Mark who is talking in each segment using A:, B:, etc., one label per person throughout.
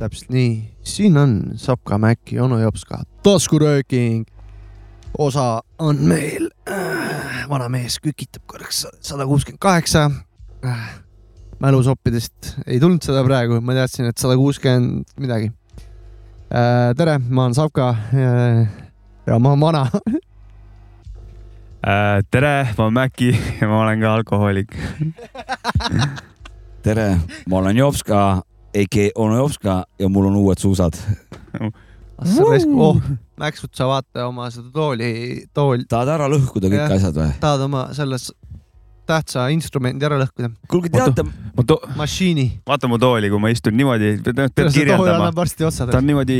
A: täpselt nii , siin on Sapka Mäki , onu Jopska taskurööking . osa on meil , vana mees kükitab korraks sada kuuskümmend kaheksa . mälusoppidest ei tulnud seda praegu , ma teadsin , et sada kuuskümmend midagi . tere , ma olen Sapka äh, ja ma olen vana .
B: Äh, tere , ma olen Mäkki ja ma olen ka alkohoolik .
C: tere , ma olen Jopska , AK onu Jopska ja mul on uued suusad .
B: Ah,
A: oh , näksud , sa vaata oma seda tooli , tool ,
C: tahad ära lõhkuda kõik
A: Jah.
C: asjad või ?
A: tahad oma selles tähtsa instrumendi ära lõhkuda ,
C: kuulge ,
B: Oota.
C: teate ,
B: ma to- ,
A: mašiini .
B: vaata mu tooli , kui ma istun niimoodi , peab peab kirjeldama .
A: varsti otsa
B: ta on niimoodi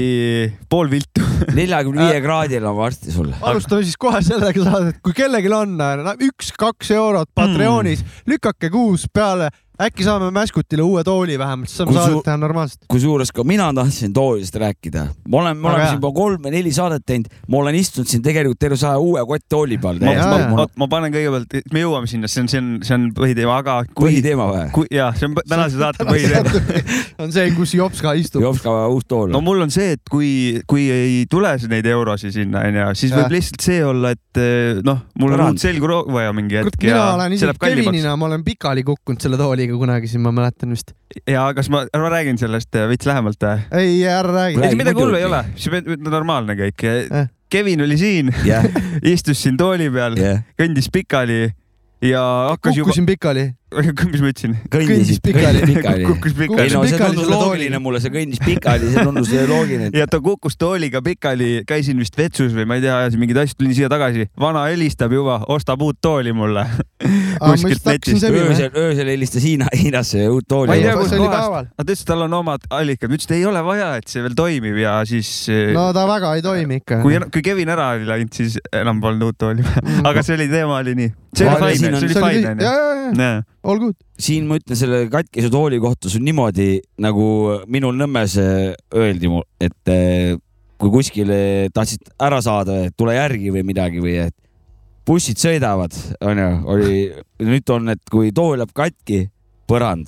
B: pool viltu . Äh.
C: neljakümne viie kraadil on varsti sul .
A: alustame siis kohe sellega saadet , kui kellelgi on äh, üks-kaks eurot Patreonis mm. ,
B: Hmm.
A: lükake kuus peale , äkki saame Mäskutile uue tooli vähemalt , siis saame
C: Kui su-
A: saadet teha normaalselt .
C: kusjuures ka mina tahtsin toolist rääkida . ma olen , me
A: Väga
C: oleme
A: hea.
C: siin juba kolm või neli saadet teinud , ma olen istunud siin tegelikult terve saja uue kotttooli peal .
B: ma ,
A: Jaa,
B: ma,
A: jaa.
B: ma, ma panen kõigepealt , me jõuame sinna , see on , see on , see on põhiteema , aga kui ,
C: põhiteema või ?
B: kui jah , see on põ- tänase saate põhiteema .
A: on see , kus Jopska istub .
C: Jopska uus tool
B: no
C: või ?
B: mul on see , et kui , kui ei tule neid eurosid sinna onju , siis
A: Jah.
B: võib lihtsalt see olla , et eh, noh , mul on
C: Tänan.
B: uut selgu roo- vaja mingi hetk
A: mina
B: ja
A: olen
B: see
A: isegi
B: läheb kallimaks .
A: Kevinina , ma olen pikali kukkunud selle tooliga kunagi siin , ma mäletan vist .
B: ja kas ma , ma räägin sellest eh, veits lähemalt või ?
A: ei , ära räägi
C: Räägi. .
B: ei , midagi hullu ei ole
C: muidugi. ,
B: see on normaalne kõik
A: Eh. .
B: Kevin oli siin ,
C: jah ,
B: istus siin tooli peal ,
C: jah .
B: kõndis pikali ja hakkas juba ,
A: kukkusin pikali .
B: mis ma ütlesin ,
A: Kõndis
C: kõndis
A: pikali.
C: pikali .
B: kukkus
C: ei
B: pikali
C: no
A: pikali
C: see tundus
A: selle
C: loogiline
A: tooli.
C: mulle , see kõndis pikali , see tundus loogiline .
B: ja ta kukkus tooliga pikali , käisin vist vetsus või ma ei tea , ajasin mingeid asju , tulin siia tagasi , vana helistab juba , ostab uut tooli mulle .
A: ma
B: Kuskilt
A: just hakkasin
B: netist.
A: sebima .
C: öösel , öösel helistas Hiina , Hiinasse uut
B: Ma ei
C: tooli
B: tea, . kus
A: see oli
B: kohast.
A: päeval .
B: ta ütles , et tal on omad allikad , ma ütlesin , et ei ole vaja , et see veel toimib ja siis no,
A: no ta väga ei toimi ikka .
B: kui , kui Kevin ära oli läinud , siis enam polnud uut tooli . aga see oli , teema oli nii . see
C: Ma
B: oli
C: arvan, siin
B: fine ,
C: on-
B: see oli fine
A: ja ,
B: onju .
A: ja , ja , olgu .
C: siin ma ütlen selle katkise tooli kohta , see on niimoodi nagu minul Nõmmes äh, öeldi , et äh, kui kuskile tahtsid ära saada , et tule järgi või midagi või et bussid sõidavad , onju , oli , nüüd on , et kui tool jääb katki , põrand ,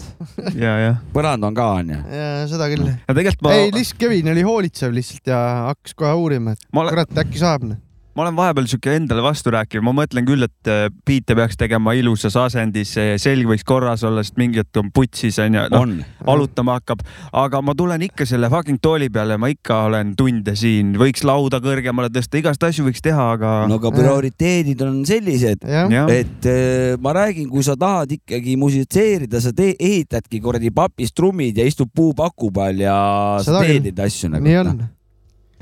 B: ja , ja .
C: põrand on ka onju .
A: jaa , seda küll .
B: aga tegelikult
A: ei ,
B: ma ,
A: lihtsalt Kevin oli hoolitsev lihtsalt ja hakkas kohe uurima , et
B: ma olen ,
A: kurat , äkki saab .
B: ma olen vahepeal sihuke endale vasturääkiv , ma mõtlen küll , et äh, biite peaks tegema ilusas asendis , selg võiks korras olla , sest mingi hetk on putsis onju , noh
C: on ,
B: valutama hakkab , aga ma tulen ikka selle fucking tooli peale , ma ikka olen tunde siin , võiks lauda kõrgemale tõsta , igast asju võiks teha , aga no,
C: no aga prioriteedid on sellised ,
A: jah ,
B: jah ,
C: et äh, ma räägin , kui sa tahad ikkagi musitseerida , sa tee , ehitadki kuradi papist trummid ja istud puupaku peal ja
A: Seda
C: sa
A: küll.
C: teed neid asju nagu .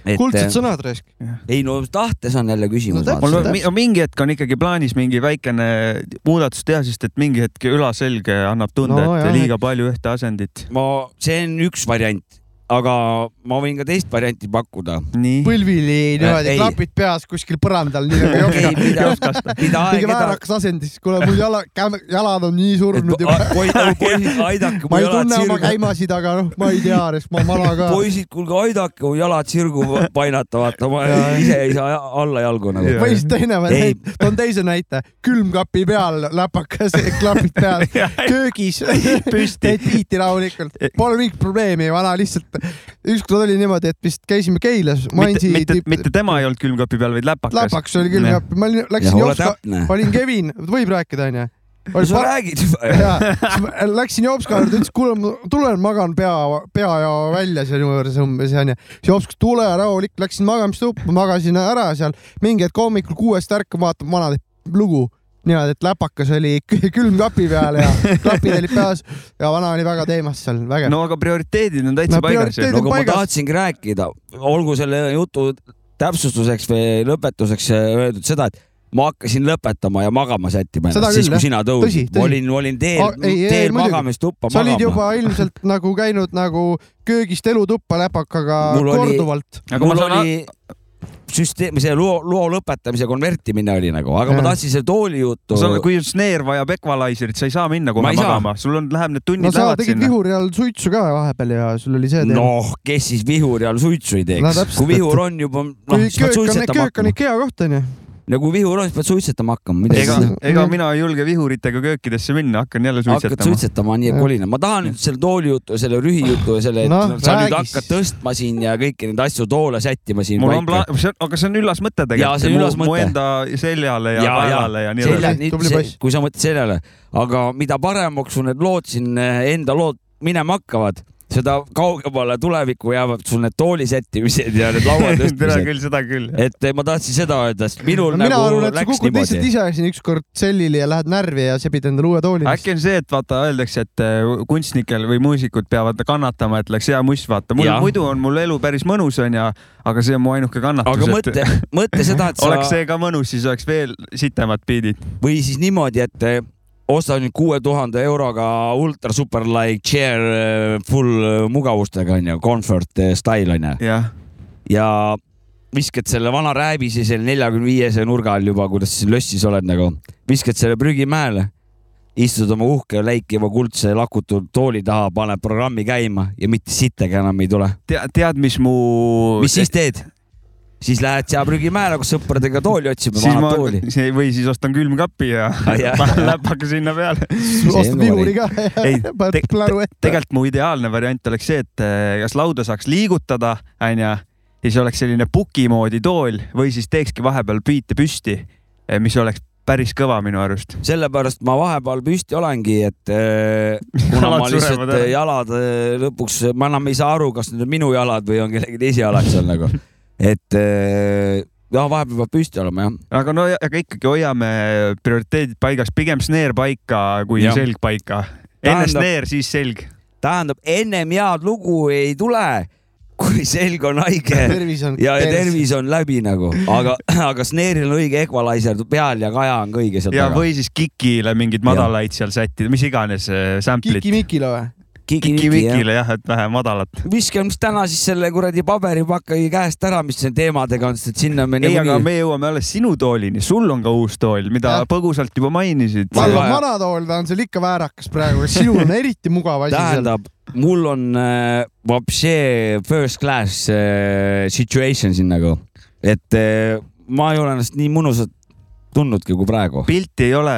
A: nii on . kuldsed sõnad raisk .
C: äh, ei no tahtes on jälle küsimus
A: No
C: no, .
B: mul
A: täpselt.
B: on mi- mingi hetk on ikkagi plaanis mingi väikene muudatus teha , sest et mingi hetk ülaselge annab tunde
A: No
B: no, ,
A: jah,
B: et liiga palju ühte asendit .
C: ma , see on üks variant , aga ma võin ka teist varianti pakkuda .
B: nii ,
A: põlvili niimoodi
C: Äh, Ei. ,
A: klapid peas kuskil põrandal , nii nagu
C: okei
A: jopka .,
C: mida ,
A: mingi
C: mida aeg-ajalt .
A: väärakas asendis , kuule mul jala , jalad on nii surnud juba .
C: aidake mu
A: ma ei
C: jalad
A: tunne oma
C: sirgu .
A: käimasid , aga noh , ma ei tea , sest ma olen vana ka .
C: poisid , kuulge , aidake mu jalad sirgu painata , vaata ma
A: Jaa.
C: ise ei saa alla jalgu nagu
B: Jaa.
A: või siis teine
C: Ei.
A: variant , toon teise näite , külmkapi peal läpakas , klapid peas , köögis ,
B: püsti
A: teed biiti rahulikult , pole mingit probleemi , vana lihtsalt . ükskord oli niimoodi , et vist käisime Keilas ,
B: mitte ,
A: Mainsi
B: mitte , mitte tema ei olnud külmkapi peal , vaid läpakas .
A: läpaks oli küll
B: Jah.
A: jah , ma olin ,
C: ja
A: läksin
C: ole
A: Jopska ,
C: täpne .
A: olin Kevin , võib rääkida onju .
C: sa räägid juba .
A: jaa , läksin Jopska juurde , ütles kuule , ma tulen magan pea , pea ja välja sinu juures umbes onju . siis Jops , tule rahulik , läksin magamistuppa , magasin ära seal , mingi hetk hommikul kuuest ärkan , vaatan vana teeb lugu niimoodi , et läpakas oli kü- külmkapi peal ja klapid olid peas ja vana oli väga teemas seal , vägev .
B: no aga prioriteedid on täitsa
A: No
B: no, paigas .
A: prioriteedid-
C: no aga ma
A: paigas.
C: tahtsingi rääkida , olgu selle jutu täpsustuseks või lõpetuseks äh, öeldud seda , et ma hakkasin lõpetama ja magama sättima
A: Seda
C: ennast , siis
A: küll, jah.
C: kui sina
A: Tõsi,
C: tõusid .
A: tõsi.
C: ma olin , olin teel
A: A- , ei, ei,
C: teel
A: muidugi.
C: magamistuppa
A: sa olid
C: magama .
A: juba ilmselt nagu käinud nagu köögist elutuppa läpakaga
C: Mul oli-
A: korduvalt .
B: aga ma
C: mul
B: saan
C: oli süsteem , see loo , loo lõpetamise konvertimine oli nagu , aga
A: Jaa.
C: ma tahtsin selle tooli juttu .
B: sul on , kui Snare vajab ekvalaiserit , sa ei saa minna kohe
C: Ma ei saa.
B: magama , sul on , läheb need tunnid
A: no sa
B: lähevad
A: tegid
B: sinna .
A: vihuri all suitsu ka vahepeal ja sul oli see teema .
C: noh , kes siis vihuri all suitsu ei
A: No
C: teeks
A: täpselt,
C: kui vihur
A: et-
C: on juba , noh ,
A: kui
C: siis
A: köök
C: pead
A: on ,
C: suitsetama
A: köök on
C: hakkama .
A: IKEA koht onju .
C: nagu vihur on , siis pead suitsetama hakkama , mida
B: ega
C: siis teha? ,
B: ega mina ei julge vihuritega köökidesse minna , hakkan jälle
C: nagu- hakkad
B: suitsetama .
C: suitsetama , nii et
A: Jah.
C: kolin , ma tahan nüüd selle toolijutu , selle rühijutu ja selle , et
A: Noh,
C: no, sa nüüd
A: räägi siis.
C: hakkad tõstma siin ja kõiki neid asju toole sättima siin .
B: mul on plaan , see on , aga see on üllas mõte
C: Jaa,
B: tegelikult .
C: see on üllas
B: mu
C: mõte.
B: enda seljale ja, ja kaelale ja nii edasi .
A: edasi. Tubli
C: edasi
A: poiss. .
C: kui sa mõtled seljale , aga mida paremaks sul need lood siin , enda lood minema hakkavad , seda kaugemale tulevikku jäävad sul need toolisättimised ja need
B: tere
C: lauatõstmised .
B: küll , seda küll .
C: et eh, ma tahtsin seda öelda , sest minul
A: mina
C: nagu
A: arvan , et sa
C: läks
A: kukud lihtsalt
C: niimoodi .
A: ise siin ükskord sellili ja lähed närvi ja sebid endale uue tooli .
B: äkki on see , et vaata , öeldakse , et äh, kunstnikel või muusikud peavad kannatama , et läks hea muss , vaata . mul
C: Jah.
B: muidu on mul elu päris mõnus , onju , aga see on mu ainuke kannatus .
C: aga mõtle , mõtle seda , et
B: oleks
C: sa
B: see ka mõnus , siis oleks veel sitemad biidid .
C: või siis niimoodi , et eh, osta nüüd kuue tuhande euroga ultra super like chair eh, full eh, mugavustega onju , comfort eh, style onju .
B: jah ,
C: ja viskad selle vana rääbise seal neljakümne viiese nurga all juba , kuidas sa lössis oled nagu , viskad selle prügimäele , istud oma uhke läikiva kuldse lakutud tooli taha , paned programmi käima ja mitte sittagi enam ei tule .
B: tead , tead , mis mu .
C: mis siis teed ? siis lähed seal prügimäele koos sõpradega tooli otsima ,
B: siis ma
C: vanad tooli .,
B: või siis ostan külmkapi ja
C: Ah, jah.
B: panen läpaka sinna peale .
A: ostad vihuri ka
B: Ei,
A: ja paned
B: teg-
A: plaru ette .
B: tegelikult mu ideaalne variant oleks see , et eh, kas lauda saaks liigutada , onju , siis oleks selline puki moodi tool või siis teekski vahepeal biite püsti , mis oleks päris kõva minu arust .
C: sellepärast ma vahepeal püsti olengi , et eh, kuna ma
B: Jalad
C: lihtsalt
B: surevad ära.
C: eh, jalad eh, lõpuks , ma enam ei saa aru , kas need on minu jalad või on kellegi teise jalad seal nagu , et eh, jah , vahepeal peab püsti olema jah .
B: aga no , aga ikkagi hoiame prioriteedid paigas , pigem sneer paika kui
C: Jah.
B: ja. selg paika . enne
C: Tähendab-
B: sneer , siis selg .
C: tähendab , ennem head lugu ei tule , kui selg on haige
A: tervis on .
C: ja tervis on läbi nagu , aga , aga Snare'il on õige equalizer peal ja Kaja on ka õige seal
B: ja
C: taga .
B: või siis kikile mingeid madalaid seal sättida , mis iganes eh, sample'id .
A: Kiki-Mikile või ?
B: kiki-mikile jah , et vähe madalat .
C: viskame siis täna siis selle kuradi paberipakagi käest ära , mis siin teemadega on , sest et sinna me
B: ei , aga
C: niikuinii
B: me jõuame alles sinu toolini , sul on ka uus tool , mida
A: Jah.
B: põgusalt juba mainisid .
A: ma arvan ,
C: vaja-
A: vana tool , ta on seal ikka väärakas praegu , sinul on eriti mugav asi seal .
C: tähendab , mul on äh, vapšee first class äh, situation siin nagu , et äh, ma ei ole ennast nii mõnusalt tundnudki kui praegu .
B: pilti ei ole ,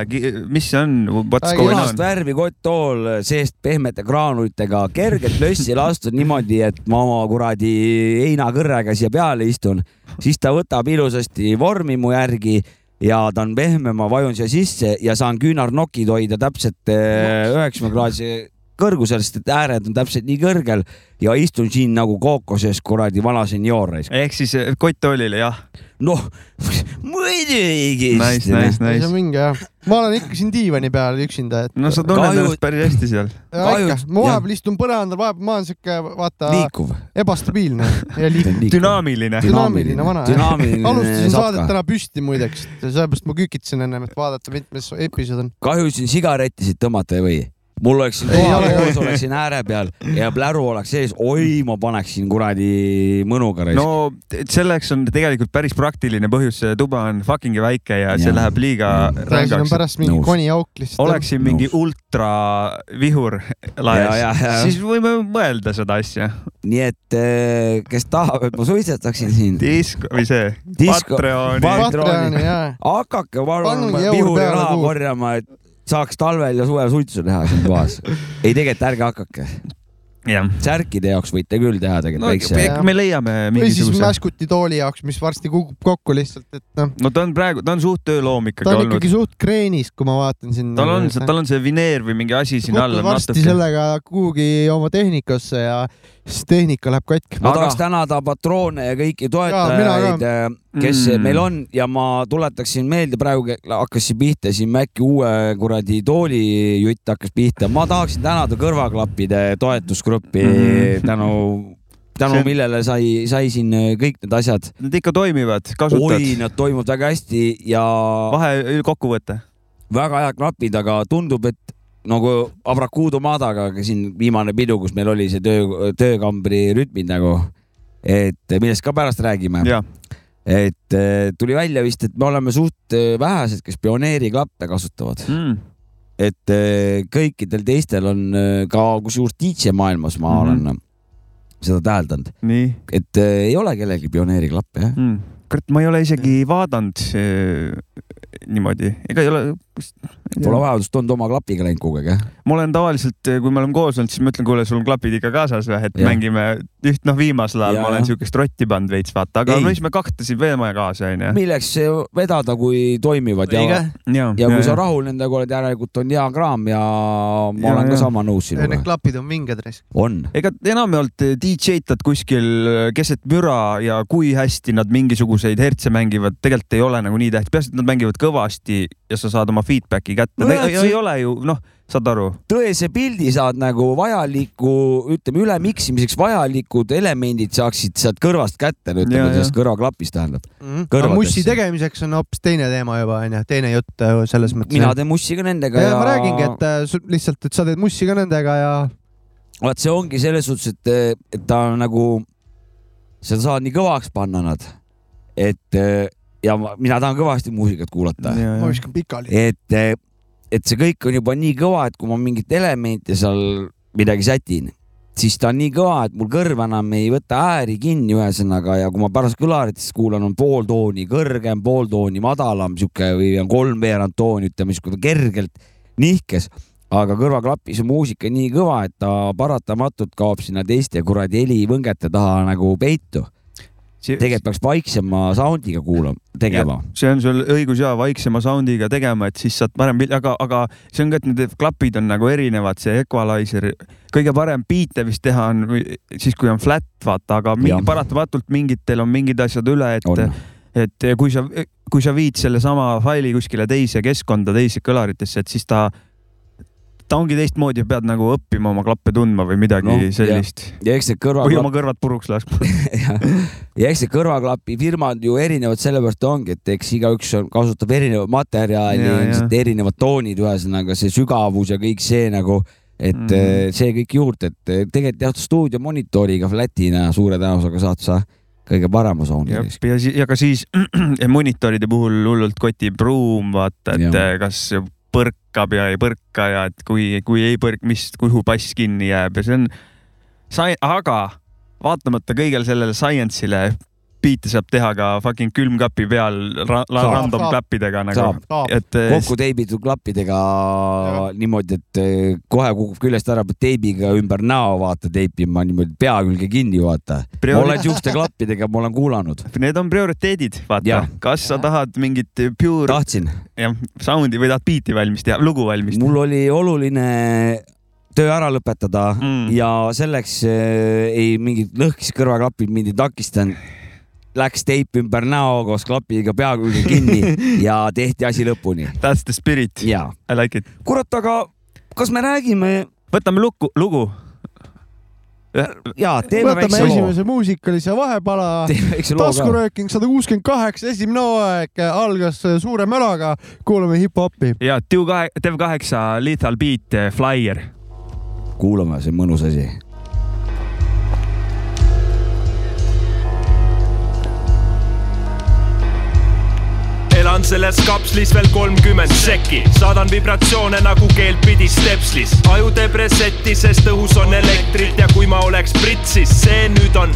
B: mis see on , what's
A: Ai,
B: going
C: punast
B: on ?
C: värvi kotttool seest pehmete graanulitega , kergelt lössi lastud niimoodi , et ma oma kuradi heinakõrrega siia peale istun , siis ta võtab ilusasti vormi mu järgi ja ta on pehme , ma vajun siia sisse ja saan küünarnokid hoida täpselt äh, üheksakümne kraadi kõrgusel , sest et ääred on täpselt nii kõrgel ja istun siin nagu kookoses kuradi vana senior .
B: ehk siis eh, kotttoolile jah ,
C: noh , muidugi .
B: nice ,
A: see
B: nice ,
A: on
B: nice .
A: minge jah . ma olen ikka siin diivani peal üksinda , et
B: no sa tunned
C: Kahju-
B: ennast päris hästi seal .
A: ja ikka
C: kahjuks- ,
A: ma vahepeal istun põrandal , vahepeal ma olen siuke , vaata ,
C: liikuv .
A: ebastabiilne ja liikuv .
B: dünaamiline .
A: dünaamiline vana jah .
C: dünaamiline
A: alustasin saadet
C: sapka.
A: täna püsti muideks , sellepärast ma kükitasin ennem , et vaadata , mitmes episood on .
C: kahju siin sigareti siit tõmmata ei või . mul oleks siin
A: Ei
C: kohal
A: ole.
C: koos , oleks siin ääre peal ja pläru oleks sees , oi , ma paneksin kuradi mõnuga raisk no. .
B: no t- selleks on tegelikult päris praktiline põhjus , see tuba on fucking väike ja, ja.
C: Jah.
B: see läheb liiga
A: siin on
B: rängaks .
A: pärast mingi
C: Nõus.
A: koniauk lihtsalt .
B: oleksin mingi ultravihur
C: Ja, ja,
B: laes
C: ja. ,
B: siis võime mõelda seda asja .
C: nii et eh, kes tahab , et ma suitsetaksin siin ,
B: disk või see ,
C: Disko-
B: Patreoni
C: Pat- .
A: Patreoni jaa .
C: hakake palun
A: Pange jõud
C: vihuri
A: peale,
C: raha
A: kuhu-
C: korjama , et saaks talvel ja suvel suitsu teha siin toas . ei , tegelikult ärge hakake ,
B: jah ,
C: särkide jaoks võite küll teha
B: no
C: tegelikult väikse
B: eks me leiame
A: või siis
B: mingisuguse .
A: mäskuti tooli jaoks , mis varsti kukub kokku lihtsalt , et noh ,
B: no ta on praegu , ta on suht tööloom
A: ta
B: ikkagi
A: on
B: olnud .
A: ikkagi suht kreenis , kui ma vaatan sinna .
B: tal on , tal on see vineer või mingi asi siin all
A: kukun
B: on
A: varsti
B: natuke .
A: sellega kuhugi oma tehnikasse ja siis tehnika läheb katki .
C: ma
B: Aga-
C: tahaks tänada patroone ja kõiki
A: Jaa, mina
C: toetajaid , kes
B: Mm.
C: mm. meil on ja ma tuletaksin meelde , praegu ke- hakkas siin pihta siin Maci uue kuradi toolijutt hakkas pihta . ma tahaksin tänada kõrvaklappide toetusgruppi
B: Mm.
C: mm. tänu , tänu
B: See-
C: See... millele sai , sai siin kõik need asjad .
B: Nad ikka toimivad ,
C: oi ,
B: kasutad .
C: nad toimuvad väga hästi ja
B: vahe , kokkuvõte .
C: väga head klapid , aga tundub , et nagu Abrakuudu Madaga ka siin viimane pidu , kus meil oli see töö , töökambri rütmid nagu , et millest ka pärast räägime .
B: jah ,
C: et eh, tuli välja vist , et me oleme suht eh, vähesed , kes pioneeriklappe kasutavad ,
B: Mm.
C: et eh, kõikidel teistel on eh, ka kusjuures DJ maailmas ma
B: Mhm.
C: mm -hmm. olen seda täheldanud ,
B: nii
C: et äh, ei ole kellelgi pioneeriklappe jah .
B: mm. . kurat , ma ei ole isegi vaadanud eh, niimoodi , ega ei ole .
C: Pole vajadust olnud oma klapiga läinud kogu aeg jah .
B: ma olen tavaliselt , kui me oleme koos olnud , siis ma ütlen , kuule , sul on klapid ikka kaasas või , et ja.
C: Jah.
B: mängime üht , noh , viimasel ajal
C: Jaa,
B: ja. ma
C: jah.
B: olen siukest rotti pannud veits , vaata , aga
C: Ei.
B: no siis me kaktasin veel maja kaasa , onju .
C: milleks vedada , kui toimivad ja ,
B: ja,
C: ja kui sa rahul nendega oled , järelikult on hea kraam ja ma
B: Ja,
C: ja, olen
B: ja.
C: ka sama nõus
A: Need
C: sinuga .
A: klapid on vinged risk .
C: on .
B: ega enamjaolt DJ-tad kuskil äh, keset müra ja kui hästi nad mingisuguseid hertse mängivad , tegelikult ei ole nagu nii tähtis , peaasi , et nad mängivad kõvasti ja sa saad oma feedback'i kätte
C: No
B: no, .
C: jah,
B: Ei,
C: see-
B: ei ole ju noh , saad aru ,
C: tõese pildi saad nagu vajaliku , ütleme üle miksimiseks vajalikud elemendid saaksid sealt kõrvast kätte ,
B: Ja,
C: ütleme
B: ja.
C: sellest kõrvaklapist tähendab . Kõrvadesse.
A: Mhm. mussi tegemiseks on hoopis teine teema juba onju , teine jutt äh, selles mõttes .
C: mina teen mussi ka nendega
A: ja,
C: ja,
A: ja ma räägingi , et äh, sul- lihtsalt , et sa teed mussi ka nendega ja
C: vaat see ongi selles suhtes , et , et ta on nagu , sa saad nii kõvaks panna nad , et eh, ja ma, mina tahan kõvasti muusikat kuulata ,
A: ma viskan pikali .
C: Äh. et , et see kõik on juba nii kõva , et kui ma mingit elementi seal midagi sätin , siis ta on nii kõva , et mul kõrv enam ei võta ääri kinni , ühesõnaga , ja kui ma pärast kõlaritest kuulan , on pool tooni kõrgem , pool tooni madalam , sihuke või on kolmveerand tooni , ütleme sihuke kergelt nihkes , aga kõrvaklapis on muusika nii kõva , et ta paratamatult kaob sinna teiste kuradi helivõngete taha nagu peitu . tegelikult peaks vaiksema sound'iga kuulama , tegema .
B: see on sul õigus ja vaiksema sound'iga tegema , et siis saad parem pildi , aga , aga see on ka , et need klapid on nagu erinevad , see equalizer , kõige parem biite vist teha on või- siis , kui on flat , vaata , aga mingi,
C: Jah.
B: paratamatult mingitel on mingid asjad üle , et
C: on ,
B: et kui sa , kui sa viid sellesama faili kuskile teise keskkonda , teise kõlaritesse , et siis ta , ta ongi teistmoodi , pead nagu õppima oma klappe tundma või midagi
C: Noh,
B: no,
C: jah.
B: sellist .
C: ja eks see
B: või
C: kõrvaklapp
B: oma kõrvad puruks laskma .
C: ja, ja eks see kõrvaklapifirmad ju erinevad sellepärast ongi , et eks igaüks on- kasutab erinevat materjali
B: Ja, ,
C: ilmselt erinevad toonid , ühesõnaga see sügavus ja kõik see nagu , et mm
B: Mhm.
C: -hmm. see kõik juurde , et eh, tegelikult jah , stuudio monitoriga flat'ina suure tõenäosusega saad sa kõige parema sound'i
B: ja ,
C: eks .
B: ja siis , ja ka siis monitoride puhul hullult kotib ruum , vaata , et
C: Jah.
B: ja. kas põrkab ja ei põrka ja et kui , kui ei põrk , mis , kuhu bass kinni jääb ja see on , aga vaatamata kõigele sellele science'ile , biite saab teha ka fucking külmkapi peal ra, la,
C: Saab.
B: random
A: Saab.
B: klappidega nagu
C: saab
A: saab ,
B: et
C: kokku teibitud klappidega niimoodi , et eh, kohe kukub küljest ära , pead teibiga ümber näo vaata teipima niimoodi pea külge kinni vaata . ma
B: Priori-
C: olen siukeste klappidega , ma olen kuulanud ,
B: need on prioriteedid , vaata
C: Jah. ,
B: kas sa tahad mingit pure
C: tahtsin
B: jah, sound'i või tahad biiti valmis teha , lugu valmis teha .
C: mul oli oluline töö ära lõpetada mm.
B: Mm.
C: ja selleks äh, ei mingid lõhkis kõrvaklapid mind ei takistanud . Läks teip ümber näo koos klapiga pea külge kinni ja tehti asi lõpuni
B: That's the spirit ,
C: ja
B: I like it .
C: kurat , aga kas me räägime
B: võtame lukku , lugu .
C: ja teeme
A: võtame
C: väikse loo ,
A: esimese muusikalise vahepala
C: teeme väikse loo ka .
A: taskurööking sada kuuskümmend kaheksa , esimene hooaeg äh, algas suure mölaga , kuulame hip-hopi .
B: ja Tiu kahe , Dev kaheksa Lethal Beat eh, Flyer .
C: kuulame , see on mõnus asi .
D: elan selles kapslis veel kolmkümmend sekki , saadan vibratsioone nagu keelpidi stepslis . aju teeb reset'i , sest õhus on elektrit ja kui ma oleks britt , siis see nüüd on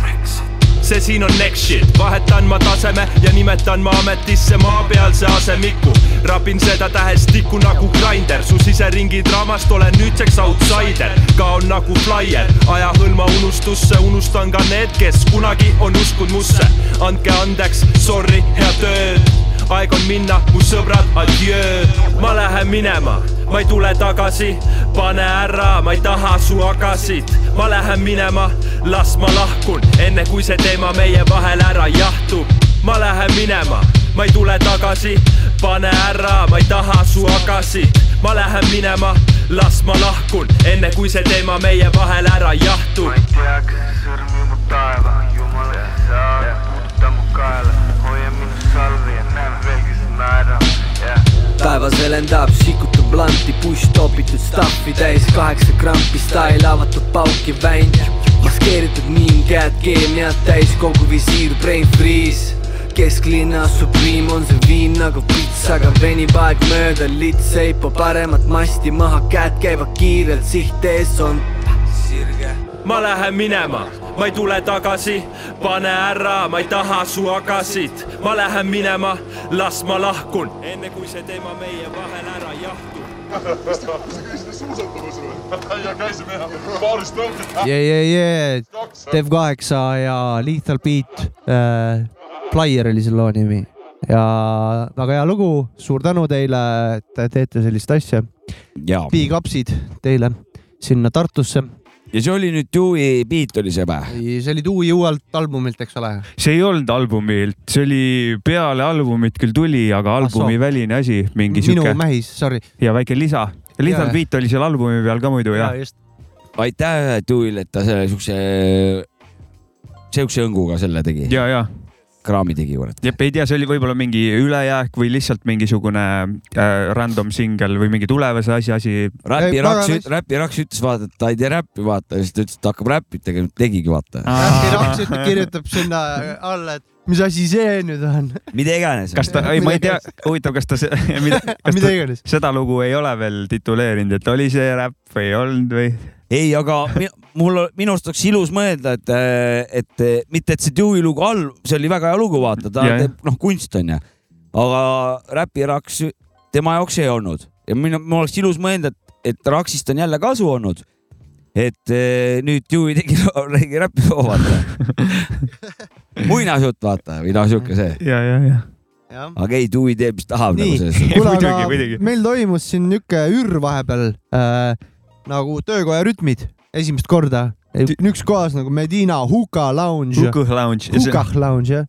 D: see siin on next shit , vahetan ma taseme ja nimetan ma ametisse maapealse asemiku . rapin seda tähestikku nagu grinder , su siseringi draamast olen nüüdseks outsider , kaon nagu flyer , aja hõlma unustusse , unustan ka need , kes kunagi on uskunud musse . andke andeks , sorry , head ööd aeg on minna , mu sõbrad , adjöö . ma lähen minema , ma ei tule tagasi , pane ära , ma ei taha su agasid . ma lähen minema , las ma lahkun , enne kui see teema meie vahel ära jahtub . ma lähen minema , ma ei tule tagasi , pane ära , ma ei taha su agasid . ma lähen minema , las ma lahkun , enne kui see teema meie vahel ära jahtub
E: ma . ei tea , kas sa sõrmi mu taeva , jumala sa hakkad puudutama kaela , hoia minu salve ja näeme veelgi sa naera , jah .
F: taevas helendab , sikutab lanti , push topitud stuff'i täis kaheksa grampi , style avatud pauki väin , maskeeritud mingad keemiad täis , kogu visiir , brain freeze kesklinna Supreme on see viin nagu pits , aga venib aeg mööda , lits seipa paremat masti maha , käed käivad kiirelt , siht ees on sirge
D: ma lähen minema , ma ei tule tagasi , pane ära , ma ei taha su agasid , ma lähen minema , las ma lahkun , enne kui see teema meie vahel ära jahtub .
A: yeah, . Yeah, yeah. Dev kaheksa ja Lethal Beat äh, . Flyer oli selle loo nimi ja väga hea lugu , suur tänu teile , et te teete sellist asja .
C: ja ,
A: Big upsid teile sinna Tartusse .
C: ja see oli nüüd Dewey beat oli see või ?
A: see oli Dewey uuelt albumilt , eks ole ?
B: see ei olnud albumilt , see oli peale albumit küll tuli , aga
A: Ah soo.
B: albumiväline asi , mingi
A: minu
B: sihuke
A: mähis , sorry .
B: ja väike lisa .
A: Jaa.
B: lihtsalt beat oli seal albumi peal ka muidu jah .
A: just .
C: aitäh Dewey'le , et ta selle siukse , siukse õnguga selle tegi ,
B: ja , ja ,
C: kraami tegi , kurat .
B: jep , ei tea , see oli võib-olla mingi ülejääk või lihtsalt mingisugune äh, random singel või mingi tulevase asja asi .
G: Ei,
C: Räpi Raks
G: pagan- ,
C: Räpi Raks ütles , vaata , et ta ei tee räppi , vaata , siis ta ütles , et ta hakkab räppit tegema , tegigi , vaata .
G: äkki Raksit kirjutab sinna alla , et mis asi see nüüd on ,
C: mida iganes .
B: kas ta , ei , ma ei tea , huvitav , kas ta , mida , kas
G: mida
B: ta
G: iganes .
B: seda lugu ei ole veel tituleerinud , et oli see räpp või ei olnud või ?
C: ei , aga mi- mul , minu arust oleks ilus mõelda , et , et äh, mitte , et see Dewey lugu all , see oli väga hea lugu , vaata , ta
B: Jajah.
C: teeb , noh , kunst on ju . aga Räpi Raks , tema jaoks ei olnud ja minu , mul oleks ilus mõelda , et , et Raksist on jälle kasu olnud . et eh, nüüd Dewey tegi , tegi räppi , vaata . muinasjutt , vaata , või noh , sihuke see ,
B: ja , ja , ja .
G: jah .
C: aga ei , Dewey teeb , mis tahab
A: Nii.
C: nagu selles suhtes .
A: kuule ,
B: Muidugi,
A: aga
B: muidugi.
A: meil toimus siin niuke ür vahepeal äh, nagu töökoja rütmid esimest korda . üks kohas nagu Medina Huka Lounge ,
B: Hukah Lounge .
A: Hukah Lounge jah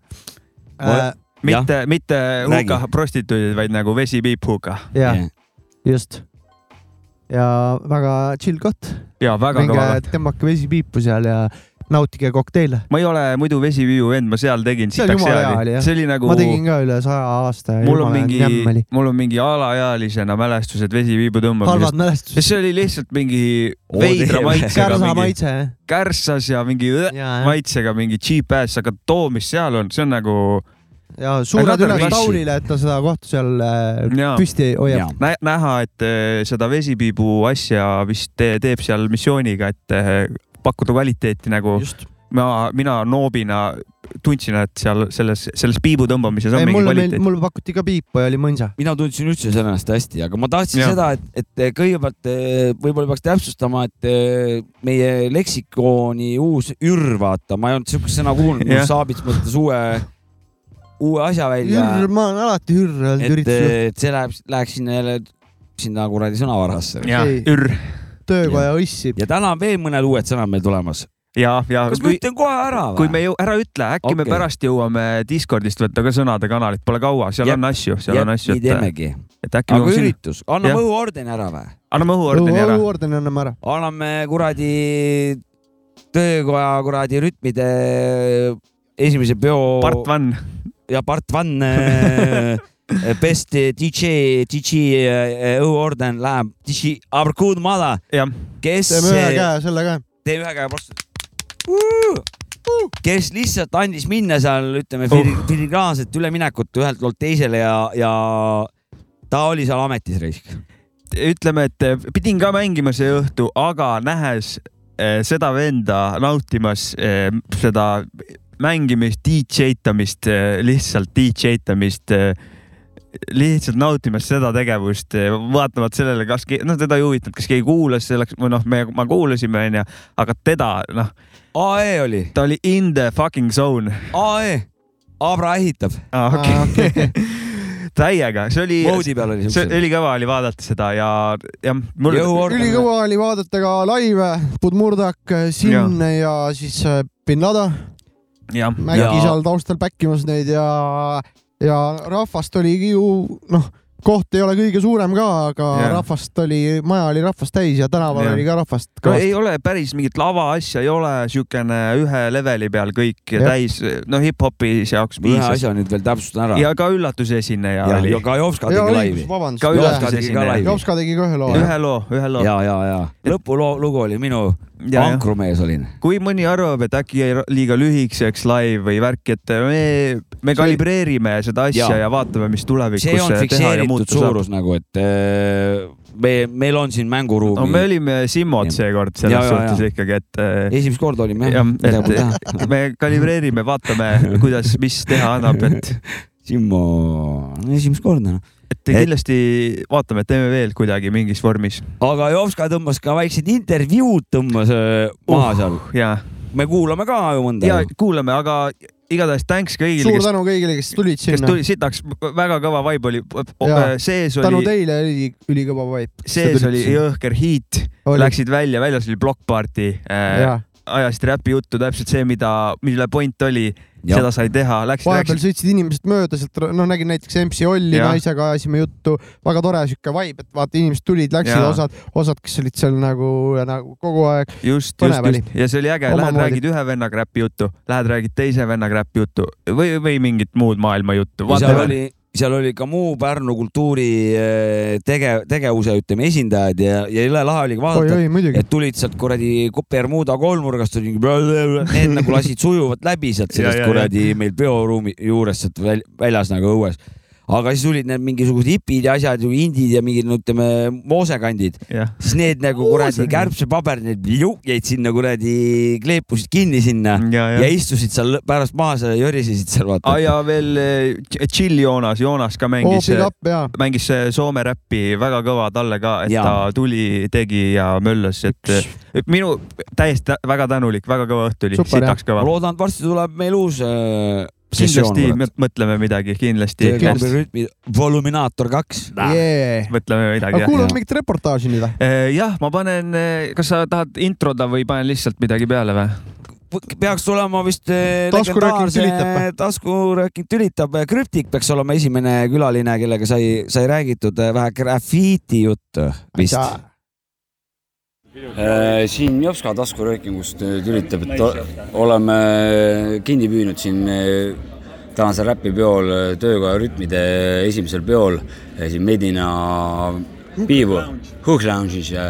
A: äh, .
B: mitte , mitte
C: Räägi.
B: hukah prostituudid , vaid nagu vesi piip hukah .
A: jah , just . ja väga chill koht ,
B: ja väga
A: minge
B: kõva koht .
A: tõmmake vesipiipu seal ja nautige kokteile .
B: ma ei ole muidu vesipiiu vend , ma seal tegin
A: See oli
B: sitaks
A: jumala hea oli,
B: headi
A: jah. .
B: see oli nagu
A: ma , tegin ka üle saja aasta ja
B: mul on
A: jumala nämm
B: mingi
A: oli .,
B: mul on mingi alaealisena mälestused vesipiibu
A: halvad
B: tõmbamisest . ja
A: mälestused .
B: see oli lihtsalt mingi
C: Oo,
B: veidra
C: teeme.
B: maitsega ,
A: kärsa
B: mingi
A: maitse jah.
B: kärssas ja mingi õõ-
A: ja ,
B: maitsega mingi cheap ass , aga too , mis seal on , see on nagu ,
A: ja suured
B: Another
A: üles
B: Rishi.
A: Taulile , et ta seda kohta seal äh,
B: jaa .
A: püsti hoiab .
C: jah ,
B: Nä- näha , et eh, seda vesipiibu asja vist te teeb seal missiooniga , et eh, pakkuda kvaliteeti nagu
A: just .
B: ma , mina noobina tundsin , et seal selles , selles piibu tõmbamises on
A: ei ,
B: ei, mingi
A: mulle meeldis ,
B: kvaliteet .
A: mulle pakuti ka piipa ja oli mõnsa .
C: mina tundsin üldse ennast hästi , aga ma tahtsin
B: Jah.
C: seda , et , et kõigepealt eh, võib-olla peaks täpsustama , et eh, meie leksikooni uus ür , vaata , ma ei olnud sihukest sõna kuulnud ,
B: Jah.
C: mul Saabits mõtles uue , uue asja välja .
A: hürr , ma olen alati hürr olnud
C: et ,
B: äh,
A: üritusel ,
C: et see läheb , läheks sinna jälle , sinna kuradi sõnavarasse .
B: ja
A: Ei. ,
B: ürr
A: töökoja issi .
C: ja täna on veel mõned uued sõnad meil tulemas .
B: ja , ja
C: kas ma
B: kui ,
C: ütlen kohe ära
B: kui
C: või ?
B: me jõu- , ära ütle , äkki okay. me
C: Okei.
B: pärast jõuame Discordist võtta ka sõnade kanalit , pole kaua , seal
C: Jep.
B: on asju , seal on asju ,
C: nii
B: et ,
C: teemegi ,
B: et äkki
C: aga
B: me siin ,
C: üritus , anname
B: Jah.
C: õhuordeni ära või ?
B: anname õhuordeni ära .
A: õhuordeni anname ära .
C: anname kuradi töökoja kuradi rütmide esimese peo
B: Part One ,
C: ja part one äh, best äh, DJ , DJ äh, õhuorden läheb DJ Abrkud Mala ,
B: jah ,
C: kes
A: teeme ühe käe selle ka .
C: teeb ühe käe vastu . kes lihtsalt andis minna seal , ütleme
B: Oh.
C: fili- filigraanset üleminekut ühelt loolt teisele ja , ja ta oli seal ametis raisk .
B: ütleme , et eh, pidin ka mängima see õhtu , aga nähes eh, seda venda nautimas eh, seda mängimist , DJ tamist , lihtsalt eh, DJ tamist , lihtsalt nautimas seda tegevust , vaatamata sellele , kas , noh , teda ei huvitanud , kas keegi kuulas selleks või noh , me , ma kuulasime , onju , aga teda , noh ,
C: AE E oli ,
B: ta oli in the fucking zone .
C: AE , Abra ehitab ,
A: Ah,
B: okei , täiega , see oli ,
C: voodi peal oli
B: see
C: siukse .
B: ülikõva oli vaadata seda ja , jah , mul
C: jõhuorden .
A: ülikõva oli vaadata ka laive , Budmurdak sinna ja siis äh, bin Lada
B: jah ,
A: mängis
C: Ja-
A: seal taustal päkkimas neid ja , ja rahvast oligi ju noh , koht ei ole kõige suurem ka , aga
B: Jah.
A: rahvast oli , maja oli rahvast täis ja tänaval
B: Jah.
A: oli ka rahvast
B: no
A: kõvasti .
B: ei ole päris mingit lava asja , ei ole siukene ühe leveli peal kõik ja.
A: Jah.
B: täis , noh , hip-hopi jaoks
C: ühe
B: piisas .
C: asja nüüd veel täpsustan ära .
B: ja ka üllatuse-esineja
C: ja ,
B: oli
C: ja . ka Jopska
A: ja
C: tegi
A: õigus
C: laivi ,.
B: ka
A: vabandust .
C: Jopska
B: üllatuse
C: tegi ka laivi.
B: esineja .
A: Jopska tegi ka ühe loo .
B: ühe loo , ühe loo .
C: ja , ja , ja lõpuloo lugu oli minu ankrumees olin .
B: kui mõni arvab , et äkki jäi liiga lühikeseks live või värk , et äh, me , me kalibreerime seda asja ja,
C: Jaa.
B: ja vaatame , mis
C: see on
B: tulevikus teha ja
C: fikseeritud
B: muuta saab .
C: suurus nagu , et äh, me , meil on siin mänguruumi
B: no me olime Simmod seekord
C: Ja,
B: selles
C: ja, ja.
B: suhtes ikkagi , et äh,
C: esimest korda olime
B: jah
C: jah , midagi pole teha .
B: et me kalibreerime , vaatame , kuidas , mis teha annab , et ,
C: Simmo , esimest korda noh .
B: et kindlasti vaatame , teeme veel kuidagi mingis vormis .
C: aga Jovska tõmbas ka väiksed intervjuud tõmbas öö, maha
B: Uh,
C: seal .
B: ja ,
C: me kuulame ka ju mõnda
B: ja . kuulame , aga igatahes thanks kõigile ,
A: suur
B: kes ,
A: tänu kõigile , kes tulid
B: kes
A: sinna .
B: tuli , sitaks väga kõva vibe oli ,
A: Jaa.
B: sees
A: tänu
B: oli ,
A: teile oli ülikõva vibe .
B: sees oli jõhker hiit ,
A: Oli.
B: läksid välja , väljas oli block party äh, ,
A: jaa ,
B: ajasid räpi juttu , täpselt see , mida , mille point oli ,
C: Jah.
B: seda sai teha , läksid ,
A: vahepeal
B: läksid ,
A: sõitsid inimesed mööda sealt , noh , nägin näiteks MC Olli
B: Jah.
A: naisega ajasime juttu , väga tore sihuke vibe , et vaata , inimesed tulid , läksid ,
B: Jaa.
A: osad , osad , kes olid seal nagu , nagu kogu aeg .
B: just ,
A: põnev
B: just ,
A: oli.
B: just ja see oli äge , lähed
A: Omamoodi.
B: räägid ühe vennaga räpi juttu , lähed räägid teise vennaga räpi juttu või , või mingit muud maailma juttu .
C: Ja seal oli , seal oli ka muu Pärnu kultuuri öö, tege- , tegevuse , ütleme , esindajad ja , ja jõle lahe oli vaadata ,
A: oi-oi , muidugi .
C: et tulid sealt kuradi Bermuda kolmnurgast , need nagu lasid sujuvalt läbi sealt
B: Ja, ja,
C: sellest
B: ja.
C: kuradi meil peoruumi juures sealt väl- väljas nagu õues . aga siis tulid need mingisugused hipid ja asjad , indid ja mingid , no ütleme , moosekandid ,
B: jah ,
C: siis need nagu kuradi kärbsepaber , need ju- jäid sinna kuradi , kleepusid kinni sinna ja,
B: ja ,
C: ja
B: ja .
C: istusid seal pärast maha seal ja jörisesid seal vaata
B: aa . ja veel eh, Chill Joonas , Joonas ka
A: Oh,
B: mängis
A: big , up ja ,
B: mängis eh, Soome räppi väga kõva talle ka , et
C: Jaa.
B: ta tuli , tegi ja möllas , et eh, et minu täiesti tä- väga tänulik , väga kõva õhtu oli ,
A: Super,
B: sitaks
C: ma
B: kõva .
C: loodan , et varsti tuleb meil uus äh, sessioon
B: kindlasti . me mõtleme midagi , kindlasti ,
C: rütmi , Voluminaator kaks .
A: yeah. .
B: mõtleme midagi
A: aga
B: jah .
A: kuulame
C: Jah.
A: mingit reportaaži nüüd või ?
B: jah , ma panen , kas sa tahad introda või panen lihtsalt midagi peale või ?
C: peaks tulema vist äh,
A: Taskurööking
C: legendaarse
A: tülitab või?
C: taskurööking tülitab , Krüptik peaks olema esimene külaline , kellega sai , sai räägitud äh, vähe grafiiti juttu vist .
H: Äh, siin Jopska taskuröökingust äh, tülitab , et o- oleme kinni püüdnud siin äh, tänasel räpipeol töökoja äh, rütmide esimesel peol siin Medina Piibu Hook Lounge'is ja,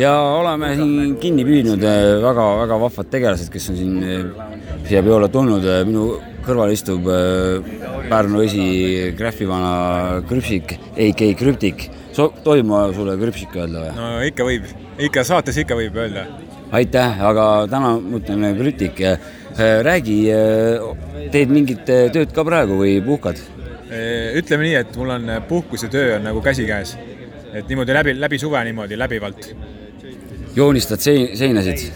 H: ja oleme siin kinni püüdnud väga-väga vahvad tegelased , kes on siin äh, siia peole tulnud . minu kõrval istub äh, Pärnu esi graafivana Krüpsik , AK Krüptik . So- , tohib ma sulle Krüpsik öelda või ?
I: no ikka võib , ikka saates ikka võib öelda .
H: aitäh , aga täna ma ütlen , Rütik , äh, räägi , teed mingit eh, tööd ka praegu või puhkad ?
I: E, ütleme nii , et mul on puhkus ja töö on nagu käsikäes . et niimoodi läbi , läbi suve niimoodi läbivalt .
H: joonistad sein- , seinasid ?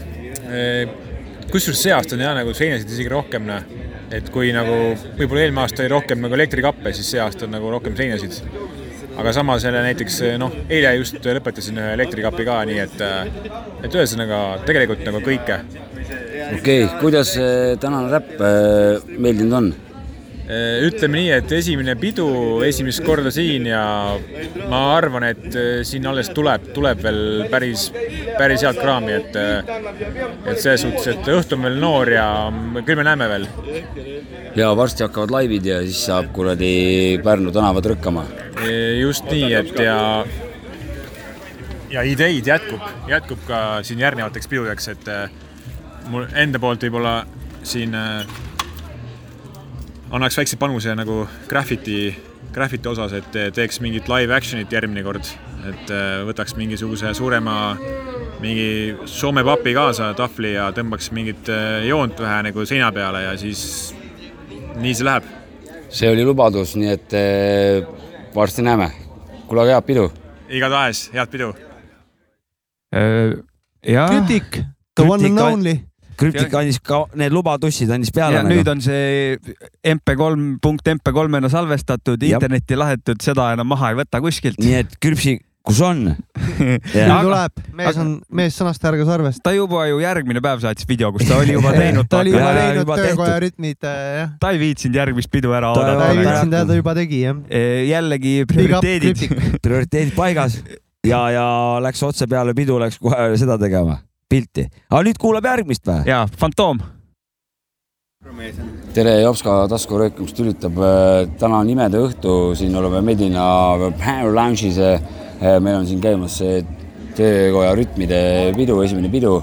I: E, kusjuures see aasta on jah nagu seinasid isegi rohkem , noh . et kui nagu võib-olla eelmine aasta oli rohkem nagu elektrikappe , siis see aasta on nagu rohkem seinasid . aga samas jälle näiteks noh , eile just lõpetasin ühe elektrikapi ka , nii et , et ühesõnaga tegelikult nagu kõike
H: okei okay, , kuidas eh, tänane räpp eh, meeldinud on ?
I: Eh, ütleme nii , et esimene pidu esimest korda siin ja ma arvan , et eh, siin alles tuleb , tuleb veel päris , päris head kraami , et eh, et selles suhtes , et õhtu on veel noor ja küll me näeme veel .
H: ja varsti hakkavad laivid ja siis saab kuradi Pärnu tänavad rõkkama .
I: just nii , et ja ja ideid jätkub , jätkub ka siin järgnevateks pidudeks , et eh, mul enda poolt võib-olla siin eh, annaks väikse panuse nagu graffiti , graffiti osas , et eh, teeks mingit live action'it järgmine kord , et eh, võtaks mingisuguse suurema , mingi Soome papi kaasa tahvli ja tõmbaks mingit eh, joont vähe nagu seina peale ja siis nii see läheb .
H: see oli lubadus , nii et eh, varsti näeme . kuule , aga head pidu
I: igatahes head pidu
C: Eh,
B: jah .
A: Kütik , the one and
C: Krüptik-
A: only .
C: Krüptik andis ka need lubadussid andis peale
B: ja nüüd
C: nagu .
B: on see mp3 punkt mp3-na salvestatud ,
C: Jah.
B: internetti lahetud , seda enam maha ei võta kuskilt .
C: nii et Krüpsik , kus on ?
A: nüüd
B: Aga-
A: tuleb , mees on , mees sõnast härgas arvest .
B: ta juba ju järgmine päev saatis video , kus ta oli juba teinud ,
A: ta oli juba
C: Ja, ja,
A: teinud
C: juba
A: töökoja
C: tehtud.
A: rütmid , jah .
B: ta ei viitsinud järgmist pidu ära
C: Ta-
A: ta ei
C: Väga
B: oodata .
A: viitsinud ja
C: hea.
A: ta juba tegi , jah .
B: jällegi
A: Big up ,
B: prioriteedid .
A: Krüptik .
C: prioriteedid paigas ja , ja läks otse peale pidu , läks kohe seda tegema , pilti . aga nüüd kuulab järgmist või ?
B: ja Fantoom ,
H: tere , Jopska taskuröökimust tülitab . täna on imede õhtu , siin oleme Medina Power Lounge'is . meil on siin käimas see töökoja rütmide pidu , esimene pidu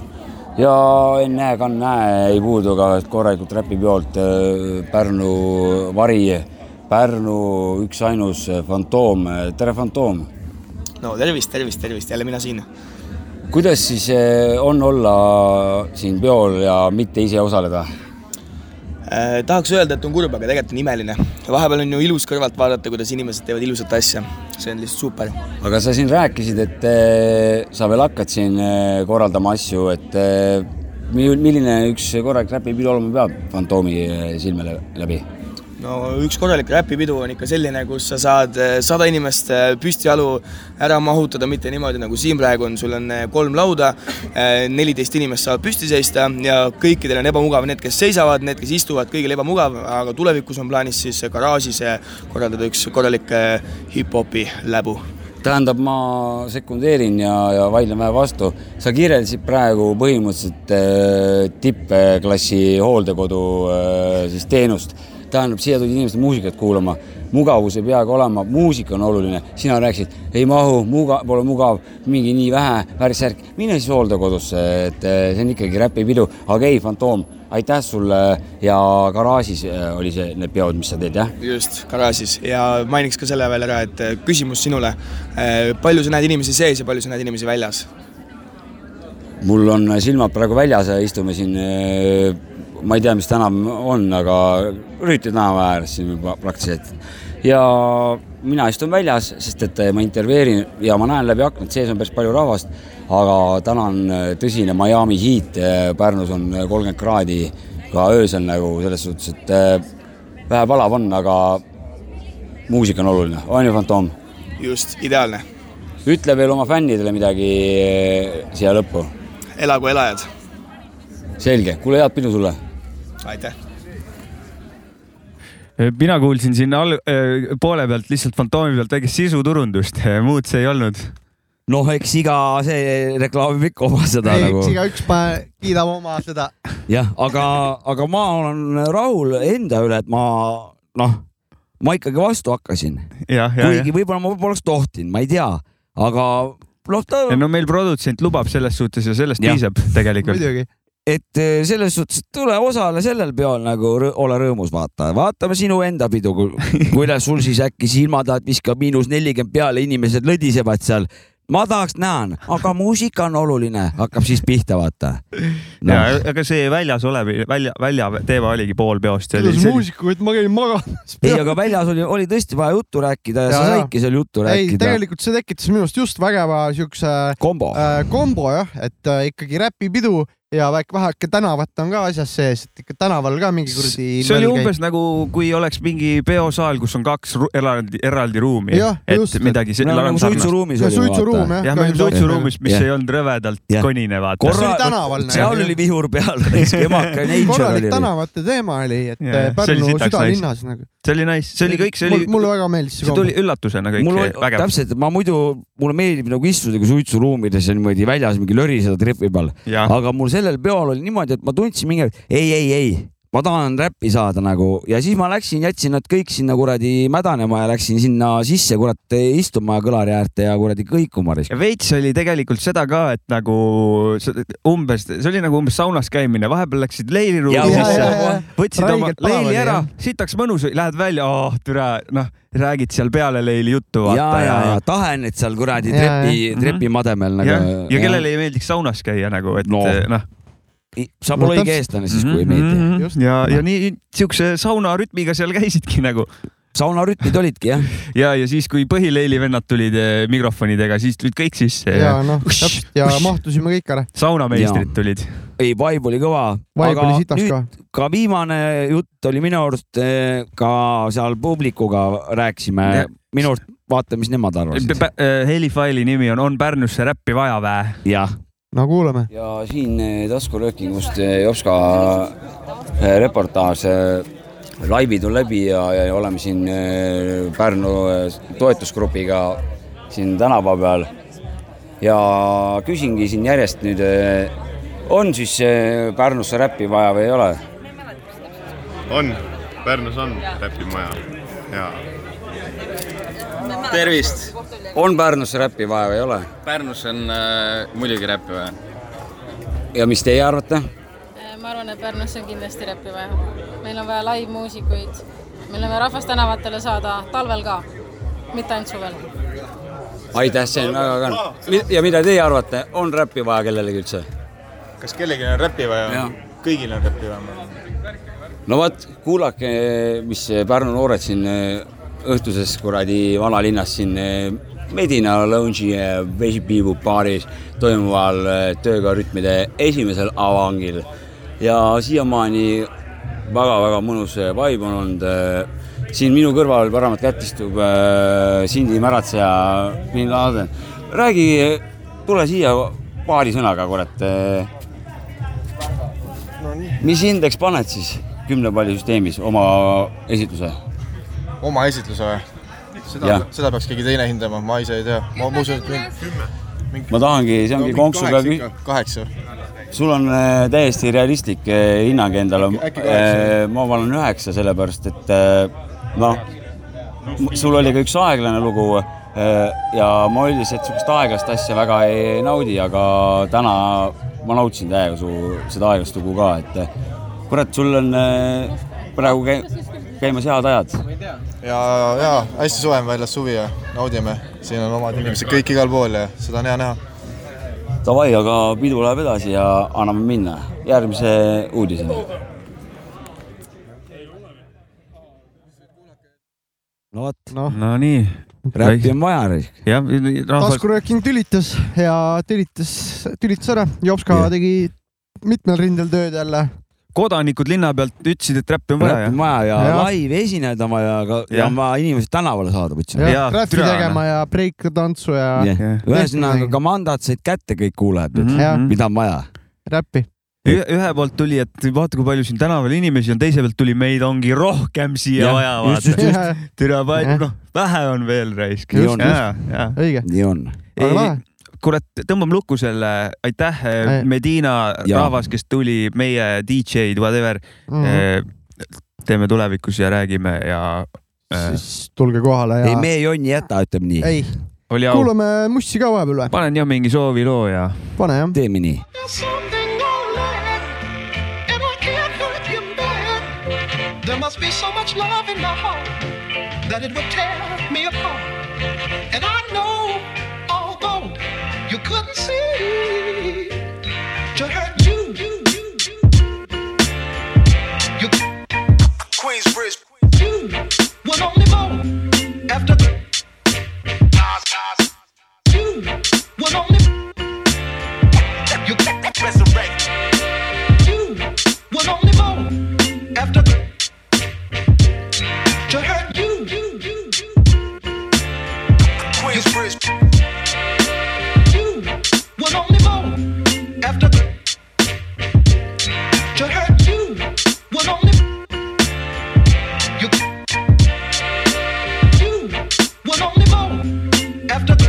H: ja enne kannäe ei puudu ka korralikult räpipeolt eh, Pärnu vari , Pärnu üksainus fantoom . tere , fantoom
J: no tervist , tervist , tervist , jälle mina siin .
H: kuidas siis eh, on olla siin peol ja mitte ise osaleda ?
J: Äh, tahaks öelda , et on kurb , aga tegelikult on imeline . vahepeal on ju ilus kõrvalt vaadata , kuidas inimesed teevad ilusat asja . see on lihtsalt super .
H: aga sa siin rääkisid , et eh, sa veel hakkad siin eh, korraldama asju , et eh, mi- milline üks korralik räpipidu olema peab Fantoomi eh, silme lä- läbi ?
J: no üks korralik räpipidu on ikka selline , kus sa saad eh, sada inimest eh, püstijalu ära mahutada , mitte niimoodi nagu siin praegu on , sul on eh, kolm lauda , neliteist inimest saavad püsti seista ja kõikidel on ebamugav , need , kes seisavad , need , kes istuvad , kõigil ebamugav , aga tulevikus on plaanis siis garaažis eh, korraldada üks korralik eh, hip-hopi läbu
H: tähendab , ma sekundeerin ja , ja vaidlen vähe vastu . sa kirjeldasid praegu põhimõtteliselt äh, tippklassi hooldekodu äh, siis teenust . tähendab , siia tulid inimesed muusikat kuulama , mugavus ei peagi olema , muusika on oluline . sina rääkisid , ei mahu , muga- , pole mugav , mingi nii vähe värssärk , mine siis hooldekodusse , et äh, see on ikkagi räpipidu . aga ei , Fantoom , aitäh sulle ja garaažis äh, oli see , need peod , mis sa teed , jah ?
J: just , garaažis ja mainiks ka selle veel ära , et eh, küsimus sinule . palju sa näed inimesi sees ja palju sa näed inimesi väljas ?
H: mul on silmad praegu väljas ja istume siin , ma ei tea , mis tänav on , aga Rüütli tänava ääres siin juba praktiliselt . ja mina istun väljas , sest et eh, ma intervjueerin ja ma näen läbi aknad , sees on päris palju rahvast , aga täna on eh, tõsine Miami Heat , Pärnus on eh, kolmkümmend kraadi ka öösel nagu selles suhtes , et eh, vähe palav on , aga muusika on oluline , on ju , Fantoom ?
J: just , ideaalne .
H: ütle veel oma fännidele midagi eh, siia lõppu .
J: elagu elajad .
H: selge , kuule , head pidu sulle
J: aitäh .
B: Eh, mina kuulsin siin all, äh, poole pealt lihtsalt fantoomi pealt väikest sisuturundust , muud see ei olnud .
C: noh , eks iga see reklaamib ikka oma seda
A: ei ,
C: nagu
A: eks . igaüks pane- kiidab oma seda .
C: jah , aga , aga ma olen rahul enda üle , et ma noh , ma ikkagi vastu hakkasin ,
B: jah , ja ,
C: kuigi
B: ja .
C: võib-olla ma poleks tohtinud , ma ei tea , aga noh , ta ,
B: no meil produtsent lubab selles suhtes ja sellest
C: Jah.
B: ja. piisab tegelikult .
A: muidugi .
C: et eh, selles suhtes , et tule osale sellel peol nagu rõ, ole rõõmus , vaata , vaatame sinu enda pidu , kuidas sul siis äkki silmad ajad viskab miinus nelikümmend peale , inimesed lõdisevad seal . ma tahaks , näen , aga muusika on oluline , hakkab siis pihta , vaata
B: ja
C: no. .
B: aga see väljas olev , välja , välja teema oligi pool peost .
A: kuidas muusikuid , ma käin magamas .
C: ei , aga väljas oli , oli tõesti vaja juttu rääkida ja, ja
A: Jaa,
C: sa
A: jaa.
C: saidki seal juttu
A: ei ,
C: rääkida .
A: tegelikult see tekitas minust just vägeva siukse
C: kombo
A: äh, kombo jah , et äh, ikkagi räpipidu ja väike väheke tänavat on ka asjas sees , et ikka tänaval ka mingi kuradi .
B: see oli umbes nagu , kui oleks mingi peosaal , kus on kaks ru- eraldi , eraldi ruumi
A: Jah, .
B: et
A: just, et
B: midagi .
C: me oleme nagu . suitsuruumis
A: ja Nagu suitsuruum
C: jah .
A: jah .
B: jah , me olime suitsuruumis , mis
C: Jah.
B: ei olnud rõvedalt
C: Jah.
B: konine , vaata .
A: see
C: korra-
A: oli tänaval
C: seal
A: nagu
C: oli . vihur peal , emaka ja nature
A: korralik
C: oli .
A: tänavate teema oli , et
B: Jaa,
A: äh,
B: see oli
A: Pärnu
B: sitaks
A: südalinnas nagu .
B: see oli nice , see oli kõik , see oli ,
A: mulle väga meeldis see
B: see
A: kombo
B: tuli . üllatusena kõik ,
C: mul oli
B: vägev .
C: täpselt , ma muidu , mulle meeldib nagu istuda kui suitsuruumides ja niimoodi väljas mingi löriseda trepi peal ,
B: jah ,
C: aga mul sellel peol oli niimoodi , et ma tundsin mingi , ei , ei , ei , ma tahan räppi saada nagu ja siis ma läksin , jätsin nad kõik sinna kuradi mädanema ja läksin sinna sisse kurat istuma kõlari äärde ja kuradi kõikuma risk .
B: ja veits oli tegelikult seda ka , et nagu sa- umbes , see oli nagu umbes saunas käimine , vahepeal läksid leiliruumi
C: Jaa, jaa,
B: sisse
C: jaa, , jaa.
B: võtsid oma
A: Räigelt palav
B: leili
A: oli,
B: ära
A: jah. ,
B: sitaks mõnus , lähed välja , oh türa , noh , räägid seal peale leili juttu ,
C: ja ,
B: vaata
C: ja , ja tahen , et seal kuradi
A: Jaa, Mhm.
C: trepi ,
B: jah.
C: trepi mademel
B: ja,
C: nagu .
B: ja kellele ei meeldiks saunas käia nagu , et
C: No.
B: noh . Mhm.
C: sa pole
A: No
C: õige
A: täpselt.
C: eestlane siis , kui ei meeldi .
A: Just.
B: ja , ja nii siukse sauna rütmiga seal käisidki nagu
C: saunarütmid olidki jah ,
B: ja , ja siis , kui põhileili vennad tulid eh, mikrofonidega , siis tulid kõik sisse ja,
A: ja noh , täpselt ja mahtusime kõik ära .
B: ja saunameistrid tulid .
C: ei vibe oli kõva .
A: vaip oli sitaks ka .
C: ka viimane jutt oli minu arust eh, ka seal publikuga rääkisime
B: Ja- ,
C: minu arust vaata , mis nemad arvasid .
B: helifaili eh, nimi on On Pärnusse räppi vaja vä ?
C: jah ,
A: no kuulame .
H: ja siin eh, taskuröökingust eh, Jopska eh, reportaaž . laivid on läbi ja , ja oleme siin eh, Pärnu eh, toetusgrupiga siin tänava peal . ja küsingi siin järjest nüüd , on siis eh, Pärnusse räppi vaja või ei ole ?
K: on , Pärnus on räpimaja ja
J: tervist .
H: on Pärnusse räppi vaja või ei ole ?
J: Pärnus on äh, muidugi räppi vaja .
H: ja mis teie arvate ?
L: Eh, ma arvan , et Pärnusse on kindlasti räppi vaja . meil on vaja live-muusikuid , meil on vaja rahvast tänavatele saada talvel ka , mitte ainult suvel .
H: aitäh , see on väga kena . ja mida teie arvate , on räppi vaja kellelegi üldse ?
I: kas kellelgi on räpi vaja ? kõigil on räpi vaja .
H: no vot , kuulake , mis Pärnu noored siin eh, õhtuses kuradi vanalinnas siin eh, Medina Lounge'i eh, Vesipiibu baaris toimuval eh, tööga rütmide esimesel avangil ja siiamaani väga-väga mõnus eh, vibe on olnud . siin minu kõrval paremat kätt istub eh, Sindi Märatseja Bin Laden . räägi , tule siia paari sõnaga , kurat eh, mis hindeks paned siis kümne palli süsteemis oma esitluse ?
M: oma esitluse või ? seda
H: Jah. ,
M: seda peaks keegi teine hindama , ma ise ei tea , ma ma usun , et mind
H: ma tahangi , see ongi
M: No,
H: konksu
M: kaheksa
H: peal
M: ikka, , kaheksa .
H: sul on äh, täiesti realistlik äh, hinnang endale
M: Äkki kaheksa? .
H: ma panen üheksa , sellepärast et äh, noh , sul oli ka üks aeglane lugu äh, ja ma üldiselt sihukest aeglast asja väga ei naudi , aga täna ma nautisin täiega su seda aeglast lugu ka , et äh, kurat , sul on äh, praegu käi- käimas head ajad
M: ja , ja hästi soe on väljas suvi ja naudime , siin on omad inimesed kõik igal pool ja seda on hea näha .
H: Davai , aga pidu läheb edasi ja anname minna järgmise uudiseni .
C: no vot
A: no. .
B: Nonii .
C: räppi on vaja .
B: jah ,
A: taskurööking tülitas ja tülitas , tülitas ära . Jopska yeah. tegi mitmel rindel tööd jälle .
B: kodanikud linna pealt ütlesid , et räppi on vaja .
C: räppi on vaja ja, ja.
B: Jah.
C: live esinejaid on vaja , aga ja. ja
B: Jah.
C: on vaja inimesi tänavale saada , võtsin .
A: räpi tegema ja breikatantsu ja
C: Jah. ühesõnaga ka mandad said kätte kõik kuulajad nüüd
B: Mhm. Jah. ,
C: mida on vaja .
A: räppi .
B: ühe ühe poolt tuli , et vaata , kui palju siin tänaval inimesi on , teise pealt tuli , meid ongi rohkem siia
C: Jah,
B: vaja
C: just, just,
B: vaata
C: just. .
B: türa
C: Jah.
B: palju , noh , vähe on veel raisk .
C: Nii on, just.
A: õige .
C: nii on . Aga lahe.
B: kurat , tõmbame lukku selle , aitäh ,
C: Ei.
B: Medina
C: Jaa.
B: rahvas , kes tuli , meie DJ-d , whatever
A: Mhm.
B: mm. . teeme tulevikus ja räägime ja . Äh. eh,
A: siis tulge kohale ja
B: Ei, me
C: ei jonni jäta , ütleme nii
A: ei ,
B: oli au ,
A: kuulame mussi ka vahepeal või ?
B: panen jah mingi sooviloo ja .
A: pane jah .
C: teeme nii .
N: There must be so much love in my heart that it would tear me apart. And I know, although you couldn't see, to hurt you. you, you, you. You Queensbridge, you was only born after you was only you resurrect. You was only born after to hurt you. you, you, you. Queensbridge. You was only born after to hurt you. Was only you. You was only born after to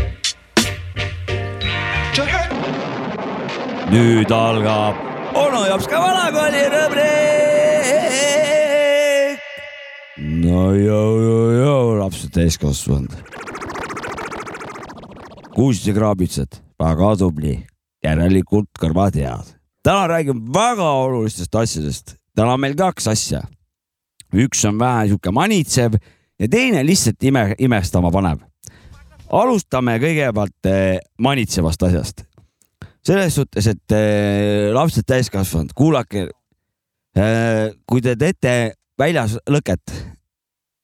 N: hurt.
C: nüüd algab onu Jops ka vanakooli rubriik . no jõu , jõu , jõu , lapsed täiskasvanud . kuulsite kraabitsat , väga tubli , järelikult kõrvad head . täna räägime väga olulistest asjadest , täna on meil kaks asja . üks on vähe sihuke manitsev ja teine lihtsalt ime , imestama paneb . alustame kõigepealt eh, manitsevast asjast . selles suhtes , et eh, lapsed täiskasvanud , kuulake . kui te teete väljas lõket ,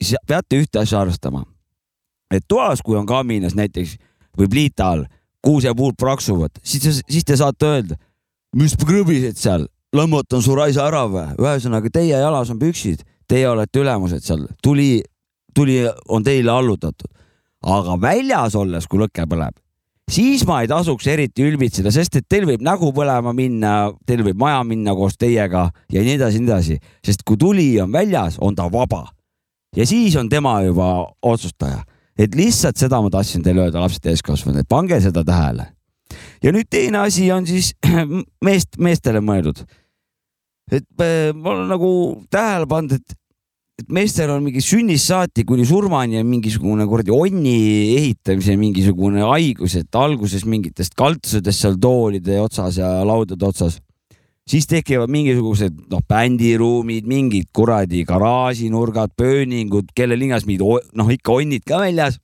C: siis peate ühte asja arvestama . et toas , kui on kaminas näiteks või pliita all kuusepuud praksuvad , siis , siis te saate öelda , mis krõbised seal , lõmmutan su raisa ära või . ühesõnaga , teie jalas on püksid , teie olete ülemused seal , tuli , tuli on teile allutatud . aga väljas olles , kui lõke põleb , siis ma ei tasuks eriti ülbitseda , sest et teil võib nägu põlema minna , teil võib maja minna koos teiega ja nii edasi , nii edasi , sest kui tuli on väljas , on ta vaba ja siis on tema juba otsustaja . et lihtsalt seda ma tahtsin teile öelda , lapsed täiskasvanud , et pange seda tähele . ja nüüd teine asi on siis meest , meestele mõeldud . et äh, ma olen nagu tähele pannud , et , et meestel on mingi sünnist saati kuni surmani on mingisugune kuradi onni ehitamise mingisugune haigus , et alguses mingitest kaltsudest seal toolide otsas ja laudade otsas siis tekivad mingisugused noh , bändiruumid , mingid kuradi garaažinurgad , pööningud , kelle linnas mingid o- noh , ikka onnid ka väljas .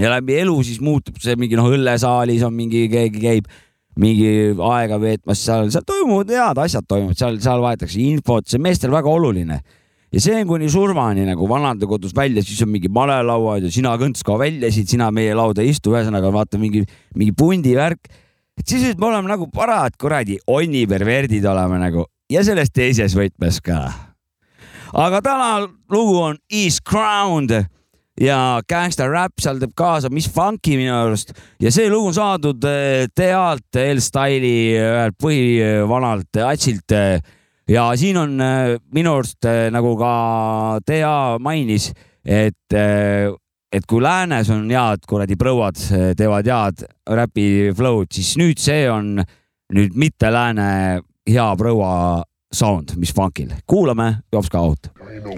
C: ja läbi elu siis muutub see mingi noh , õllesaalis on mingi , keegi käib mingi aega veetmas seal , seal toimuvad head asjad toimuvad , seal , seal vahetakse infot , see on meestel väga oluline . ja see on kuni surmani nagu vanadekodus välja , siis on mingi malelauad ja sina kõnts ka välja siit , sina meie lauda ei istu , ühesõnaga vaata mingi , mingi pundi värk . et sisuliselt me oleme nagu parad kuradi onniperverdid oleme nagu ja selles teises võtmes ka aga täna lugu on Is Crowned ja Gangsta Rap seal teeb kaasa Miss Funky minu arust ja see lugu on saadud eh, Tealt L-Style'i eh, ühelt põhivanalt Atsilt eh, ja siin on eh, minu arust eh, nagu ka Tea mainis , et , et kui läänes on head kuradi prouad , teevad head räpi flow'd , siis nüüd see on nüüd mitte lääne hea proua sound , mis funkil . kuulame , jops ka out .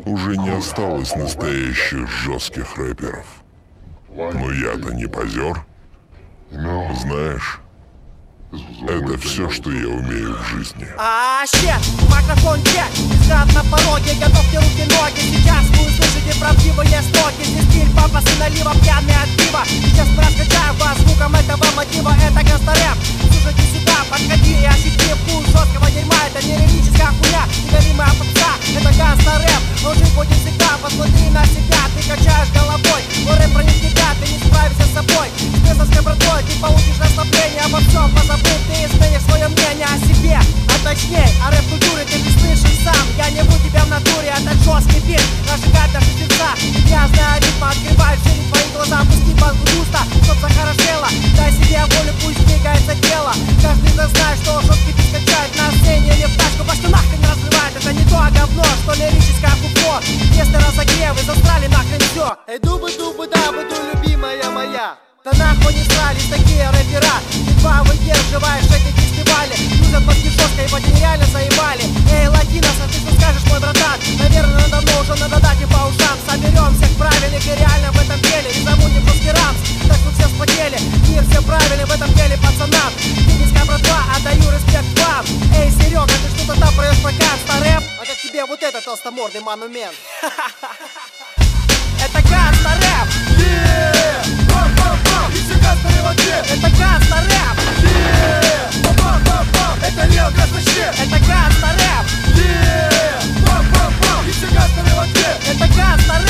O: Уже не осталось настоящих жестких рэперов. Но я-то не позер. Знаешь, это все, что я умею в жизни.
P: А, щет, микрофон чек, взгляд на пороге, готовьте руки, ноги, сейчас вы услышите правдивые строки, здесь стиль папасы налива, пьяный от пива, сейчас прокачаю вас звуком этого мотива, это гангстарэп, слушайте сюда, подходи и ощути вкус жесткого дерьма, это не лирическая хуйня, неголимая попса, это гангстарэп, он жив будет всегда, посмотри на себя, ты качаешь головой, мой рэп проник в тебя, ты не справишься с собой, с бесовской братой, ты получишь расслабление, обо всем позабыв, ты изменишь свое мнение о себе, а точнее о рэп-культуре ты не слышишь сам Я не буду тебя в натуре, это жесткий бит Разжигает даже сердца, я знаю ритма Открывает шире твои глаза, пусти банку густо Чтоб захорошело, дай себе волю, пусть двигается тело Каждый из нас знает, что жесткий бит качает на сцене Или в тачку по штанах и не разрывает Это не то говно, что лирическое купло Если разогревы, застрали нахрен все Эй, дубы, дубы, дабы, ду, любимая моя да нахуй не срались такие рэпера Едва выдерживаешь эти фестивали Нужен под жестко, ибо тебя реально заебали Эй, латинос, а ты что скажешь, мой братан? Наверное, давно уже надо дать и по ушам Соберем всех правильных и реально в этом деле И замутим русский рамс, так что все вспотели Мир все правильный в этом деле, пацанам Финская братва, отдаю респект вам Эй, Серега, ты что-то там проешь про рэп А как тебе вот этот толстомордый монумент? Это Гаста рэп! Еще Гаста рэп! Это Гаста рэп! Это Лео Гаста щит! Это Гаста рэп! Еще Гаста рэп! Это Гаста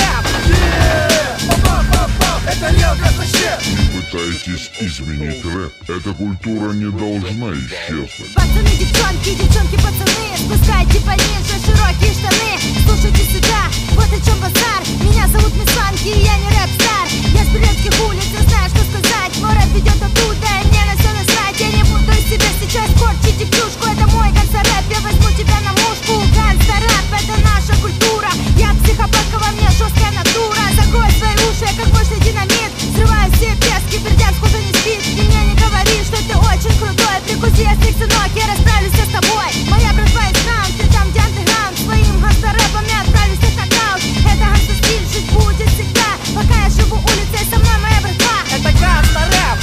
P: рэп! Это Лео Гаста щит!
O: Не пытайтесь изменить рэп. Эта культура не должна исчезнуть.
Q: Пацаны, девчонки, девчонки, пацаны Спускайте пониже широкие штаны Слушайте сюда, вот о чем базар Меня зовут Мисс Фанки, и я не рэп-стар Я с брянских улиц, я знаю, что сказать Город ведет оттуда, и мне на все насрать Я не буду из себя сейчас корчить и плюшку Это мой ганса-рэп, я возьму тебя на мушку Ганса-рэп, это наша культура Я психопатка, во мне жесткая натура Закрой свои уши, я как мощный динамит Срываю все пески, Бердянск уже не спит И мне не говори, что ты очень крутой Прикуси язык, сынок, я расправлюсь я с тобой Моя братва из Кранс, ты там, где андеграунд Своим ганса-рэпом я отправлюсь на нокаут Это ганса-стиль, жить будет всегда Пока я живу улицей, со мной моя братва
P: Это ганса-рэп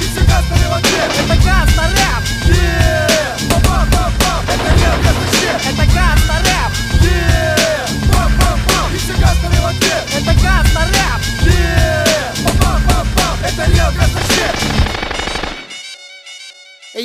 P: Еще Гаста рэп! Это Гаста рэп! Это Лео Гаста щит! Это Гаста рэп! Еще Гаста рэп! Это Гаста рэп! Это Лео Гаста щит!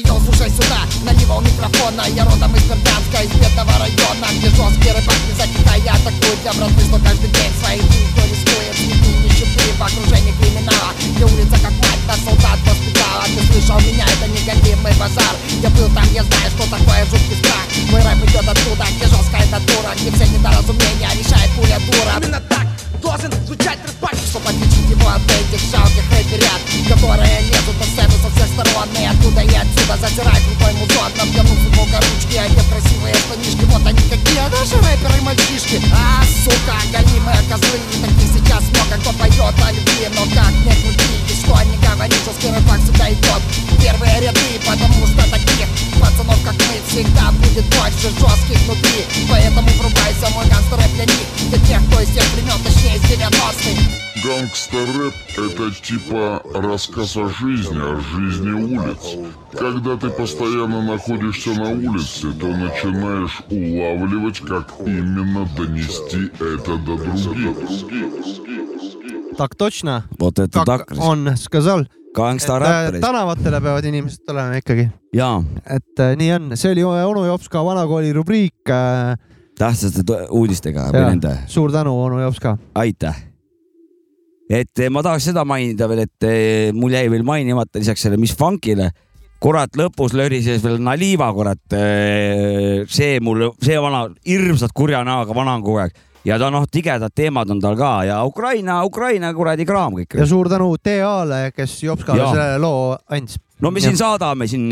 R: Йоу, слушай сюда, налево у микрофона Я родом из Бердянска, из бедного района Где жесткий рыбак не закитай, атакует Для братвы, что каждый день своей жизнью рискует Цветы не щупы в окружении криминала Где улица как мать, нас солдат воспитала Ты слышал меня, это неголимый базар Я был там, я знаю, что такое жуткий страх Мой рэп идет оттуда, где жесткая натура Где все недоразумения решает пуля дура Именно так должен звучать рэпак Чтобы отличить его от этих жалких ребят Которые лезут на сцену со всех сторон И оттуда и отсюда затирают крутой музон На пьяну футболка ручки, одет а красивые штанишки Вот они какие, наши рэперы мальчишки А, сука, голимые козлы И таких сейчас много, кто поет о любви Но как не крути, и что не говори Жесткий рэпак всегда идет в первые ряды Потому что таких пацанов, как мы Всегда будет больше жестких внутри Поэтому врубайся, мой гангстер рэп для них Для тех, кто из тех времен, точнее из 90-х
O: Гангстер-рэп — это типа рассказ о жизни, о жизни улиц. Когда ты постоянно находишься на улице, то начинаешь улавливать, как именно донести это до других.
A: Так точно .
C: Вот это так .
A: on , сказal .
C: Gangsta Rappers.
A: äh, tänavatele peavad inimesed tulema ikkagi .
C: jaa .
A: et äh, nii on , see oli onu Jopska vanakooli rubriik .
C: tähtsate tu- uudistega või nende .
A: suur tänu , onu Jopska .
C: aitäh . et eh, ma tahaks seda mainida veel , et eh, mul jäi veel mainimata lisaks selle , mis funkile , kurat , lõpus lörises veel Naliva , kurat . see mul , see vana , hirmsalt kurja näoga vana on kogu aeg ja ta noh , tigedad teemad on tal ka ja Ukraina , Ukraina kuradi kraam kõik .
A: ja suur tänu TA-le , kes Jopskale
C: Jaa.
A: selle loo andis .
C: no me siin saadame siin ,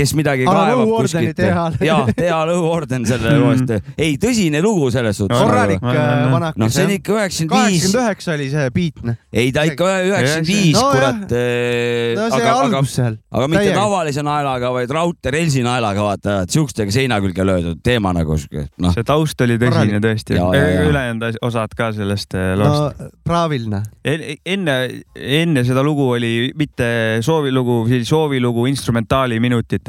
C: kes midagi
A: Anna
C: kaevab
A: lõuaordeni
C: kuskilt
A: Tehale. .
C: ja , Teha lõuaorden selle
A: Mm.
C: loost . ei , tõsine lugu selles suhtes .
A: korralik äh, vanakas .
C: noh , see on ikka üheksakümmend viis .
A: kaheksakümmend üheksa oli see beat , noh .
C: ei , ta ikka üheksakümmend viis ,
A: No
C: kurat .
A: No see algus seal.
C: aga
A: Täiega.
C: mitte Täiega. tavalise naelaga , vaid raudtee relsinaelaga , vaata , et siukestega seina külge löödud teema nagu sihuke , noh . see
B: taust oli tõsine tõesti . Eh, ülejäänud as- osad ka sellest eh, loost .
A: no praaviline .
B: En- enne , enne seda lugu oli mitte soovilugu , siis soovilugu instrumentaali minutites .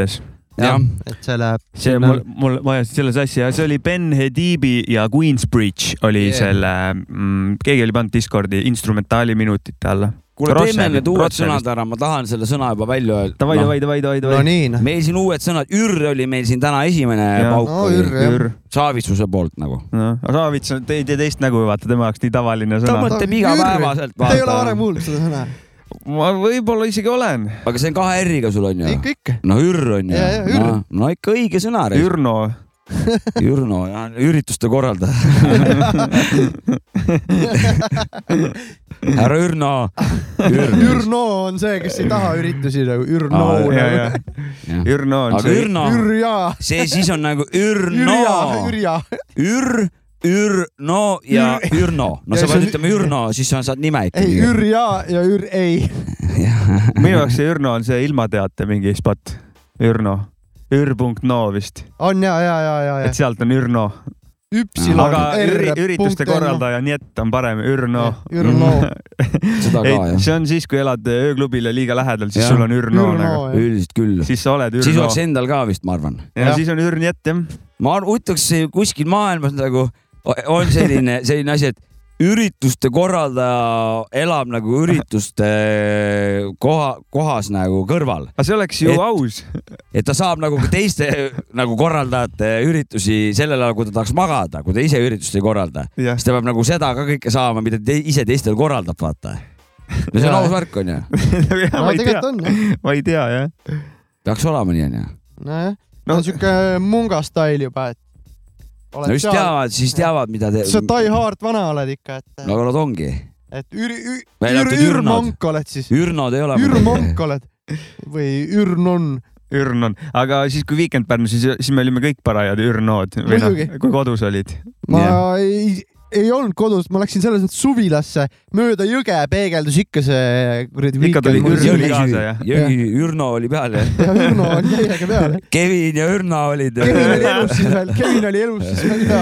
A: jah , et see läheb .
B: see mul , mul , ma ajasin selle sassi ja see oli Ben Hedibi ja Queensbridge oli
A: Yeah.
B: yeah. selle mm, , keegi oli pannud Discordi instrumentaali minutite alla .
C: kuule , teeme need uued sõnad ära , ma tahan selle sõna juba välja öelda .
B: Davai, davai, davai, davai, davai. No nii, noh.
C: meil siin uued sõnad , ürr oli meil siin täna esimene
B: Jaa.
C: pauk
B: No,
C: oli.
B: ürr, jah. Ürr.
C: Saavitsuse poolt nagu .
B: noh , Raavits on , te ei tee teist nägu , vaata tema jaoks nii tavaline sõna .
C: Ta mõtleb igapäevaselt,
A: Te ei ole varem kuulnud seda sõna ?
B: ma võib-olla isegi olen .
C: aga see on kahe R-iga sul on ju ?
A: ikka , ikka .
C: no ürr on ju
A: Jaa, jaa, . ürr.
C: No, no ikka õige sõna .
B: Ürno .
C: Ürno ja ürituste korraldaja härra Ürno .
A: Ürno on see , kes ei taha üritusi nagu , Ürno
C: Aa, jaa, jaa.
A: nagu .
B: Ürno
C: on aga
A: see-
C: Ürno ,
A: Ürja.
C: see siis on nagu Ürno
A: Ürja , Ürja .
C: Ür , Ürno ja Ürno . no
A: Ja
C: sa
A: see on-
C: pead ütlema Ürno , siis sa saad nime
A: ei ,
C: ikkagi .
A: Ürja ja Ür- ei .
B: minu jaoks see Ürno on see ilmateate mingi spot , Ürno , ür.no vist ,
A: on ja , ja , ja , ja , ja
B: et . sealt on Ürno .
A: Üpsilon
B: aga üri-
A: R punkt
B: ürituste
A: N O.
B: korraldaja , nii et on parem Ürno .
A: Ürno.
C: Seda ka, jah.
B: see on siis , kui elad ööklubile liiga lähedal , siis
C: Jah.
B: sul on Ürno,
C: Ürno,
B: nagu
C: jah. . Üldiselt küll .
B: siis sa oled
C: siis
B: Ürno .
C: oleks endal ka vist , ma arvan .
B: ja siis on Ürni ette jah .
C: ma ar- ütleks see kuskil maailmas nagu o- on selline , selline asi , et ürituste korraldaja elab nagu ürituste koha , kohas nagu kõrval .
B: aga see oleks ju aus .
C: et ta saab nagu ka teiste nagu korraldajate üritusi sellel ajal , kui ta tahaks magada , kui ta ise üritust ei korralda ,
B: Jah.
C: siis ta peab nagu seda ka kõike saama , mida ta ise teistel korraldab , vaata . no see on
B: Jaa.
C: aus värk , onju .
B: No, ma ei tea. tegelikult on, ma ei tea jah .
C: peaks olema nii , onju .
A: nojah , no siuke munga stail juba , et .
C: no just teavad , siis teavad , mida te .
A: sa Die Hard vana oled ikka , et ,
C: no aga nad ongi .
A: et üri- , ür- , ür- ,
C: välja arvatud ürnod .
A: ürmonk oled siis ,
C: ürnod ei ole .
A: ürmonk oled või ürnon .
B: Ürn on , aga siis , kui Weekend Pärnus , siis , siis me olime kõik parajad Ürnod või noh
A: Muidugi. ,
B: kui kodus olid .
A: ma ei , ei olnud kodus , ma läksin selles mõttes suvilasse , mööda jõge peegeldus ikka see kuradi .
B: Ikka tuli Ürn kaasa, jah?
C: Jõgi , Ürno oli peal jah ?
A: ja Ürno oli täiega peal .
C: Kevin ja Ürna olid .
A: Kevin oli elus siis veel , Kevin oli elus siis veel ja .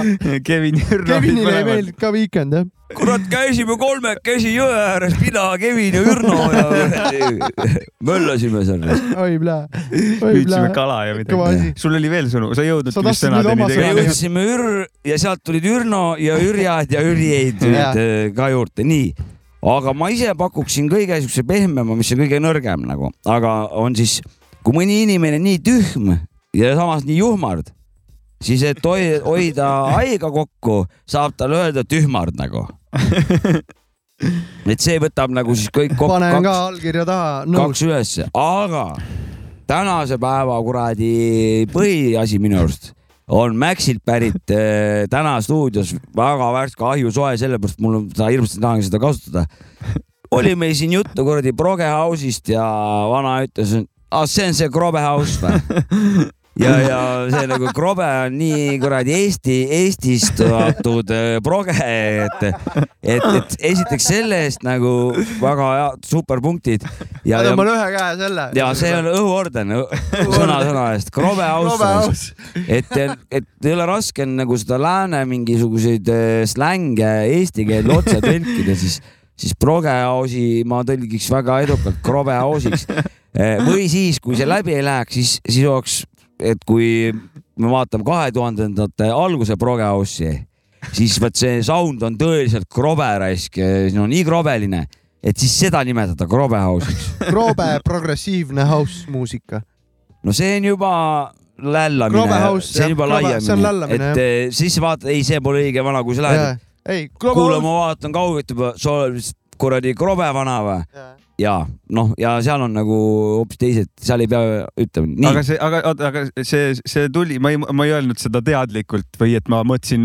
B: Kevin ja Ürno olid
A: Kevinile ei
B: mõlemad .
A: meeldinud ka Weekend jah .
C: kurat , käisime kolmekesi jõe ääres , mina , Kevin ja Ürno ja möllasime seal .
A: oi plää , oi
B: püüdsime
A: plää .
B: kala ja
A: Kõva asi.
B: midagi . sul oli veel sõnu , sa
A: Sa
B: ei jõudnudki vist
A: tahtsid nüüd oma
B: sõnadeni
C: me
B: tegelikult .
C: jõudsime Ür- ja sealt tulid Ürno ja Ürjad ja Ürjeid tulid eh, ka juurde , nii . aga ma ise pakuksin kõige siukse pehmema , mis on kõige nõrgem nagu , aga on siis , kui mõni inimene nii tühm ja samas nii juhmard , siis et hoi- hoida aega kokku , saab talle öelda tühmard nagu . et see võtab nagu siis kõik kokku
A: panen ka
C: kaks
A: allkirja taha , nõus
C: kaks . ülesse , aga tänase päeva kuradi põhiasi minu arust on Maxilt pärit eh, täna stuudios väga värske ahjusoe , sellepärast mul on , hirmsasti tahan seda kasutada . oli meil siin juttu kuradi Proge House'ist ja vana ütles , et ah, see on see Krobe House või ? ja , ja see nagu krobe on nii kuradi Eesti , Eestist antud äh, proge , et , et , et esiteks selle eest nagu väga hea , superpunktid . ja ,
A: ma
C: ja ,
A: tõmban ühe käe selle .
C: ja see on õhuorden , sõna sõna eest ,
A: Krobe
C: krobe aus
A: aus. .
C: et , et ei ole raske on nagu seda lääne mingisuguseid eh, slänge eesti keelde otse tõlkida , siis , siis proge ausi ma tõlgiks väga edukalt krobe ausiks . või siis , kui see läbi ei läheks , siis , siis oleks , et kui me vaatame kahe tuhandendate alguse proge ausi siis vot see sound on tõeliselt krobe raisk , no nii krobeline , et siis seda nimetada krobe house'iks .
A: krobe progressiivne house muusika .
C: no see on juba
A: Krobe
C: lällamine ,
A: house,
C: see on
A: jah,
C: juba
A: krobe- see on
C: laiemine ,
A: lällamine,
C: et eh, siis vaata , ei , see pole õige vana , kui sa
A: Jaa.
C: lähed .
A: ei ,
C: kuule , ma vaatan kaugelt juba , sa oled vist kuradi krobe vana või ? ja noh , ja seal on nagu hoopis teised , seal ei pea ütlema .
B: aga see , aga , aga see , see tuli , ma ei , ma ei öelnud seda teadlikult või et ma mõtlesin ,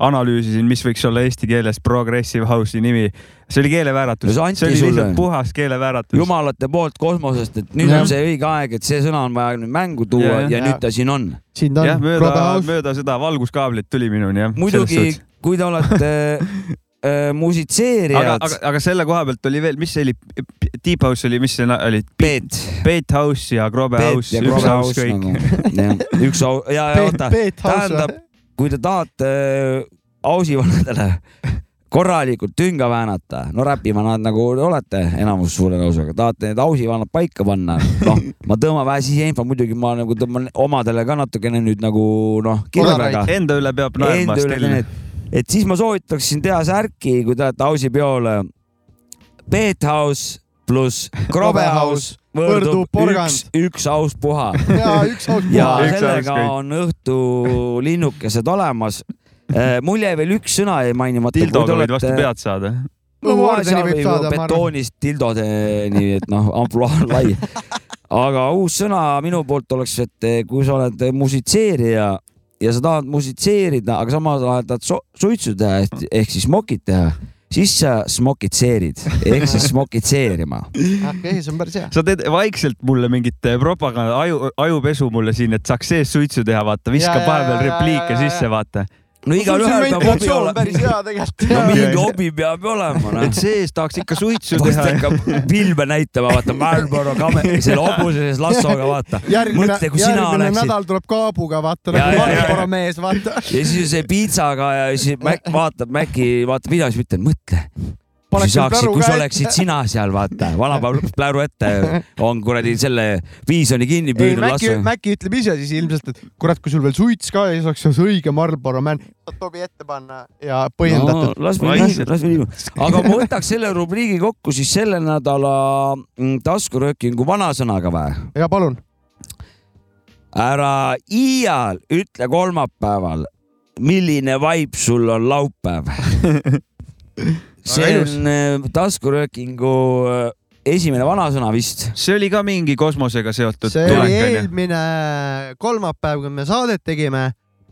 B: analüüsisin , mis võiks olla eesti keeles progressive house'i nimi . see oli keelevääratus
C: No see , anti
B: see oli
C: sulle.
B: lihtsalt puhas keelevääratus .
C: jumalate poolt kosmosest , et nüüd
B: Jah.
C: on see õige aeg , et see sõna on vaja nüüd mängu tuua
B: Jah.
C: ja, ja nüüd ta siin on .
A: siin
B: jah , mööda , mööda seda valguskaablit tuli minuni jah .
C: muidugi , kui te olete äh,
B: aga ,
C: musitseerijad
B: aga , aga selle koha pealt oli veel , mis see oli , Deep House oli , mis see na- oli ?
C: Peet .
B: Peet House ja Grobe
C: Peet
B: House ,
C: ja
B: üks
C: Grobe
B: house
C: House
B: kõik .
C: nagu, . üks au- , ja , ja
B: Peet-
C: oota ,
B: Peet House,
C: tähendab , kui te tahate äh, ausivanadele korralikult tünga väänata , no räpivanad nagu te olete enamus suure lausega , tahate need ausivanad paika panna , noh , ma tõmban vähe siseinfo , muidugi ma nagu tõmban omadele ka natukene nüüd nagu noh , kirvega .
B: Enda üle peab naerma .
C: Enda üle teed . et siis ma soovitaksin teha särki , kui te olete ausipeole . Peet House pluss Krobe House
A: Võrdub
C: võrdub
A: porgand.
C: üks , üks aus puha .
A: Jaa, üks aus puha.
C: ja
A: Üks
C: sellega
A: aus kõik.
C: on õhtu linnukesed olemas . mul jäi veel üks sõna jäi mainimata .
B: Tildoga võid vastu pead saada .
A: Õhuordeni võib saada, ma arvan.
C: betoonist tildodeni , et noh , ampluaa on lai . aga uus sõna minu poolt oleks , et eh, kui sa oled musitseerija ja sa tahad musitseerida , aga samas ajal tahad so- suitsu teha ehk- ehk siis smokid teha , siis sa smokitseerid ehk siis smokitseerima .
A: okei , see Ah, on päris hea .
B: sa teed vaikselt mulle mingit eh, propaganda , aju , ajupesu mulle siin , et saaks sees suitsu teha , vaata ,
A: Jaa,
B: viskab
A: jaa,
B: vahepeal
A: jaa, jaa,
B: repliike sisse , vaata .
C: no igaühel peab hobi olema .
A: päris hea tegelikult .
C: no mingi hobi peab ju olema , noh .
B: et sees tahaks ikka suitsu
C: Vast
B: teha .
C: hakkab pilve näitama , vaata Marlboro kamera , selle hobuse sees lassoga , vaata .
A: järgmine ,
C: mõtle , kui sina
A: järgmine
C: oleksid .
A: nädal tuleb kaabuga , vaata
C: Jaa,
A: nagu
C: jaa, jaa.
A: Marlboro mees , vaata .
C: ja siis on see piitsaga ja siis Mac vaatab Maci , vaatab videos , mitte mõtle . kui
A: Paneks
C: saaksid ,
A: pläru
C: kui
A: ka
C: sa oleksid
A: ette.
C: sina seal , vaata , vana paneb pläru ette , on kuradi selle viisoni kinni
A: ei ,
C: püüdnud
A: Maci ,
C: lasu .
A: Maci ütleb ise siis ilmselt , et kurat , kui sul veel suits ka ei oleks , see oleks õige Marlboro man . saad tobi ette panna ja põhjendatud
C: no, . las me liigume , las me liigume . aga ma võtaks selle rubriigi kokku siis selle nädala mm, taskuröökingu vanasõnaga või ?
A: ja palun .
C: ära iial ütle kolmapäeval , milline vaip sul on laupäev . see
B: ilus.
C: on äh, taskuröökingu äh, esimene vanasõna vist .
B: see oli ka mingi kosmosega seotud
A: see
C: See
A: oli
B: tulek onju .
A: eelmine kolmapäev , kui me saadet tegime .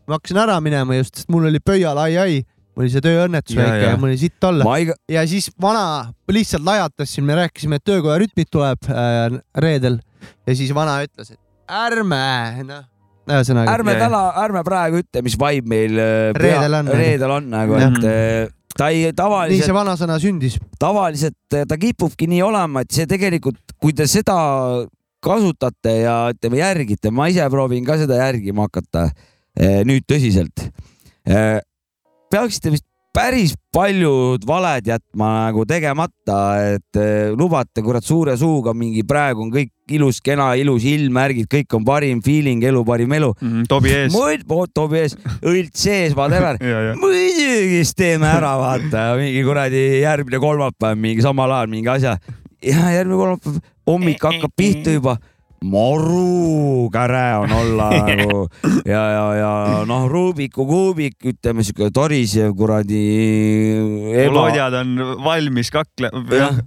A: ma hakkasin ära minema just , sest mul oli pöial ai-ai , mul oli see tööõnnetus
B: Jaa,
A: väike
B: jaa.
A: ja mul oli sitt olla
C: Ma . iga-
A: ja siis vana lihtsalt lajatas siin , me rääkisime , et töökoja rütmid tuleb äh, reedel ja siis vana ütles , et ärme , noh , ühesõnaga .
C: ärme täna , ärme praegu ütle , mis vibe meil äh,
A: Reedel on.
C: reedel on nagu ,
A: Jah.
B: Mhm.
C: et äh, ta ei
A: nii see
C: tavaliselt ,
A: vanasõna sündis .
C: tavaliselt äh, ta kipubki nii olema , et see tegelikult , kui te seda kasutate ja ütleme järgite , ma ise proovin ka seda järgima hakata äh, nüüd tõsiselt . peaksite vist päris paljud valed jätma nagu tegemata , et äh, lubate kurat suure suuga mingi praegu on kõik ilus , kena , ilus ilm , märgid , kõik on parim feeling , elu parim elu
B: mm, . tobi ees.
C: muid , tobi ees , õlt sees , whatever
B: Ja, ja.
C: muidugi siis teeme ära , vaata mingi kuradi järgmine kolmapäev , mingi samal ajal mingi asja . ja järgmine kolmapäev , hommik hakkab pihta juba . maru käre on olla nagu ja , ja , ja noh , Rubiku kuubik , ütleme siuke torisev kuradi .
B: lodjad on valmis , kakle ,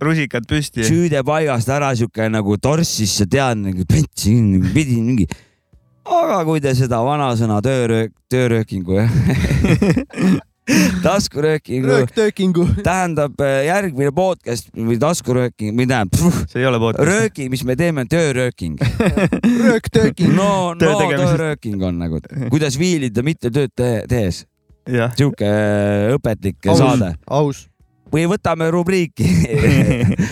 B: rusikad püsti .
C: süüde paigast ära siuke nagu torssisse tead , nagu pentsin , pidin mingi . aga kui te seda vanasõna tööröök , tööröökingu jah , taskuröökingu
A: rööktöökingu
C: tähendab eh, järgmine podcast või taskurööking , või tähendab .
B: see ei ole podcast .
C: rööking , mis me teeme , on töörööking .
A: rööktööking .
C: no ,
B: Töö
C: no
B: tegemisest.
C: töörööking on nagu , kuidas viilida mitte tööd te tehes . siuke õpetlik
A: Aus,
C: saade .
A: aus .
C: või võtame rubriiki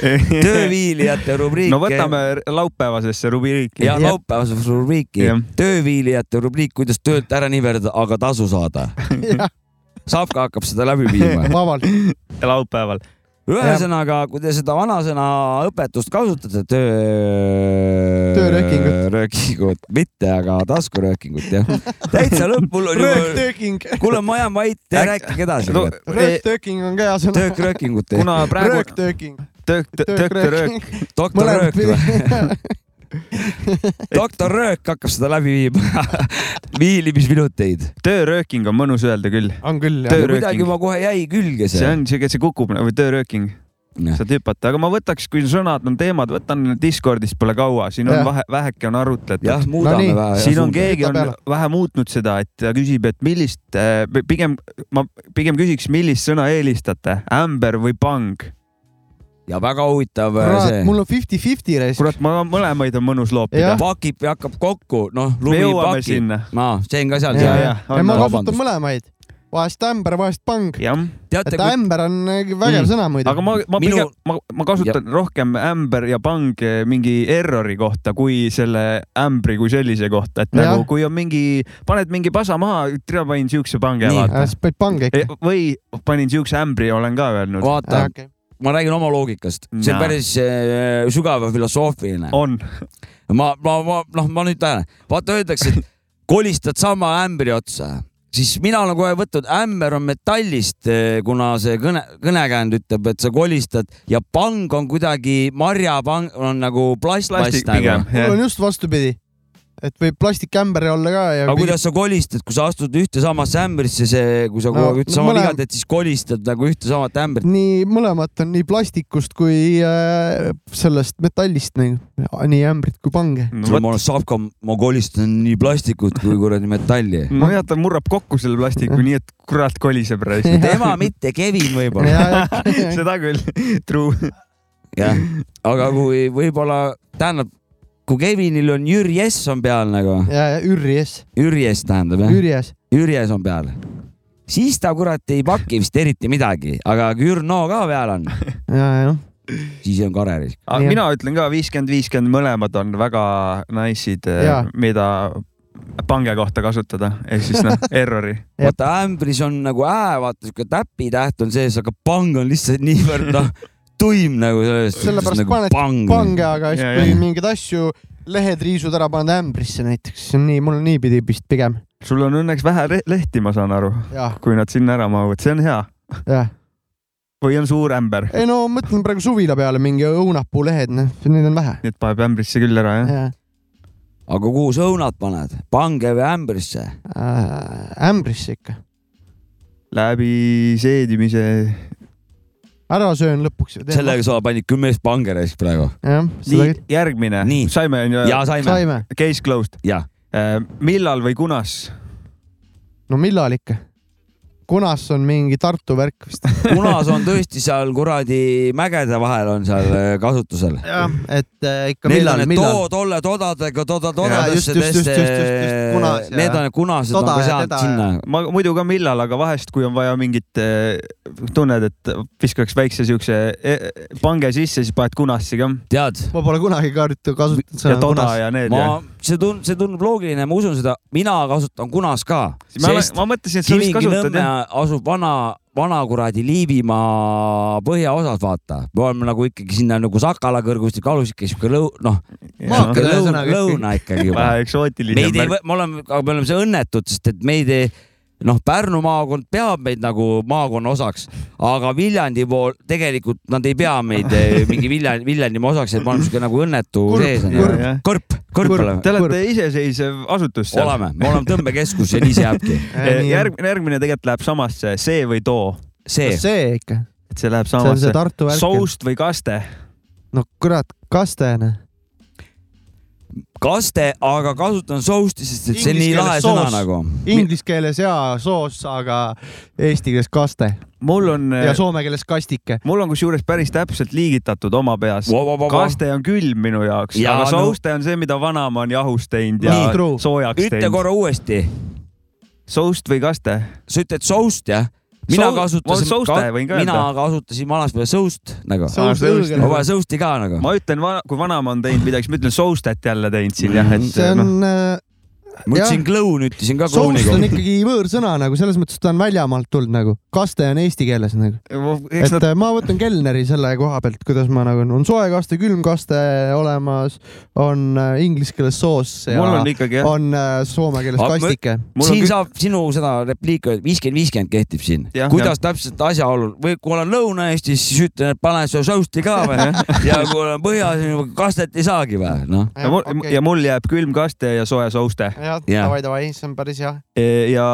C: tööviilijate rubriik .
B: no võtame laupäevasesse rubriiki .
C: ja laupäevases rubriiki
B: Jah. ,
C: tööviilijate rubriik , kuidas töölt ära niverda , aga tasu saada . Savka hakkab seda läbi viima .
A: vabalt .
B: laupäeval .
C: ühesõnaga , kui te seda vanasõna õpetust kasutate , töö .
A: Tööröökingut.
C: taskuröökingut mitte , aga taskuröökingut jah . täitsa lõpul on ju .
A: rööktööking .
C: kuule , ma jään vait , te rääkige edasi .
B: e-
A: rööktööking on ka hea sõna .
C: töökröökingut .
A: Kuna praegu- Rööktööking.
B: Töök ,
A: Töökröök.
C: töökröök . doktor
A: Mõlemad
C: Röök või ? doktor Röök hakkab seda läbi viima . viilimisminuteid .
B: töörööking on mõnus öelda küll .
A: on küll
C: ja kuidagi ma kohe jäi külge
B: see
C: see .
B: on siuke , see kukub nagu töörööking . saad hüpata , aga ma võtaks , kui sõnad on teemad , võtan Discordist pole kaua , siin on
C: Jah.
B: vahe , väheke on arutletud .
C: Jah, muudame No nii. vähe, jah,
B: siin on
C: suunda.
B: keegi
C: Võta
B: on
C: peale.
B: vähe muutnud seda , et ta küsib , et millist , pigem ma pigem küsiks , millist sõna eelistate , ämber või pang ?
C: ja väga huvitav äh,
A: kurat , mul on fifty-fifty reis .
B: kurat , ma mõlemaid on mõnus loopida
A: Jah. .
C: pakib ja hakkab kokku , noh ,
B: Me
C: lumi
B: jõuame
C: pakib
B: sinna. . nagu-
C: aa , see on ka seal .
A: ja , ja ma kasutan mõlemaid , vahest ämber , vahest pang .
C: Teate,
A: et
C: kui- Mm.
A: ämber on äh, vägev sõna muidu .
B: aga ma , ma Minu... pigem , ma , ma kasutan ja. rohkem ämber ja pang eh, mingi errori kohta kui selle ämbri kui sellise kohta , et
A: Jah.
B: nagu kui on mingi , paned mingi pasa maha , tere , panin siukse pange .
A: nii , siis panid pange ikka .
B: või panin siukse ämbri , olen ka öelnud .
C: vaata , ma räägin oma loogikast , see
B: Näe.
C: on päris äh, sügav ja filosoofiline .
B: on .
C: ma , ma , ma , noh , ma nüüd tähelen , vaata öeldakse , et kolistad sama ämbri otsa , siis mina olen kohe võtnud , ämber on metallist , kuna see kõne , kõnekäänd ütleb , et sa kolistad ja pang on kuidagi , marjapang on nagu plastmass
A: mul on
C: nagu .
A: just vastupidi , et võib plastikämber olla ka ja .
C: aga kuidas sa kolistad , kui sa astud ühte samasse ämbrisse , see , kui sa
A: No,
C: no, ühte
A: no
C: sama
A: mõlem-
C: viga teed , siis kolistad nagu ühte samat ämbrit .
A: nii mõlemat on nii plastikust kui äh, sellest metallist nagu , nii ämbrit kui pange .
C: no, . ma olen Savka , ma kolistan nii plastikut kui kuradi metalli .
B: no jah , ta murrab kokku selle plastiku , nii et kurat koliseb raisk .
C: tema mitte , Kevin võib-olla .
B: seda küll , true .
C: jah , aga kui võib-olla , tähendab , kui Kevinil on Jüri S on peal nagu ,
A: ja ürjes ,
C: Jüri S tähendab jah ,
A: ürjes .
C: Jüri S on peal , siis ta kurat ei paki vist eriti midagi , aga kui Jürno ka peal on ,
A: ja , jah .
C: siis on kare risk .
B: aga mina ütlen ka viiskümmend , viiskümmend , mõlemad on väga nice'id eh,
C: Jaa. ,
B: mida pange kohta kasutada , ehk siis noh , errori .
C: vaata ämbris on nagu ää , vaata siuke täpitäht on sees , aga pang on lihtsalt niivõrd noh , tuim nagu selles
A: sellepärast
C: nagu
A: paned pange , aga
C: Ja,
A: siis
C: ja.
A: kui mingeid asju , lehed riisud ära , paned ämbrisse näiteks , see on nii , mul on niipidi vist pigem .
B: sul on õnneks vähe re- lehti , ma saan aru
A: Jah. ,
B: kui nad sinna ära mahuvad , see on hea .
A: jah .
B: või on suur ämber ,
A: ei no mõtlen praegu suvila peale mingi õunapuu lehed , noh , neid on vähe .
B: nii et paneb ämbrisse küll ära , jah ?
C: aga kuhu sa õunad paned , pange või ämbrisse ?
A: Äh, ämbrisse ikka ,
B: läbi seedimise .
A: ära söön lõpuks .
C: sellega sa panid kümme eest pange raisk praegu .
A: jah , seda
B: nii , järgmine . saime , onju ?
C: Jaa, saime. Saime. .
B: Case closed .
C: jah .
B: millal või kunas ?
A: no millal ikka ? kunas on mingi Tartu värk vist .
C: kunas on tõesti seal kuradi mägede vahel on seal äh, kasutusel .
A: jah , et äh, ikka
C: Neil on
A: millal ,
C: need
A: millal .
C: tootolle todadega , toda
A: Jaa, just, just,
C: todadesse
A: just, just, just, just, kunas
C: tõesti ,
A: ja-
C: need on need kunased ,
A: Toda
C: on ka
A: ja
C: sealt
A: teda ja-
C: sinna .
B: ma muidu ka millal , aga vahest , kui on vaja mingit , tunned , et viskaks väikse siukse eh, pange sisse , siis paned kunassi ka .
C: tead ,
A: ma pole kunagi kaarti kasutanud
B: ja toda ja need
C: ma
B: ja .,
C: see tund- , see tundub loogiline , ma usun seda , mina kasutan kunas ka .
B: Ma olen- ma mõtlesin, et sa vist kasutad, jah.
C: asub vana , vana kuradi Liivimaa põhjaosas , vaata . me oleme nagu ikkagi sinna nagu Sakala kõrgustik alusik , sihuke lõu- , noh .
B: Maakad
C: lõuna ,
B: ühesõnaga ikkagi.
C: lõuna ikkagi juba .
B: Vähe eksootiline
C: meid ei
B: märk. ,
C: me oleme , aga me oleme see õnnetud , sest et meid ei , noh , Pärnu maakond peab meid nagu maakonna osaks , aga Viljandi pool tegelikult nad ei pea meid eh, mingi Viljandi , Viljandimaa osaks , et me oleme sihuke nagu õnnetu sees . kõrp , kõrp oleme .
B: Te olete iseseisev asutus seal .
C: oleme , me oleme tõmbekeskus ja nii see jääbki .
B: järgmine , järgmine tegelikult läheb samasse , see või too .
C: see
A: see ikka .
B: et see läheb
A: See on see
B: samasse
A: Tartu värk. .
B: soust või kaste ?
A: no kurat , kastene .
C: kaste , aga kasutan sousti , sest et see on nii lahe sõna nagu .
A: Inglise keeles jaa , soos , aga eesti keeles kaste .
B: mul on .
A: ja soome keeles kastike .
B: Äh, mul on kusjuures päris täpselt liigitatud oma peas
C: Vau, vau, vau, vau. .
B: kaste on külm minu jaoks ,
C: Jaa,
B: aga
C: no-
B: souste on see , mida vanaema on jahus teinud ja
C: Nii, true.
B: soojaks
C: ütle
B: teinud .
C: korra uuesti ,
B: soust või kaste ?
C: sa ütled soust jah ? mina
B: Sou-
C: kasutasin
B: ma souste võin ka ,
C: mina
B: öelda.
C: kasutasin vanasti soust nagu .
B: Soust õlgele.
C: ma panen sousti ka nagu .
B: ma ütlen , kui vanaema on teinud midagi , siis ma ütlen soustet jälle teinud siin jah , et
A: Mm, see
B: noh ,
A: on äh,
C: ma ütlesin kloun , ütlesin ka klouni
A: soulst on
C: kohta .
A: ikkagi võõrsõna nagu selles mõttes , et ta on väljamaalt tulnud nagu , kaste on eesti keeles nagu .
B: eks
A: et nad... ma võtan kelneri selle koha pealt , kuidas ma nagu , on soe kaste , külm kaste olemas , on äh, inglise keeles sauce ja
C: Mul on ikkagi, jah.
A: on äh, soome keeles kastike .
C: Ah, siin saab sinu seda repliiki , viiskümmend , viiskümmend kehtib siin .
A: Jah,
C: kuidas
A: jah.
C: täpselt asjaolul või kui olen Lõuna-Eestis , siis ütlen , et panen seda sousti ka või noh? ja kui olen põhjas , kastet ei saagi või , noh .
B: ja mul okay. , ja mul jääb külm kaste ja soe souste .
A: jah ,
C: Jah.
A: davai , davai , see on päris hea .
B: ja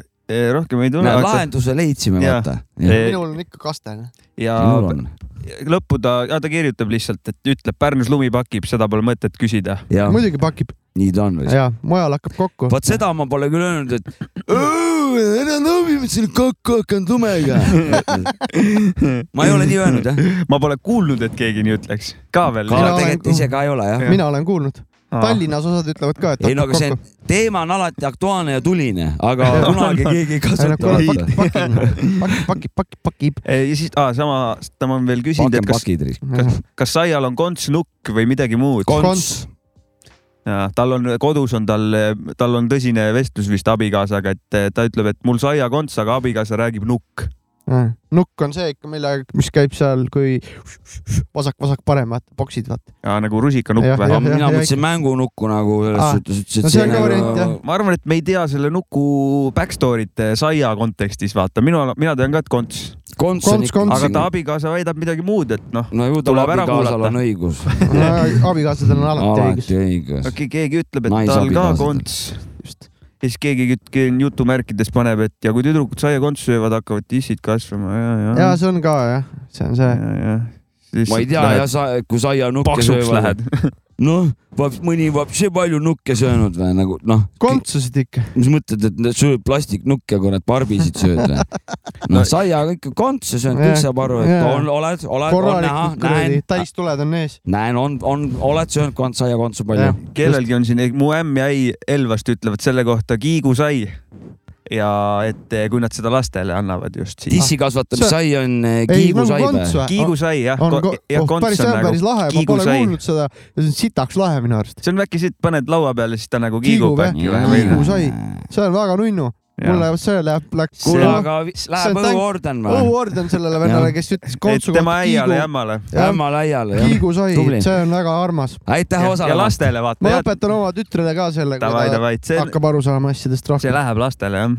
B: eh, rohkem ei tule .
C: Näe, lahenduse leidsime, vaata.
A: minul on ikka kaste .
B: E, ja
C: Minul on.
B: lõppu ta , ta kirjutab lihtsalt , et ütleb , Pärnus lumi pakib , seda pole mõtet küsida .
C: Ah.
A: muidugi pakib .
C: nii ta on
A: ja mujal hakkab kokku .
C: vot seda ma pole küll öelnud , et "Õõ, ära noomime selle kokku hakanud lumega . ma ei ole nii öelnud jah .
B: ma pole kuulnud , et keegi nii ütleks . ka veel .
C: Ka- Mina tegelikult olen- ise ka ei ole, jah.
A: mina olen kuulnud .
B: Aa.
A: Tallinnas osad ütlevad ka , et
C: ei no aga see
A: hakkab
C: teema on alati aktuaalne ja tuline , aga kunagi keegi ei kasuta .
A: pakib .
B: ja siis ah, sama , tema on veel küsinud , et
C: Pakem
B: kas
C: pakid, Riis. ,
B: kas , kas saial on konts-nukk või midagi muud ?
C: Konts. .
B: tal on kodus on tal , tal on tõsine vestlus vist abikaasaga , et eh, ta ütleb , et mul saia konts , aga abikaasa räägib
A: kokku .
B: nukk .
A: nukk on see ikka , mille , mis käib seal , kui vasak-vasak-parem , vaata , boksid , vaata .
B: nagu rusikanukk
A: Jah,
B: või
A: jah, ? jah, Mina jah, mõtlesin ikka.
C: mängunukku nagu selles
A: Aa, suhtes, et no see see on ka nagu- variant, jah.
B: ma arvan , et me ei tea selle nuku backstory't eh, saia kontekstis , vaata , minu , mina tean ka , et konts .
C: Konts on Konts, ikka- konts.
B: aga ta abikaasa väidab midagi muud , et noh .
C: no ju tal abikaasal on . õigus .
A: abikaasadel on alati õigus .
C: alati õigus .
B: okei , keegi ütleb , et tal ka
C: Naisabikaasadel.
B: konts . ja siis keegi küt- ke- jutumärkides paneb , et ja kui tüdrukud saiakontsu söövad , hakkavad tissid kasvama ja , ja .
A: ja see on ka jah , see on see .
C: ma ei tea jah , sa , kui saia nukke
B: Paksuks
C: söövad
B: lähed. .
C: noh , mõni vapsi palju nukke söönud või nagu noh .
A: kontsusid ikka .
C: mis mõtled , et nad sööb plastiknukke , kurat , barbisid sööd või ? noh , saiaga ikka kontsu söönud , kõik saab aru , et on , oled , oled , on näha ,
A: korralikult kuradi ,
C: näen ,
A: täistuled on ees .
C: näen , on , on , oled söönud kontsu , saiakontsu palju .
B: kellelgi on siin , mu ämm ja äi Elvast ütlevad selle kohta kiigu sai . ja et eh, kui nad seda lastele annavad just siis .
C: Tissi kasvatamissai on eh, kiigusai või ?
B: kiigu sai jah . nagu
A: on ko- , oh, päris , see on päris lahe , ma pole kuulnud seda ja see on sitaks lahe minu arust .
B: see on äkki siit paned laua peale , siis ta nagu
A: kiigub
B: kiigub
A: jah ,
B: äkki või ? noh.
A: kiigusai , see on väga nunnu .
B: Jaa.
A: mulle see läheb , läks .
B: Kuule, aga vi- läheb
C: õhuorden või?
A: või ? õhuorden sellele vennale , kes ütles kontsu
B: Et tema äiale jämmale.
C: Jämmale äiale, jah.
A: kiigusai ,
C: Tubli.
A: see on väga armas .
C: aitäh
B: Ja- ja
C: osalemast .
B: lastele vaata,
A: ma
B: jah.
A: õpetan oma tütrele ka selle ,
B: Davai, davai,
A: kui
B: see-
A: ta hakkab aru saama asjadest
B: see
A: rohkem .
B: läheb lastele jah .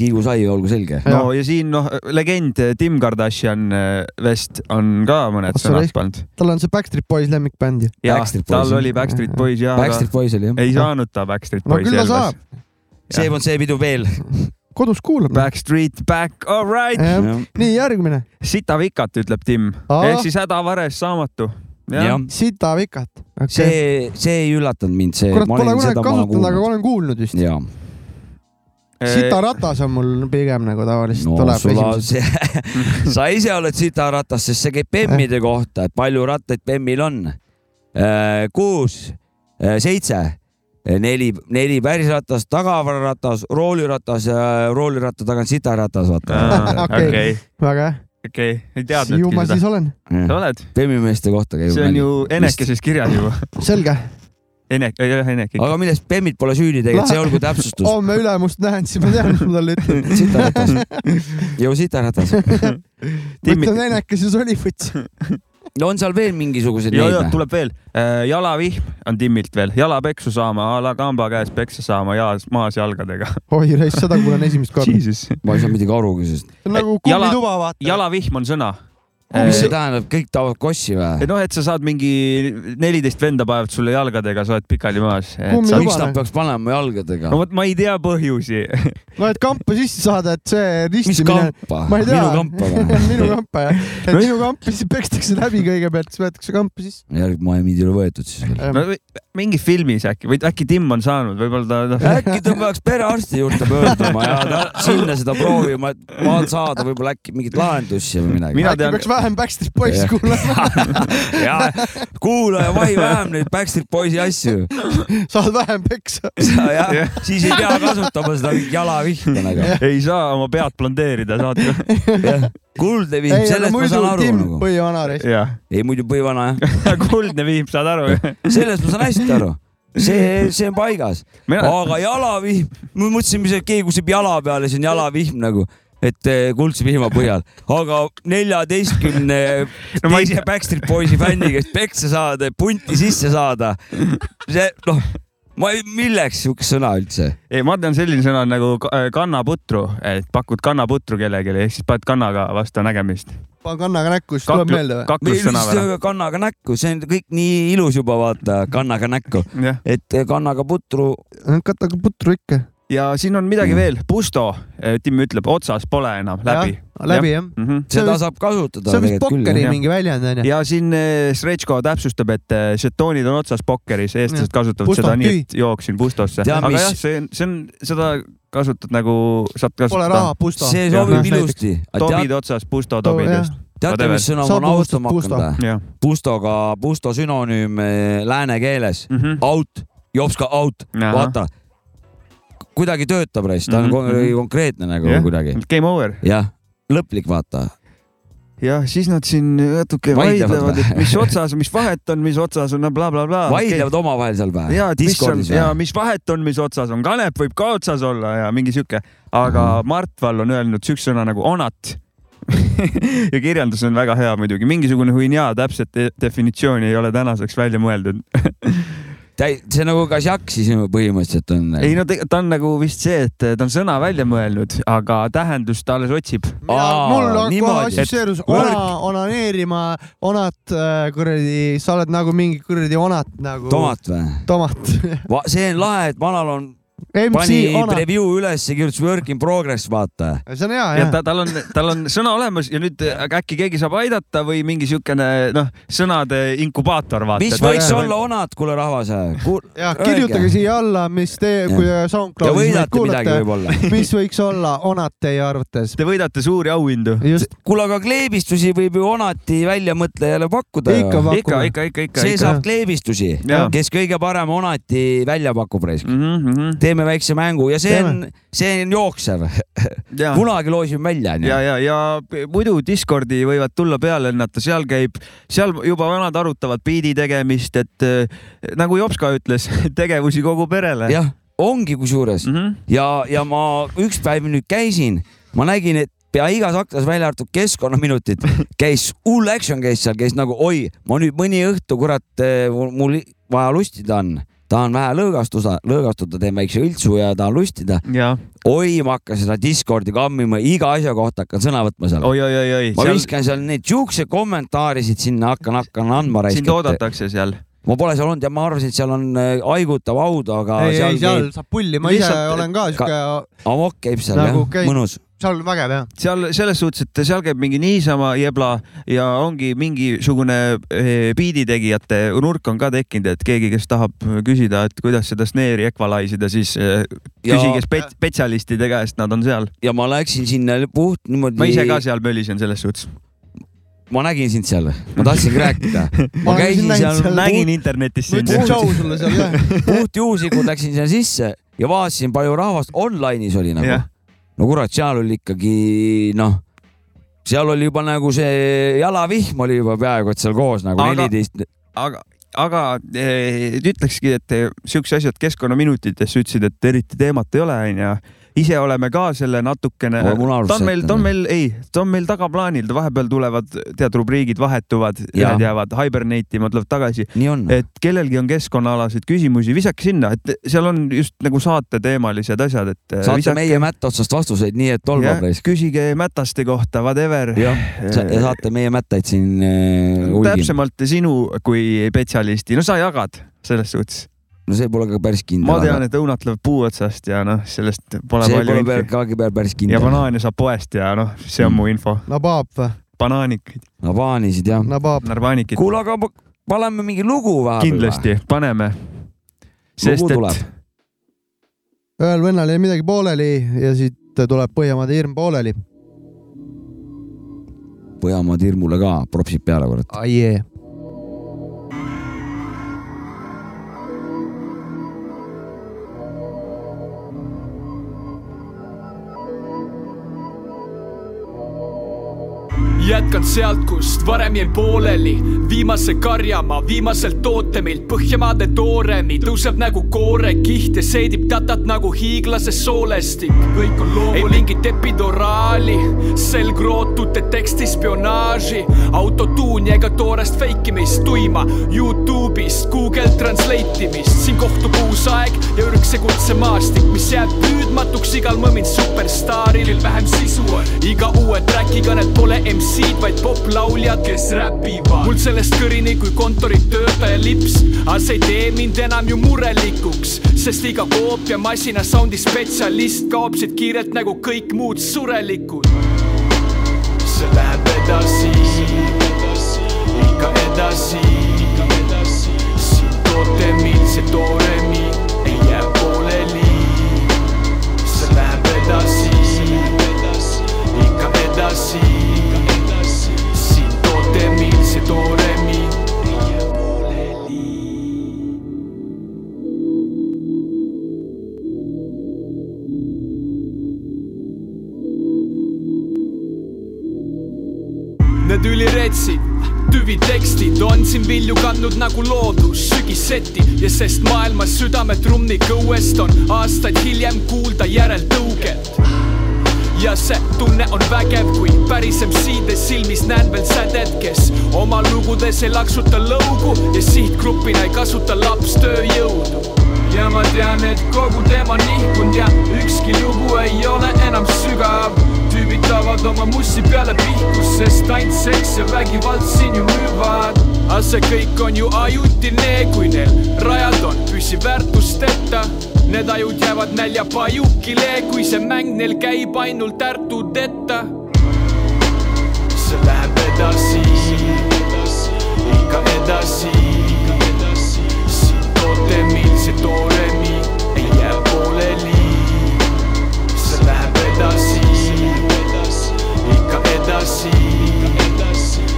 C: kiigusai , olgu selge .
B: no ja siin noh , legend Tim Kardashian eh, vest on ka mõned sõnad pannud .
A: tal on see Backstreet Boys lemmikbänd ju .
B: jah , tal oli Backstreet Boys ja .
C: Backstreet Boys oli, jah.
B: ei saanud ta Backstreet
A: no
B: Boys
A: küll ta saab ,.
C: see polnud see pidu veel .
A: kodus kuulab .
B: Backstreet back , all right .
A: nii , järgmine .
B: sitavikat , ütleb Tim .
A: Aa.
B: ehk siis hädavares saamatu . jah ,
A: sitavikat .
C: see , see ei üllatanud mind , see .
A: kurat , pole kunagi kasutanud , aga olen kuulnud vist .
C: jaa .
B: Äh,
A: sitaratas on mul pigem nagu tavaliselt no, tuleb
C: sul on
A: esimesena .
C: see , sa ise oled sitaratas , sest see käib bemmide kohta , et palju rattaid bemmil on . kuus , seitse , neli , neli pärisratast , tagavararatas , rooliratas ja rooliratta tagant sitaratas , vaata .
B: okei ,
A: väga hea .
B: okei , ei
A: ju ma
B: teadnudki
A: siis olen .
B: sa oled ?
C: bemmimeeste kohta käib .
B: see on ju enekeses kirjas juba .
A: selge .
B: Enek , jah , Enek .
C: aga milles bemmid pole süüdi tegelikult , see olgu täpsustus .
A: homme ülemust näen , siis Oh, ma tean , mis ma talle ütlen .
C: sitaratas , ju sitaratas .
A: mõtlen enekas ja solifuts .
C: on seal veel mingisuguseid
B: ja ,
C: neid noh?
B: ja
C: või ?
B: tuleb veel , jalavihm on Timmilt veel , jalapeksu saama , alakamba käes peksa saama ja maas jalgadega .
A: oi , reis , seda kuulen esimest korda .
B: see
C: ma ei saa midagi arugi , sest .
A: on nagu kummituba , vaata .
B: Äh, jalavihm on sõna .
C: mis see tähendab , kõik tahavad kossi või ?
B: et noh , et sa saad mingi neliteist venda paevad sulle jalgadega , sa oled pikali maas .
A: Kummilubane.
C: miks nad peaks panema jalgadega ?
B: no vot , ma ei tea põhjusi .
A: no Noh, et kampa sisse saada , et see ristimine .
C: kampa?
A: ma ei tea .
C: Minu kampa või?
A: minu kampa jah . et minu kampa siis pekstakse läbi kõigepealt , siis võetakse kampa sisse .
C: järg , ma ei , mind ei ole võetud siis veel .
B: no või- mingi filmis äkki või äkki Tim on saanud , võib-olla ta no, .
C: äkki ta peaks perearsti juurde pöörduma ja ta, sinna seda proovima , et ma saada võib-olla äkki mingit lahendust siia või midagi .
B: Mina
A: äkki peaks vähem Backstreet Boys
C: Jah.
A: kuulama .
C: ja kuula ja vahi vähem neid Backstreet Boysi asju .
A: saad vähem peksa .
C: jah , siis ei pea kasutama seda jalavihta nagu .
B: ei saa oma pead blondeerida , saad ju .
C: kuldne vihm ,
A: ei , aga
C: sellest ma
A: muidu
C: saan aru
A: Tim
C: nagu .
A: Põhivanar ei
B: jah .
C: ei muidu põhivana jah .
B: kuldne vihm , saad aru ?
C: sellest ma saan hästi aru . see , see on paigas . aga jalavihm , ma mõtlesin , mis keegi kuseb jala peale , see on jalavihm nagu , et eh, kuldse vihma põhjal , aga neljateistkümne no, teise Backstreet Boysi fänni käest peksa saada , punti sisse saada , see noh , ma ei , milleks siukest sõna üldse ?
B: ei , ma tean selline sõna nagu ka- äh, kannaputru , et pakud kannaputru kellelegi ehk siis paned kannaga vastu nägemist .
A: panen kannaga näkku , siis tuleb
B: Kaklu-
A: meelde või ?
B: kaklussõna või ?
C: kannaga näkku , see on kõik nii ilus juba , vaata , kannaga näkku , et eh, kannaga putru .
A: Äh, kannaga putru ikka .
B: ja siin on midagi veel , Busto , Tim ütleb , otsas pole enam , läbi .
A: läbi, Mm. jah. Seda saab
C: kasutada
A: see on vist pokkeri mingi väljend onju .
B: ja siin eh, Srečko täpsustab , et eh, žetoonid on otsas pokkeris , eestlased
A: Jah.
B: kasutavad
A: Busto
B: seda
A: on
B: nii ,
A: tühi.
B: et jooksin Bustosse .
C: Tea,
B: aga
C: mis-
B: jah , see on , see on , seda kasutad nagu , saad kasutada .
A: raha, Busto.
C: see sobib ilusti .
B: tobid otsas , Busto tobidest .
C: teate , mis sõna ma olen austama hakanud
B: või ?
C: Pustoga , Pusto sünonüüm eh, lääne keeles mm , -hmm. out , jops ka out ,
B: Mhm. Ahah.
C: vaata . kuidagi töötab raisk , ta on
B: Mhm,
C: kon-
B: mhm.
C: konkreetne nagu
B: Jah,
C: kuidagi .
B: Game over .
C: jah , lõplik , vaata .
B: jah , siis nad siin natuke
C: Vaidlevad
B: vaidlevad ,
C: või?
B: et mis otsas , mis vahet on , mis otsas on blablabla .
C: vaidlevad omavahel seal või ?
B: ja , et mis on
C: Discordis
B: ja
C: või ?
B: mis vahet on , mis otsas on , kanep võib ka otsas olla ja mingi sihuke , aga
C: Mhm.
B: Mart Vall on öelnud siukse sõna nagu onat . ja kirjeldus on väga hea muidugi , mingisugune huinjaa täpset de- definitsiooni ei ole tänaseks välja mõeldud .
C: see nagu kasjak siis põhimõtteliselt on .
B: ei no teg- ta on nagu vist see , et ta on sõna välja mõelnud , aga tähendust ta alles otsib .
A: mul kohe assotsieerus ona , onaneerima , onat , kuradi , sa oled nagu mingi kuradi onat nagu .
C: tomat või ?
A: tomat .
C: see on lahe , et vanal on ,
A: MC
C: pani
A: Onat.
C: review üles ja kirjutas work in progress , vaata
A: see on hea ,
B: ja
A: jah .
B: ta , tal on , tal on sõna olemas ja nüüd aga äkki keegi saab aidata või mingi siukene noh , sõnade inkubaator vaata .
C: mis võiks olla onad , kuule rahvas Kuul... .
A: ja kirjutage siia alla , mis te , kui
C: Jah. Ja
A: SoundCloudis meid
C: võidate midagi võib-olla.
A: kuulate , mis võiks olla onat teie arvates .
B: Te võidate suuri auhindu .
C: kuule , aga kleebistusi võib ju onati väljamõtlejale pakkuda .
B: Ikka pakume. Ikka, ikka, ikka, ikka,
C: see
B: ikka.
C: saab kleebistusi
B: Jaa. ,
C: kes kõige parem onati välja pakub raisk
B: mm . -hmm.
C: teeme väikse mängu ja see on , see on jooksev . kunagi loosime välja ,
B: ja ,
C: onju .
B: ja , ja p- muidu Discordi võivad tulla peale lennata , seal käib , seal juba vanad arutavad biidi tegemist , et äh, nagu Jops ka ütles , tegevusi kogu perele .
C: jah , ongi kusjuures
B: mm . -hmm.
C: ja , ja ma üks päev nüüd käisin , ma nägin , et pea igas aknas välja arvatud keskkonnaminutid käis , hull action käis seal , käis nagu oi , ma nüüd mõni õhtu , kurat , mul vaja lustida on , tahan vähe lõõgastuda , lõõgastuda , teen väikse õltsu ja tahan lustida . oi , ma hakkan seda Discordi kammima , iga asja kohta hakkan sõna võtma seal .
B: oi , oi , oi , oi .
C: ma viskan seal neid siukse kommentaarisid sinna , hakkan , hakkan andma .
B: sind oodatakse seal .
C: ma pole seal olnud ja ma arvasin , et seal on äh, haigutav audu , aga
A: ei , ei seal
C: käib-
A: saab pulli , ma ise olen ka siuke
C: amok käib seal
A: nagu
C: jah ,
A: käib ,
C: mõnus .
A: seal on vägev jah .
B: seal selles suhtes , et seal käib mingi niisama jebla ja ongi mingisugune eh, biiditegijate nurk on ka tekkinud , et keegi , kes tahab küsida , et kuidas seda snare'i equalize ida , siis eh,
C: Ja-
B: küsige spets- spetsialistide käest , nad on seal .
C: ja ma läksin sinna puht niimoodi .
B: ma ise ka seal mölisin selles suhtes .
C: ma nägin sind seal , ma tahtsingi rääkida . ma
B: olen
C: käisin
B: sind näinud
C: seal
B: seal. . Nägin internetis sind. Ma ütlesin tšau sulle seal, jah.
C: puht juhuslikult läksin sinna sisse ja vaatasin , palju rahvast online'is oli nagu
B: Jah. .
C: no kurat , seal oli ikkagi noh , seal oli juba nagu see jalavihm oli juba peaaegu et seal koos nagu
B: Aga-
C: neliteist .
B: aga , aga eh, ütlekski , et eh, siukse asja , et keskkonnaminutitesse ütlesid , et eriti teemat ei ole , onju . ise oleme ka selle natukene ,
C: Aga mul arvates
B: ta on meil ,
C: et-
B: ta on meil , ei , ta on meil tagaplaanil , vahepeal tulevad , tead , rubriigid vahetuvad ,
C: Jaa.
B: ühed jäävad hibernate ima , tulevad tagasi .
C: nii on .
B: et kellelgi on keskkonnaalaseid küsimusi , visake sinna , et seal on just nagu saateteemalised asjad , et .
C: saate visake... meie mätta otsast vastuseid , nii et tolmab raisk .
B: küsige mätaste kohta , whatever .
C: jah , ja saate meie mättaid siin äh, hulgi .
B: Nagu täpsemalt sinu kui spetsialisti , no sa jagad selles suhtes .
C: no see pole ka päris kindel .
B: ma tean , et õunat lööb puu otsast ja noh , sellest pole
C: see
B: palju
C: pole peal- ka peal päris kindel .
B: ja banaane saab poest ja noh , see on mu info .
A: nabaab või ?
B: banaanikaid .
C: nabaanisid jah .
A: nabaab .
B: narvaanikid .
C: kuule , aga pa- paneme mingi lugu vahepeal .
B: kindlasti , paneme .
C: Lugu
B: sest
C: tuleb.
B: et
A: ühel vennal jäi midagi pooleli ja siit tuleb Põhjamaade hirm pooleli .
C: Põhjamaad hirmule ka propsid peale , kurat .
A: aiee .
S: jätkan sealt , kust varem jäi pooleli , viimase karjamaa , viimaselt tootemilt , Põhjamaade tooremi tõuseb nagu koorekiht ja seedib tatat nagu hiiglase soolestik . kõik on loomulik . ei mingit epidoraali , selgrootute teksti spionaaži , autotuuni ega toorest feikimist , tuima Youtube'ist , Google Translate imist , siin kohtub uus aeg ja ürgse kutsemaastik , mis jääb püüdmatuks igal mõmin superstaaril , vähem sisu on . iga uue track'iga need pole MC-d , vaid poplauljad , kes räpivad . mul sellest kõrini kui kontoritöötaja lips , aga see ei tee mind enam ju murelikuks , sest iga koopiamasina sound'i spetsialist kaob siit kiirelt nagu kõik muud surelikud . see läheb edasi , ikka edasi , siin tootemil see tooremi ei jää pooleli . see läheb edasi , ikka edasi , siin tootemil see tooremi ei jää pooleli . Need üliretsid , tüvitekstid on siin vilju kandnud nagu loodus sügisseti ja sest maailmas südametrummi kõuest on aastaid hiljem kuulda järeltõuget . ja see tunne on vägev , kui päris MC-de silmis näen veel sädet , kes oma lugudes ei laksuta lõugu ja sihtgrupina ei kasuta laps tööjõudu . ja ma tean , et kogu tema nihkunud ja ükski lugu ei ole enam sügav tüübid tavad oma mussi peale pihku , sest ainult seks ja vägivald siin ju müüvad . aga see kõik on ju ajutine , kui neil rajad on püsiväärtusteta . Need ajud jäävad nälja pajukile , kui see mäng neil käib ainult ärtudeta . see läheb edasi , ikka edasi , siin tootemil see tooremi ei jää pooleli see läheb edasi , ikka edasi ,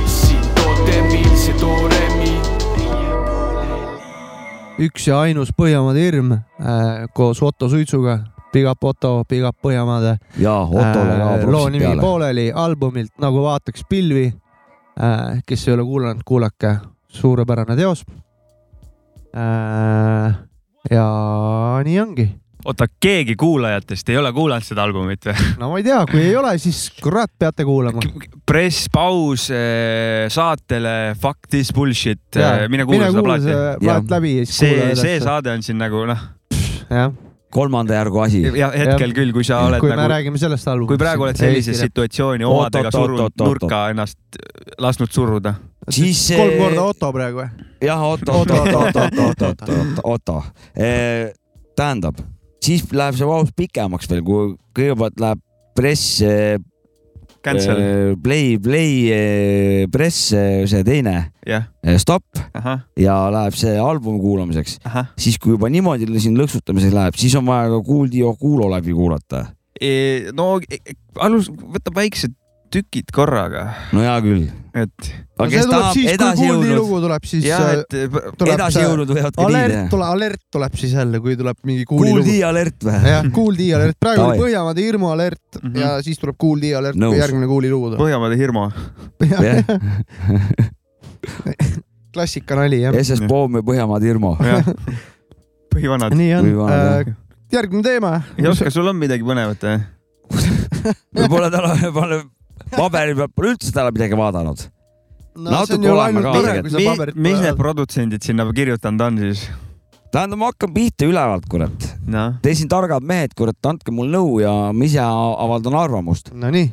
S: siin tootemil see tooremi .
T: üks ja ainus Põhjamaade hirm äh, koos Otto Suitsuga , Big up Otto , Big up Põhjamaade .
C: Jaa, Otole ka propsid
T: loo nimi
C: peale.
T: pooleli albumilt Nagu vaataks pilvi äh, . kes ei ole kuulanud , kuulake , suurepärane teos äh, . ja nii ongi .
B: oota , keegi kuulajatest ei ole kuulanud seda albumit või ?
T: no ma ei tea , kui ei ole , siis kurat , peate kuulama .
B: press , paus eh, saatele , fuck this bullshit ,
T: Jaa,
B: äh, mine kuula
T: mine
B: seda
T: kuula
B: plaati
T: see plaat . läbi ja siis kuula
B: see ,
T: edasi.
B: see saade on siin nagu noh ,
C: kolmanda järgu asi .
B: ja hetkel küll , kui sa oled
T: kui me
B: nagu
T: räägime sellest albumist .
B: kui praegu oled sellise situatsiooni omadega surunud nurka ennast , lasknud suruda .
C: siis
T: kolm korda Otto praegu või ?
C: jah , oota , oota , oota , oota , oota , oota , oota , oota . tähendab , siis läheb see paus pikemaks veel , kui kõigepealt läheb press .
B: Cancel. .
C: Play , play , press , see teine
B: Jah. .
C: Stopp
B: Ahah.
C: ja läheb see albumi kuulamiseks
B: Ahah. .
C: siis , kui juba niimoodi siin lõksutamiseks läheb , siis on vaja ka Kuuldio Kuulo läbi kuulata .
B: no e- e- alus , võtab väiksed tükid korraga .
C: no hea küll .
B: et .
C: Aga kes tahab edasi
T: kuuldi
C: jõudnud-
T: lugu tuleb , siis .
B: Jah, et, äh, edasi jõudnud võivad ka nii
T: alert
B: teha. ,
T: alert tuleb siis jälle , kui tuleb mingi kuuli lugu .
C: Kuuldi alert või ?
T: jah , Kuuldi alert , praegu
C: Davai.
T: oli Põhjamaade hirmu alert
B: Mhm.
T: ja siis tuleb Kuuldi alert , kui
C: Nõus.
T: järgmine kuuli lugu tuleb .
B: Põhjamaade hirmu .
C: jah .
T: klassikanali jah .
C: SS Poom ja Põhjamaade Irmo .
B: põhivanad . Äh,
T: nii on .
C: Põhjamaade.
T: järgmine teema .
B: Jops , kas sul on midagi põnevat või ?
C: Pole täna , pole paberi peal pole üldse täna midagi vaadanud .
T: No see on ju ainult tore, kui sa paberit pole
B: mis need
T: vaadanud.
B: produtsendid sinna kirjutanud on siis ?
C: tähendab , ma hakkan pihta ülevalt , kurat
B: no. .
C: Te siin targad mehed , kurat , andke mul nõu ja ma ise a- avaldan arvamust .
T: Nonii .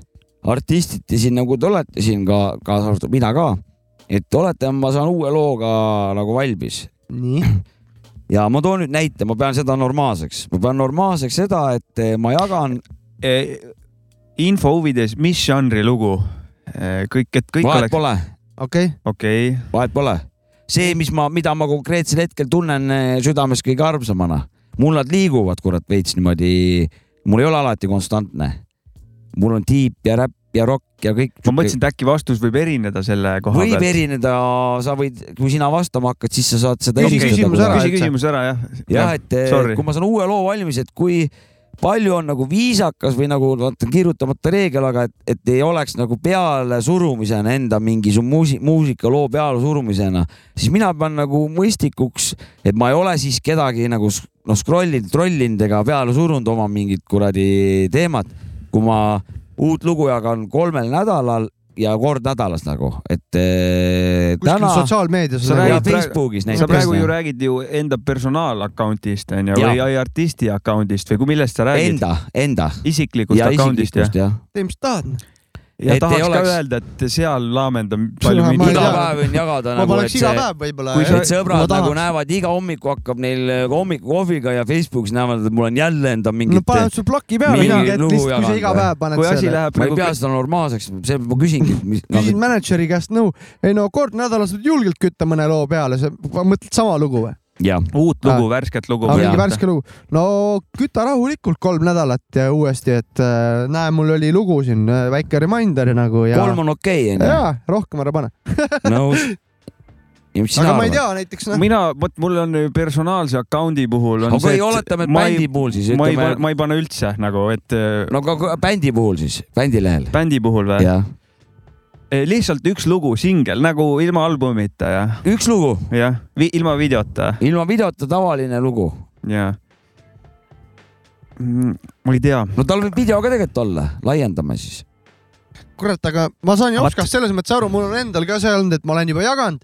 C: artistid te siin nagu te olete siin ka , kaasa arvatud mina ka , et olete , ma saan uue looga nagu valmis .
T: nii .
C: ja ma toon nüüd näite , ma pean seda normaalseks , ma pean normaalseks seda , et eh, ma jagan .
B: E, info huvides , mis žanri lugu ? kõik , et kõik
C: Vahet pole. .
T: okei .
B: okei .
C: vahet pole . see , mis ma , mida ma konkreetsel hetkel tunnen eh, südames kõige armsamana , mul nad liiguvad , kurat , veits niimoodi , mul ei ole alati konstantne . mul on tiip ja räpp ja rokk ja kõik .
B: ma mõtlesin , et äkki vastus võib erineda selle koha
C: võib
B: pealt .
C: erineda , sa võid , kui sina vastama hakkad , siis sa saad seda .
B: Küsi küsimus ära, Küsi et sa- küsimus ära, jah.
C: jah ,
B: Jah,
C: et eh,
B: sorry.
C: kui ma saan uue loo valmis , et kui palju on nagu viisakas või nagu vaata kirjutamata reegel , aga et , et ei oleks nagu pealesurumisena enda mingi su muusi- , muusikaloo pealesurumisena , siis mina pean nagu mõistlikuks , et ma ei ole siis kedagi nagu s- noh , scrollinud , trollinud ega peale surunud oma mingit kuradi teemat , kui ma uut lugu jagan kolmel nädalal ja kord nädalas nagu , et eh, täna .
A: sotsiaalmeedias
C: sa räägid Facebookis
B: sa
C: näiteks .
B: praegu ju räägid ju enda personaalaccount'ist onju
C: Jaa.
B: või ai- artisti account'ist või kui millest sa räägid ?
C: Enda , enda .
B: isiklikust
C: Ja
B: account'ist
C: isiklikust, jah.
A: tee , mis tahad .
B: ja
C: Et
B: tahaks
C: ei
B: ka
C: oleks-
B: öelda , et seal laamendan palju
C: ma iga päev võin jagada
B: Ma
C: nagu ,
B: paneks
C: et
B: iga päev võib-olla,
C: kui
B: jah.
C: sa,
B: Ma
C: et sõbrad nagu
B: tahaks.
C: näevad , iga hommiku hakkab neil äh, hommikukohviga ja Facebookis näevad , et mul on jälle enda mingit .
A: No
C: äh,
A: panevad su plaki peale mingi hetk lihtsalt, kui sa iga päev paned Kui asi selle. läheb
C: ma ei
A: nagu-
C: pea seda normaalseks , see ma küsingi , mis
A: küsin mänedžeri käest nõu , ei no kord nädalas võid julgelt kütta mõne loo peale , sa mõtled sama lugu või ?
C: jah .
B: uut lugu ,
A: Ah.
B: värsket lugu .
A: aga mingi värske lugu . no küta rahulikult kolm nädalat ja uuesti , et äh, näe , mul oli lugu siin , väike reminder nagu ja .
C: Kolm on okei, onju.
A: jaa , rohkem ära pane .
C: nõus .
A: aga ma ei tea näiteks noh .
B: mina , vot mul on personaalse account'i puhul on
C: Okei, oletame, et
B: ma ei-
C: bändi puhul siis,
B: ma ei
C: ütleme-
B: pane , ma ei pane üldse nagu , et .
C: no aga bändi puhul siis , bändi lehel .
B: bändi puhul või ?
C: jah .
B: lihtsalt üks lugu , singel nagu ilma albumita ja .
C: üks lugu ?
B: jah , ilma videota .
C: ilma videota tavaline lugu .
B: jaa . ma ei tea .
C: no tal võib video ka tegelikult olla , laiendame siis .
A: kurat , aga ma saan Jopskast selles mõttes aru , mul on endal ka see olnud , et ma olen juba jaganud .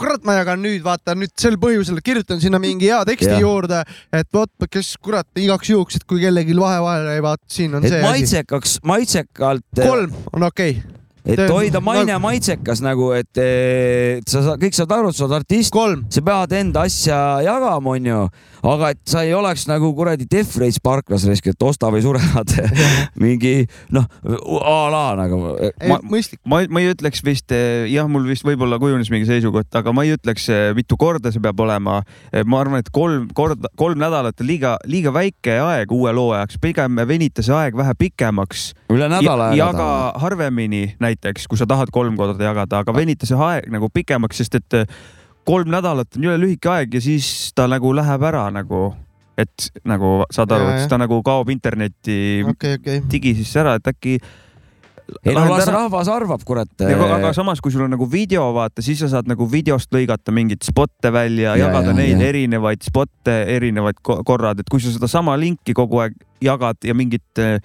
A: kurat , ma jagan nüüd , vaata nüüd sel põhjusel , kirjutan sinna mingi hea teksti
C: Jah.
A: juurde , et vot , kes kurat igaks juhuks , et kui kellelgi vahe vahele ei vaata , siin on
C: et
A: see .
C: maitsekaks , maitsekalt .
A: kolm on okei okay. .
C: et hoida maine maitsekas nagu , et eh, et sa sa- kõik saad aru , et sa oled artist , sa pead enda asja jagama , onju , aga et sa ei oleks nagu kuradi Death Race parklas risk , et osta või sure nad mingi noh , a la nagu .
A: mõistlik .
B: eh, ma , ma ei ütleks vist , jah , mul vist võib-olla kujunes mingi seisukoht , aga ma ei ütleks , mitu korda see peab olema . ma arvan , et kolm korda , kolm nädalat on liiga , liiga väike aeg uue loo jaoks , pigem venita see aeg vähe pikemaks .
C: Üle nädala
B: ja, .
C: jagada.
B: jaga harvemini näiteks , kui sa tahad kolm korda jagada , aga venita see aeg nagu pikemaks , sest et kolm nädalat on jõle lühike aeg ja siis ta nagu läheb ära nagu , et nagu saad aru ,
A: Jaa,
B: et siis
A: jah.
B: ta nagu kaob internetti
A: Okei, okei.
B: digi sisse ära , et äkki .
C: ei no las rahvas arvab , kurat .
B: aga, aga samas , kui sul on nagu video , vaata , siis sa saad nagu videost lõigata mingeid spotte välja , jagada
C: ja,
B: ja, neid
C: ja.
B: ja. erinevaid spotte , erinevad ko- korrad , et kui sa sedasama linki kogu aeg jagad ja mingit eh,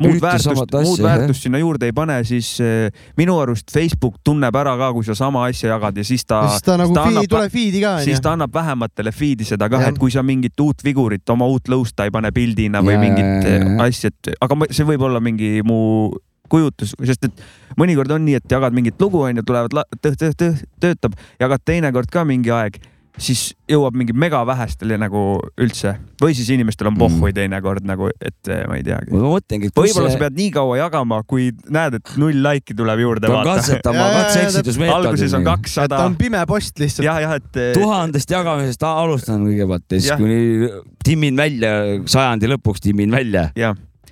B: muud
C: Ühte samat
B: väärtust ,
C: asja,
B: muud
C: jah.
B: väärtust sinna juurde ei pane , siis eh, minu arust Facebook tunneb ära ka , kui sa sama asja jagad ja siis ta .
A: siis ta nagu feed, ei tule feed'i ka
B: siis
A: onju .
B: ta annab vähematele feed'i seda kah ,
A: Jah.
B: et kui sa mingit uut vigurit , oma uut lõusta ei pane pildina
C: Ja,
B: või ja,
C: ja,
B: mingit
C: ja, ja.
B: eh, asja , et aga ma- see võib olla mingi mu kujutus , sest et mõnikord on nii , et jagad mingit lugu onju , tulevad la- tõh, , tõh, tõh, töötab , jagad teinekord ka mingi aeg , siis jõuab mingi mega vähestele nagu üldse või siis inimestel on pohhui teinekord nagu , et eh, ma ei teagi .
C: ma mõtlengi , et kus Mm.
B: võib-olla
C: see-
B: sa pead nii kaua jagama , kui näed , et null laiki tuleb juurde .
C: Peab katsetama, Jaa, jaa, katse-eksitusmeetodil.
B: alguses on
A: et
B: kakssada
A: ta on . pime post lihtsalt .
B: jah , jah , et .
C: tuhandest jagamisest a- alustan kõigepealt ja siis
B: Jah.
C: kuni timmin välja , sajandi lõpuks timmin välja .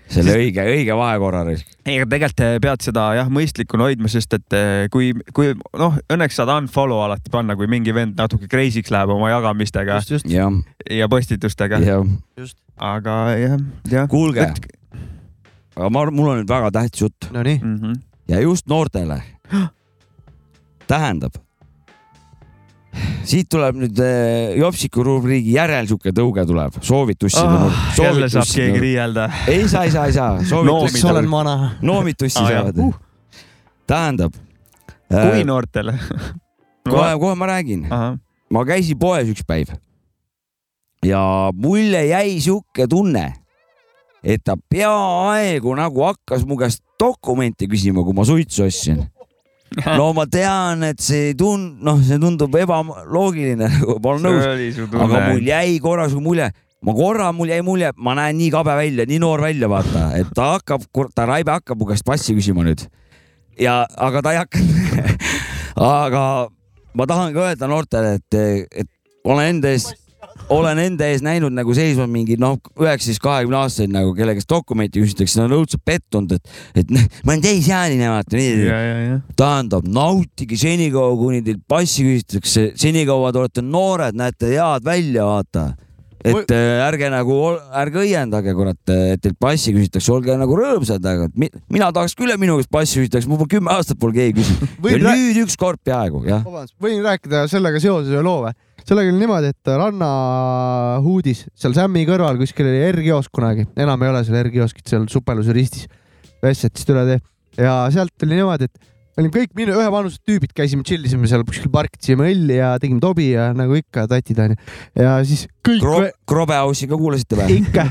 C: selle õige , õige vahekorra .
B: ei , aga tegelikult eh, pead seda jah , mõistlikuna hoidma , sest et eh, kui , kui noh , õnneks saad unfollow alati panna , kui mingi vend natuke crazy'ks läheb oma jagamistega
A: Just, just.
C: Jah.
B: ja postitustega
C: Jah. .
B: aga jah , jah .
C: kuulge , aga ma , mul on nüüd väga tähtis jutt .
A: Nonii
B: mm . -hmm.
C: ja just noortele . tähendab , siit tuleb nüüd eh, Jopsiku rubriigi järel sihuke tõuge tuleb , soovitussi
B: Ah, . jälle saab keegi riielda.
C: ei saa , ei saa , ei saa .
B: Noomitussi. Eks olen vana.
C: noomitussi
B: Ah, jah.
C: saavad
B: Uh. .
C: tähendab .
B: kui noortele
C: kohe , kohe ma räägin . ma käisin poes üks päev ja mulje jäi sihuke tunne , et ta peaaegu nagu hakkas mu käest dokumente küsima , kui ma suitsu ostsin . no ma tean , et see ei tund- , noh , see tundub ebaloogiline , ma olen
B: See oli
C: nõus
B: su , tunne.
C: aga mul jäi korra sihuke mulje , ma korra mul jäi mulje , ma näen nii kabe välja , nii noor välja , vaata , et ta hakkab , ta raibe hakkab mu käest passi küsima nüüd . ja , aga ta ei hakanud . aga ma tahan ka öelda noortele , et , et olen enda ees , olen enda ees näinud nagu seisma mingi noh , üheksateist , kahekümne aastaseid nagu , kelle käest dokumenti küsitakse , nad on õudselt pettunud , et , et noh, ma olen täisealine , vaata
B: Ja, ja, ja.
C: nii . tähendab , nautige senikaua , kuni teilt passi küsitakse , senikaua te olete noored , näete head välja , vaata . et äh, ärge nagu , ärge õiendage , kurat , et teilt passi küsitakse , olge nagu rõõmsad , aga mi, mina tahaks küll , et minu käest passi küsitakse , mul pole kümme aastat pole keegi küsinud . ja
A: Võib-olla-
C: nüüd ükskord peaaegu jah .
A: vabandust , võin rääkida sellega seoses ühe loo või ? sellega oli niimoodi , et rannahuudis seal Sämmi kõrval kuskil oli R-kiosk kunagi , enam ei ole seal R-kioskit seal supeluse ristis , Vessetist üle tee ja sealt oli niimoodi , et me olime kõik minu ühe vanuse tüübid , käisime , tšillisime seal kuskil , parkisime õlli ja tegime tobi ja nagu ikka tatid onju ja siis kõik Kro .
C: Krobehouse'i ka kuulasite või ?
A: ikka ,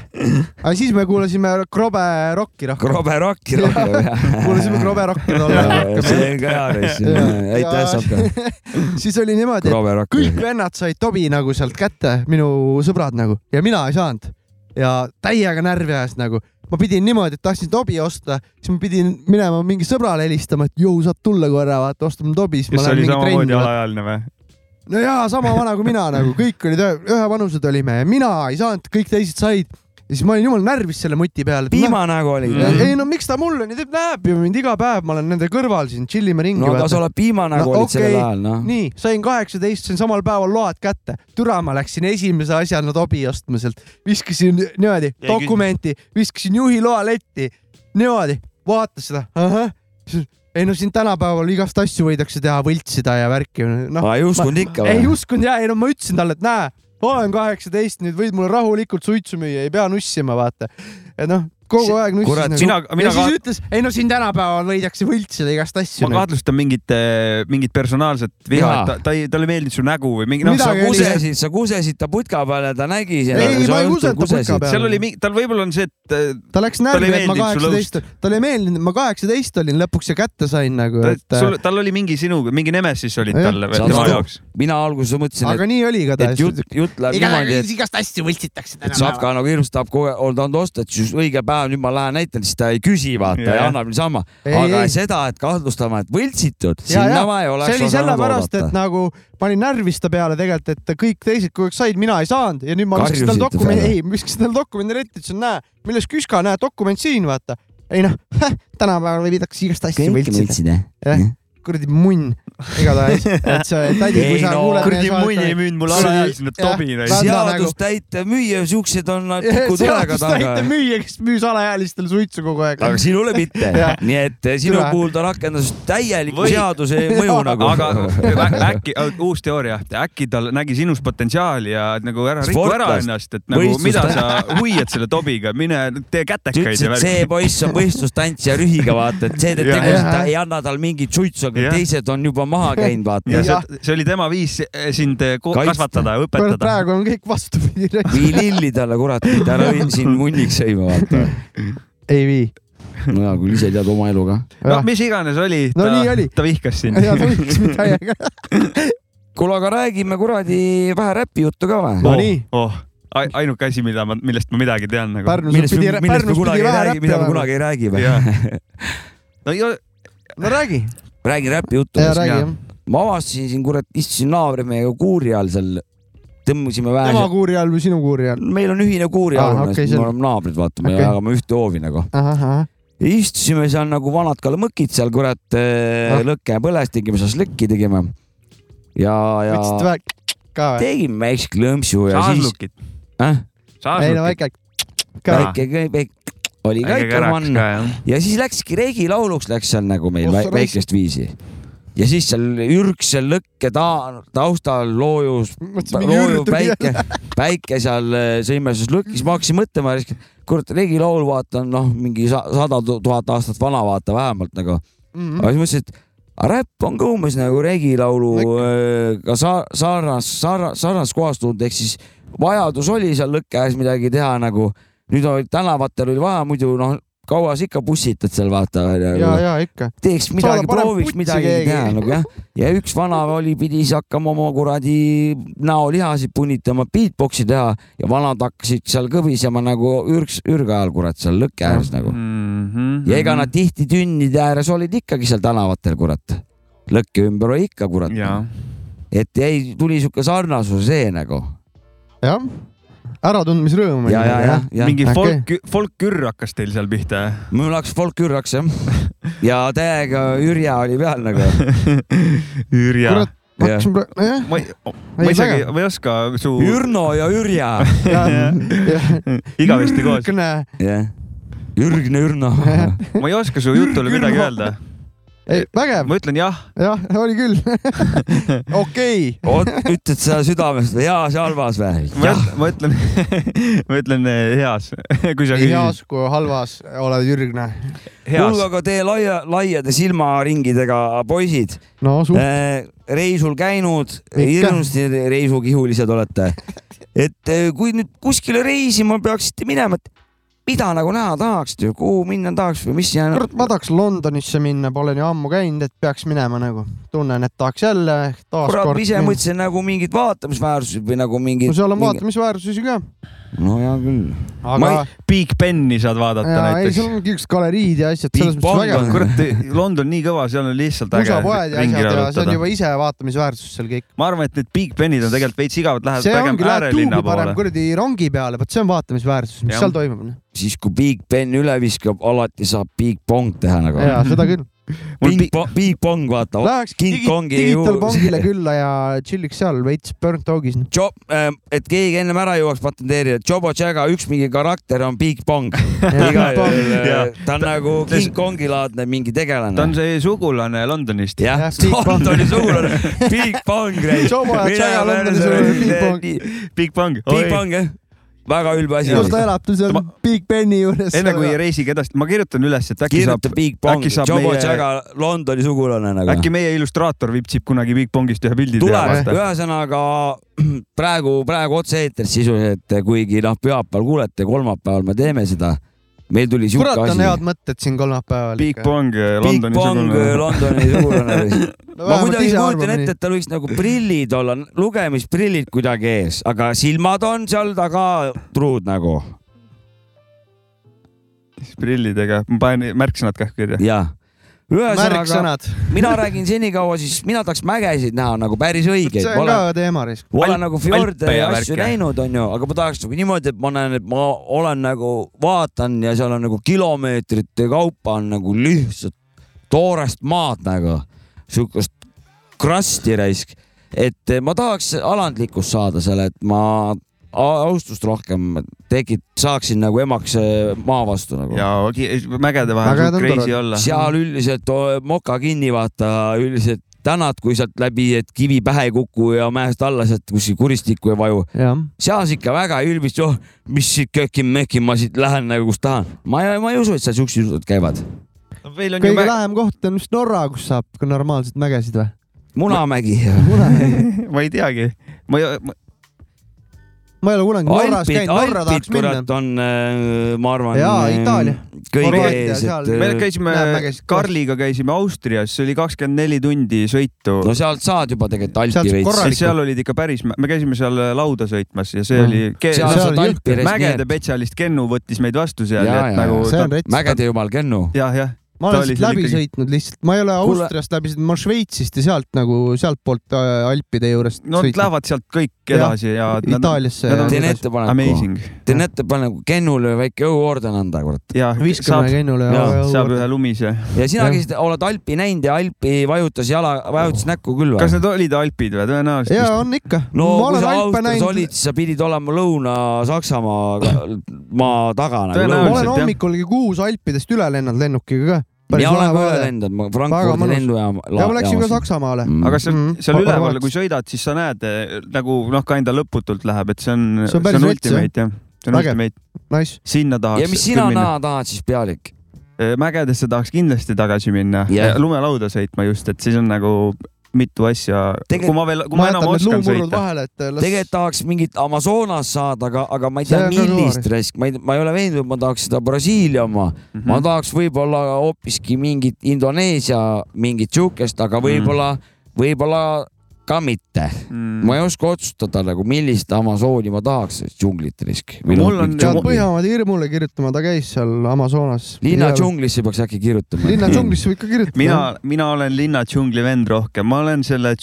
A: aga siis me kuulasime krobe rocki rohkem .
C: Krobe rocki rohkem, jah.
A: kuulasime krobe rocki tolle
C: Jaa,
A: ajal rohkem.
C: see on ka hea reis,
A: Ja-
C: jah. Aitäh,
A: ja-
C: Sapka.
A: siis oli niimoodi ,
C: Krobe
A: et
C: rocki.
A: kõik vennad said Tobi nagu sealt kätte , minu sõbrad nagu ja mina ei saanud ja täiega närvi ajas nagu ma pidin niimoodi , et tahtsin Tobi osta , siis ma pidin minema mingi sõbrale helistama , et jõu , saad tulla korra , vaata , ostame Tobi , siis ma
B: kes
A: lähen
B: oli
A: mingi trenni
B: samamoodi
A: vaata."
B: alaealine või ?
A: no jaa , sama vana kui mina nagu , kõik olid ühe- ühevanused olime ja mina ei saanud , kõik teised said . ja siis ma olin jumala närvis selle muti peale .
C: Piimanägu nagu oli.
A: ei no miks ta mulle nüüd teeb , näeb ju mind iga päev , ma olen nende kõrval siin , tšillime ringi .
C: No aga sa oled piimanägu olid sellel ajal, noh.
A: nii , sain kaheksateist , sain samal päeval load kätte . türa , ma läksin esimese asjana tobi ostma sealt , viskasin niimoodi
T: küll.
A: dokumenti , viskasin juhi loa letti , niimoodi , vaatas seda , ahah , ei no siin tänapäeval igast asju võidakse teha , võltsida ja värki .
C: Aa, ei uskunud ikka või?
A: Noh, ei uskunud ja , ei no ma ütlesin talle , et näe , olen kaheksateist , nüüd võid mulle rahulikult suitsu müüa , ei pea nussima , vaata . et noh , kogu aeg nussis .
B: kurat, mina-
A: ja
B: mina
A: siis
B: ka-
A: ütles , ei no siin tänapäeval võidakse võltsida igast asju noh.
B: ma . kahtlustan mingit , mingit personaalset viha
C: Jaa. ,
B: et ta , ta ei , talle ei meeldinud su nägu või mingi . noh,
C: noh, sa kusesid , sa kusesid ta putka peale , ta nägi .
B: seal oli , tal võib-olla on see , et äh,
A: ta läks
B: talle
A: närvi ,
B: ei
A: et ma
B: meeldinud su
A: kaheksateist
B: lõust. ,
A: talle ei meeldinud , et ma kaheksateist olin lõpuks ja kätte sain nagu ,
B: ta,
A: et .
B: sul , tal oli mingi sinuga , mingi nemesis olid
A: Jah.
B: talle
A: Saad
B: veel tema
A: aru?
B: jaoks .
C: mina alguses mõtlesin ,
A: Aga nii oli igatahes.
C: et jutt , jutt läheb niimoodi , et
A: igast asju võltsitakse
C: et Sapka nagu hirmstab kogu aeg , olen tahtnud osta , et siis õige päev nüüd ma lähen näitan , siis ta ei küsi , vaata yeah.
A: Jajah.
C: ja annab niisama .
A: Ei,
C: aga
A: ei.
C: ei. seda , et kahtlustama , et võltsitud ,
A: Ja,
C: sinna
A: ja.
C: ma ei
A: see
C: oleks
A: oli
C: osanud
A: sellepärast , et
C: oodata .
A: nagu ma olin närvis ta peale tegelikult , et kõik teised kogu aeg said , mina ei saanud ja nüüd ma viskasin talle
C: Karjusite
A: dokumendi ,
C: talle?
A: ei , ma viskasin talle dokumendi letti , ütlesin , näe , milles küska , näe , dokument siin , vaata . ei noh , tänapäeval võidakse igast asju
C: Kõike võltsida.
A: võltsida . jah , kuradi munn , igatahes , et see tädi , kui
C: Ei
A: sa
C: no.
A: kuuled .
C: Kuradi munn ei müünud mulle alaealisele tobi, näed.
A: nagu-
C: seadustäite müüja , siuksed on nad tikud ülega taga .
A: seadustäite müüja , kes müüs alaealistele suitsu kogu aeg .
C: aga sinule mitte
A: Jah. ,
C: nii et eh, sinu
A: Tule.
C: puhul ta rakendas täielikku
B: Või-
C: seaduse mõju nagu .
B: aga ä- äkki , uus teooria , äkki ta nägi sinus potentsiaali ja et nagu ära riku ära
C: Sportlast.
B: ennast , et nagu
C: Võistlust-
B: mida sa huiad selle tobiga , mine tee kätekaid
C: ütlesid ,
B: ja
C: see poiss on võistlustantsija rühiga , vaata , et see teeb
B: Jah.
C: tegusid , ta ei anna tal mingit suitsu , aga
B: Jah.
C: teised on juba maha käinud ,
B: ja
C: vaata .
B: see , see oli tema viis eh, sind eh, ko-
C: Kaitsta.
B: kasvatada ,
A: kurat ,
B: õpetada .
A: praegu on kõik vastupidi .
C: vii lilli talle , kurat , mitte ära vii siin munniks sõima , vaata .
A: ei vii .
C: no hea küll , ise tead oma elu ka .
B: no mis iganes oli ,
C: No nii
B: ta
C: oli. ,
B: ta vihkas sind .
C: Ja ta vihkas mind
A: täiega.
C: kuule , aga räägime kuradi vähe räpijuttu ka või ?
B: oh, . Oh. ainuke asi , mida ma , millest ma midagi tean nagu .
C: millest me , millest me kunagi ei räägi , mida me kunagi ei räägi või ?
B: no ei ole .
A: no räägi .
C: räägi
A: Jaa, räägi, jah.
C: räpijuttudest . ma avastasin siin , kurat , istusin naabrimehega kuuri all seal , tõmbasime
A: tema
C: vähe .
A: kuuri all või sinu kuuri all ?
C: meil on ühine kuuri all ,
A: Aa,
C: me
A: okei, selge.
C: oleme naabrid , vaata , me
A: Okei.
C: jagame ühte hoovi nagu .
A: ahah ,
C: istusime seal nagu vanad kalamõkid seal , kurat , lõkke põles , tegime šašlõkki , tegime . ja , ja
A: võtsid vähe ka või ?
C: tegime väikse klõmpsu ja siis . Äh?
B: Šašlõkid.
A: ei no väike ka .
C: väike , väike oli ka
A: Väike
C: ikka
A: käraks
C: mann
A: ka, jah.
C: ja siis läkski Regi lauluks läks seal nagu meil
A: Ossa
C: vä-
A: raisk.
C: väikest viisi . ja siis seal ürks seal lõkke ta taustal loojus ,
A: Mõtlesin, mingi
C: loojub
A: hüüd tuli
C: päike , päike seal eh, sõime siis lõkkis , ma hakkasin mõtlema , kurat Regi laul vaata on noh , mingi sa- sada tu- tuhat aastat vana vaata vähemalt nagu mm .
A: Mhm.
C: -hmm. aga siis mõtlesin , et aga räpp on ka umbes nagu Regi laulu eh, ka sa- sarnas , sarnas , sarnas kohas tulnud , ehk siis vajadus oli seal lõkke ääres midagi teha nagu , nüüd oli tänavatel oli vaja , muidu noh , kaua sa ikka bussitad seal vaata .
A: ja , ja ikka .
C: teeks midagi , prooviks midagi teha nagu jah . ja üks vana oli , pidi siis hakkama oma kuradi näolihasid punnitama , beatbox'i teha ja vanad hakkasid seal kõvisema nagu ürgs , ürge ajal kurat seal lõkke ääres nagu .
B: Mhm.
C: ja ega nad tihti tünnide ääres olid ikkagi seal tänavatel kurat , lõkke ümber oli ikka kurat . et jäi , tuli sihuke sarnasus see nagu .
A: jah , äratundmisrõõm .
C: ja , ja , ja , ja .
B: mingi folk , folkkürr hakkas teil seal pihta , jah ?
C: mul hakkas folkkürr hakkas jah . ja täiega Jürja oli peal nagu .
B: Jürja .
A: kurat , hakkasin praegu , jah .
B: ma ei , ma isegi , ma ei oska su .
C: Ürno ja Ürja
B: igavesti koos .
A: Ürgne.
C: jah . Ürgne Ürno .
B: ma ei oska su jutule midagi öelda .
A: ei , vägev .
B: ma ütlen jah .
A: jah , oli küll . okei .
C: ütled sa südamest või jaa , see halvas või ? jah ,
B: ma ütlen , ma ütlen eh, heas , kui sa
A: nii
B: küsid
A: heas . kui halvas oled ürgne .
C: kuulge , aga teie laia , laiade silmaringidega poisid Äh,
A: no, .
C: reisul käinud ,
A: Ikka.
C: hirmsasti reisukihulised olete . et eh, kui nüüd kuskile reisima peaksite minema , et mida nagu näha tahaksite , kuhu minna tahaks või mis jäänud ?
A: kurat , ma tahaks Londonisse minna , pole nii ammu käinud , et peaks minema nagu . tunnen , et tahaks jälle taas
C: kurat ,
A: kord
C: ma ise
A: minna.
C: mõtlesin nagu mingid vaatamisväärsused või nagu mingid .
A: no seal on . vaatamisväärsusi ka .
C: no hea küll .
B: Aga... Big Beni saad vaadata
A: jaa , ei ,
B: näiteks
A: seal . ongi üks galeriid ja asjad , selles mõttes vägev .
B: kurat , London nii kõva , seal on lihtsalt äge
A: musapoed ja
B: ringi
A: asjad ja see on
B: jalutada
A: juba . ise vaatamisväärsus seal kõik .
B: ma arvan , et need Big Benid on tegelikult veits igavad , lähevad
A: see
B: pigem
A: ongi , lähed tuubi
B: äärelinna
A: parem
B: poole .
A: kuradi rongi peale , vot see on vaatamisväärsus , mis
C: Jah.
A: seal toimub . noh.
C: siis , kui Big Ben üle viskab , alati saab Big Bong teha nagu .
A: jaa , seda küll .
C: Big Bong , Big Bong , vaata .
A: Läheks
C: King
A: digi-
C: Kongi
A: Digital Bongile külla ja tšilliks seal veits Burnt Dogis . noh.
C: Job , et keegi ennem ära jõuaks patenteerida , Jobo Jaga üks mingi karakter on Big Bong . igal juhul
B: Jaa.
C: äh, ta on nagu King Kongi laadne mingi tegelane .
B: ta on see sugulane Londonist .
C: jah , Londoni sugulane , Big Bong .
B: Big Bang .
C: Big Bang jah , väga ülbe asi .
A: kus ta elab , ta seal Big Beni juures .
B: enne kui reisige edasi , ma kirjutan üles , et äkki
C: kirjuta
B: saab ,
C: Big Bong
B: äkki , saab
C: Jobo Jaga
B: meie ,
C: Londoni sugulane nagu .
B: äkki meie illustraator vipsib kunagi Big Bangist ühe pildi
C: tuleb , ühesõnaga praegu , praegu otse-eetris sisuliselt , kuigi noh , pühapäeval kuulete , kolmapäeval me teeme seda . meil tuli siuke
A: kurat , on
C: asi .
A: head mõtted siin kolmapäeval .
B: Big Bang ,
C: Big
B: Londoni
C: Bong , Londoni sugulane
B: sugulane .
C: ma kuidagi
A: ise
C: kujutan
A: arvame
C: ette , et tal võiks nagu prillid olla , lugemisprillid kuidagi ees , aga silmad on seal taga truud nagu .
B: prillidega , ma panen märksõnad kah kirja .
C: jah . ühesõnaga
A: Märksõnad. ,
C: mina räägin senikaua , siis mina tahaks mägesid näha nagu päris õigeid .
A: see on ka teema risk .
C: Pole nagu fjorde ja asju
A: värki.
C: näinud , onju , aga ma tahaks nagu niimoodi , et ma näen , et ma olen nagu vaatan ja seal on nagu kilomeetrite kaupa on nagu lihtsalt toorest maad nagu , siukest krasti raisk . et eh, ma tahaks alandlikkust saada selle , et ma a- austust rohkem tekit- , saaksin nagu emaks eh, maa vastu nagu .
B: ja ki- mägede vahel Mäged on suht crazy tored. olla.
C: seal üldiselt o- moka kinni vaata , üldiselt tänad , kui sealt läbi , et kivi pähe ei kuku ja mäest alla sealt kuskil kuristikku ei vaju .
A: jah .
C: seas ikka väga ei ülbist , oh , mis siit köki-möki , ma siit lähen nagu kus tahan . ma ei , ma ei usu , et seal siuksed jutud käivad .
B: meil
A: kõige lähem koht on vist Norra , kus saab ka normaalseid mägesid või ?
C: Munamägi .
B: ma ei teagi , ma ei ,
A: ma ei ole kunagi Norras
C: Alpid ,
A: käinud , Norra
C: Alpid
A: tahaks minna .
C: kurat on , ma arvan .
A: Jaa, Itaalia.
C: kõige
A: Horvaatia
C: ees , et .
B: me käisime , Karliga käisime Austrias , see oli kakskümmend neli tundi sõitu .
C: no sealt saad juba tegelikult
A: Sealt
C: alti
A: veits. korralikult.
B: seal olid ikka päris , me käisime seal äh, lauda sõitmas ja see
C: Mm.
B: oli
C: Seal saad alpi reis-
B: mägede spetsialist Kennu võttis meid vastu seal , et nagu .
C: mägede jumal Kennu .
B: jah , Ah, jah .
A: ma olen siit läbi sõitnud lihtsalt , ma ei ole
B: Kuule-
A: Austriast läbi sõitnud , ma olen Šveitsist ja sealt nagu sealtpoolt äh, Alpide juurest
B: no nad lähevad sealt kõik edasi ja .
A: Itaaliasse .
C: teen ettepaneku
B: Amazing. ,
C: teen ettepaneku Kennule väike õuorden anda , kurat .
B: ja
A: Viskame Kennule õhuorden.
B: saab ühe lumise .
C: ja sina , kes te- oled Alpi näinud ja Alpi vajutas jala , vajutas näkku küll või ?
B: Oh. kas need olid alpid või tõenäoliselt ?
A: ja on ikka .
C: no
A: ma
C: kui
A: olen
C: sa
A: Alpe
C: Austrias
A: näinud ,
C: olid , siis sa pidid olema Lõuna-Saksamaa maa taga nagu
A: ma olen
C: lõunas .
A: hommikul kuus Alpidest üle lennanud lennukiga ka .
C: mina olen ka üle lennanud , ma Frankfurdi lennujaama .
A: ja ma läksin ka . Saksamaale .
C: Mm.
A: Mm-hmm.
B: aga seal , seal üleval , kui sõidad , siis sa näed eh, nagu noh , kinda lõputult läheb , et see on ,
A: See on
B: see
A: päris
B: on
A: rets, jah.
B: ultimate jah , see on
A: Vägev.
B: ultimate
A: Nice. .
B: sinna tahaks .
C: ja mis sina näha tahad siis , pealik ?
B: mägedesse tahaks kindlasti tagasi minna
C: Jah.
B: yeah. , lumelauda sõitma just , et siis on nagu mitu asja , kui ma veel , kui ma enam oskan sõita .
C: tegelikult tahaks mingit Amazonas saada , aga , aga ma ei
B: See
C: tea ,
B: on ka
C: millist
B: kõva
C: risk , ma ei , ma ei ole veendunud , ma tahaks seda Brasiilia oma mm .
A: Mhm.
C: -hmm. ma tahaks võib-olla hoopiski mingit Indoneesia mingit sihukest ,
A: Mhm.
C: aga võib-olla mm , -hmm. võib-olla ka mitte
A: Mhm.
C: mm . -hmm. ma ei oska otsustada nagu , millist Amazoni ma tahaks , džunglit risk .
A: pead Põhjamaade hirmule kirjutama , ta käis seal Amazonas .
C: linna . džunglisse peaks äkki kirjutama .
A: linna džunglisse võib ka kirjutada .
B: mina , mina olen linna džungli vend rohkem , ma olen selle ,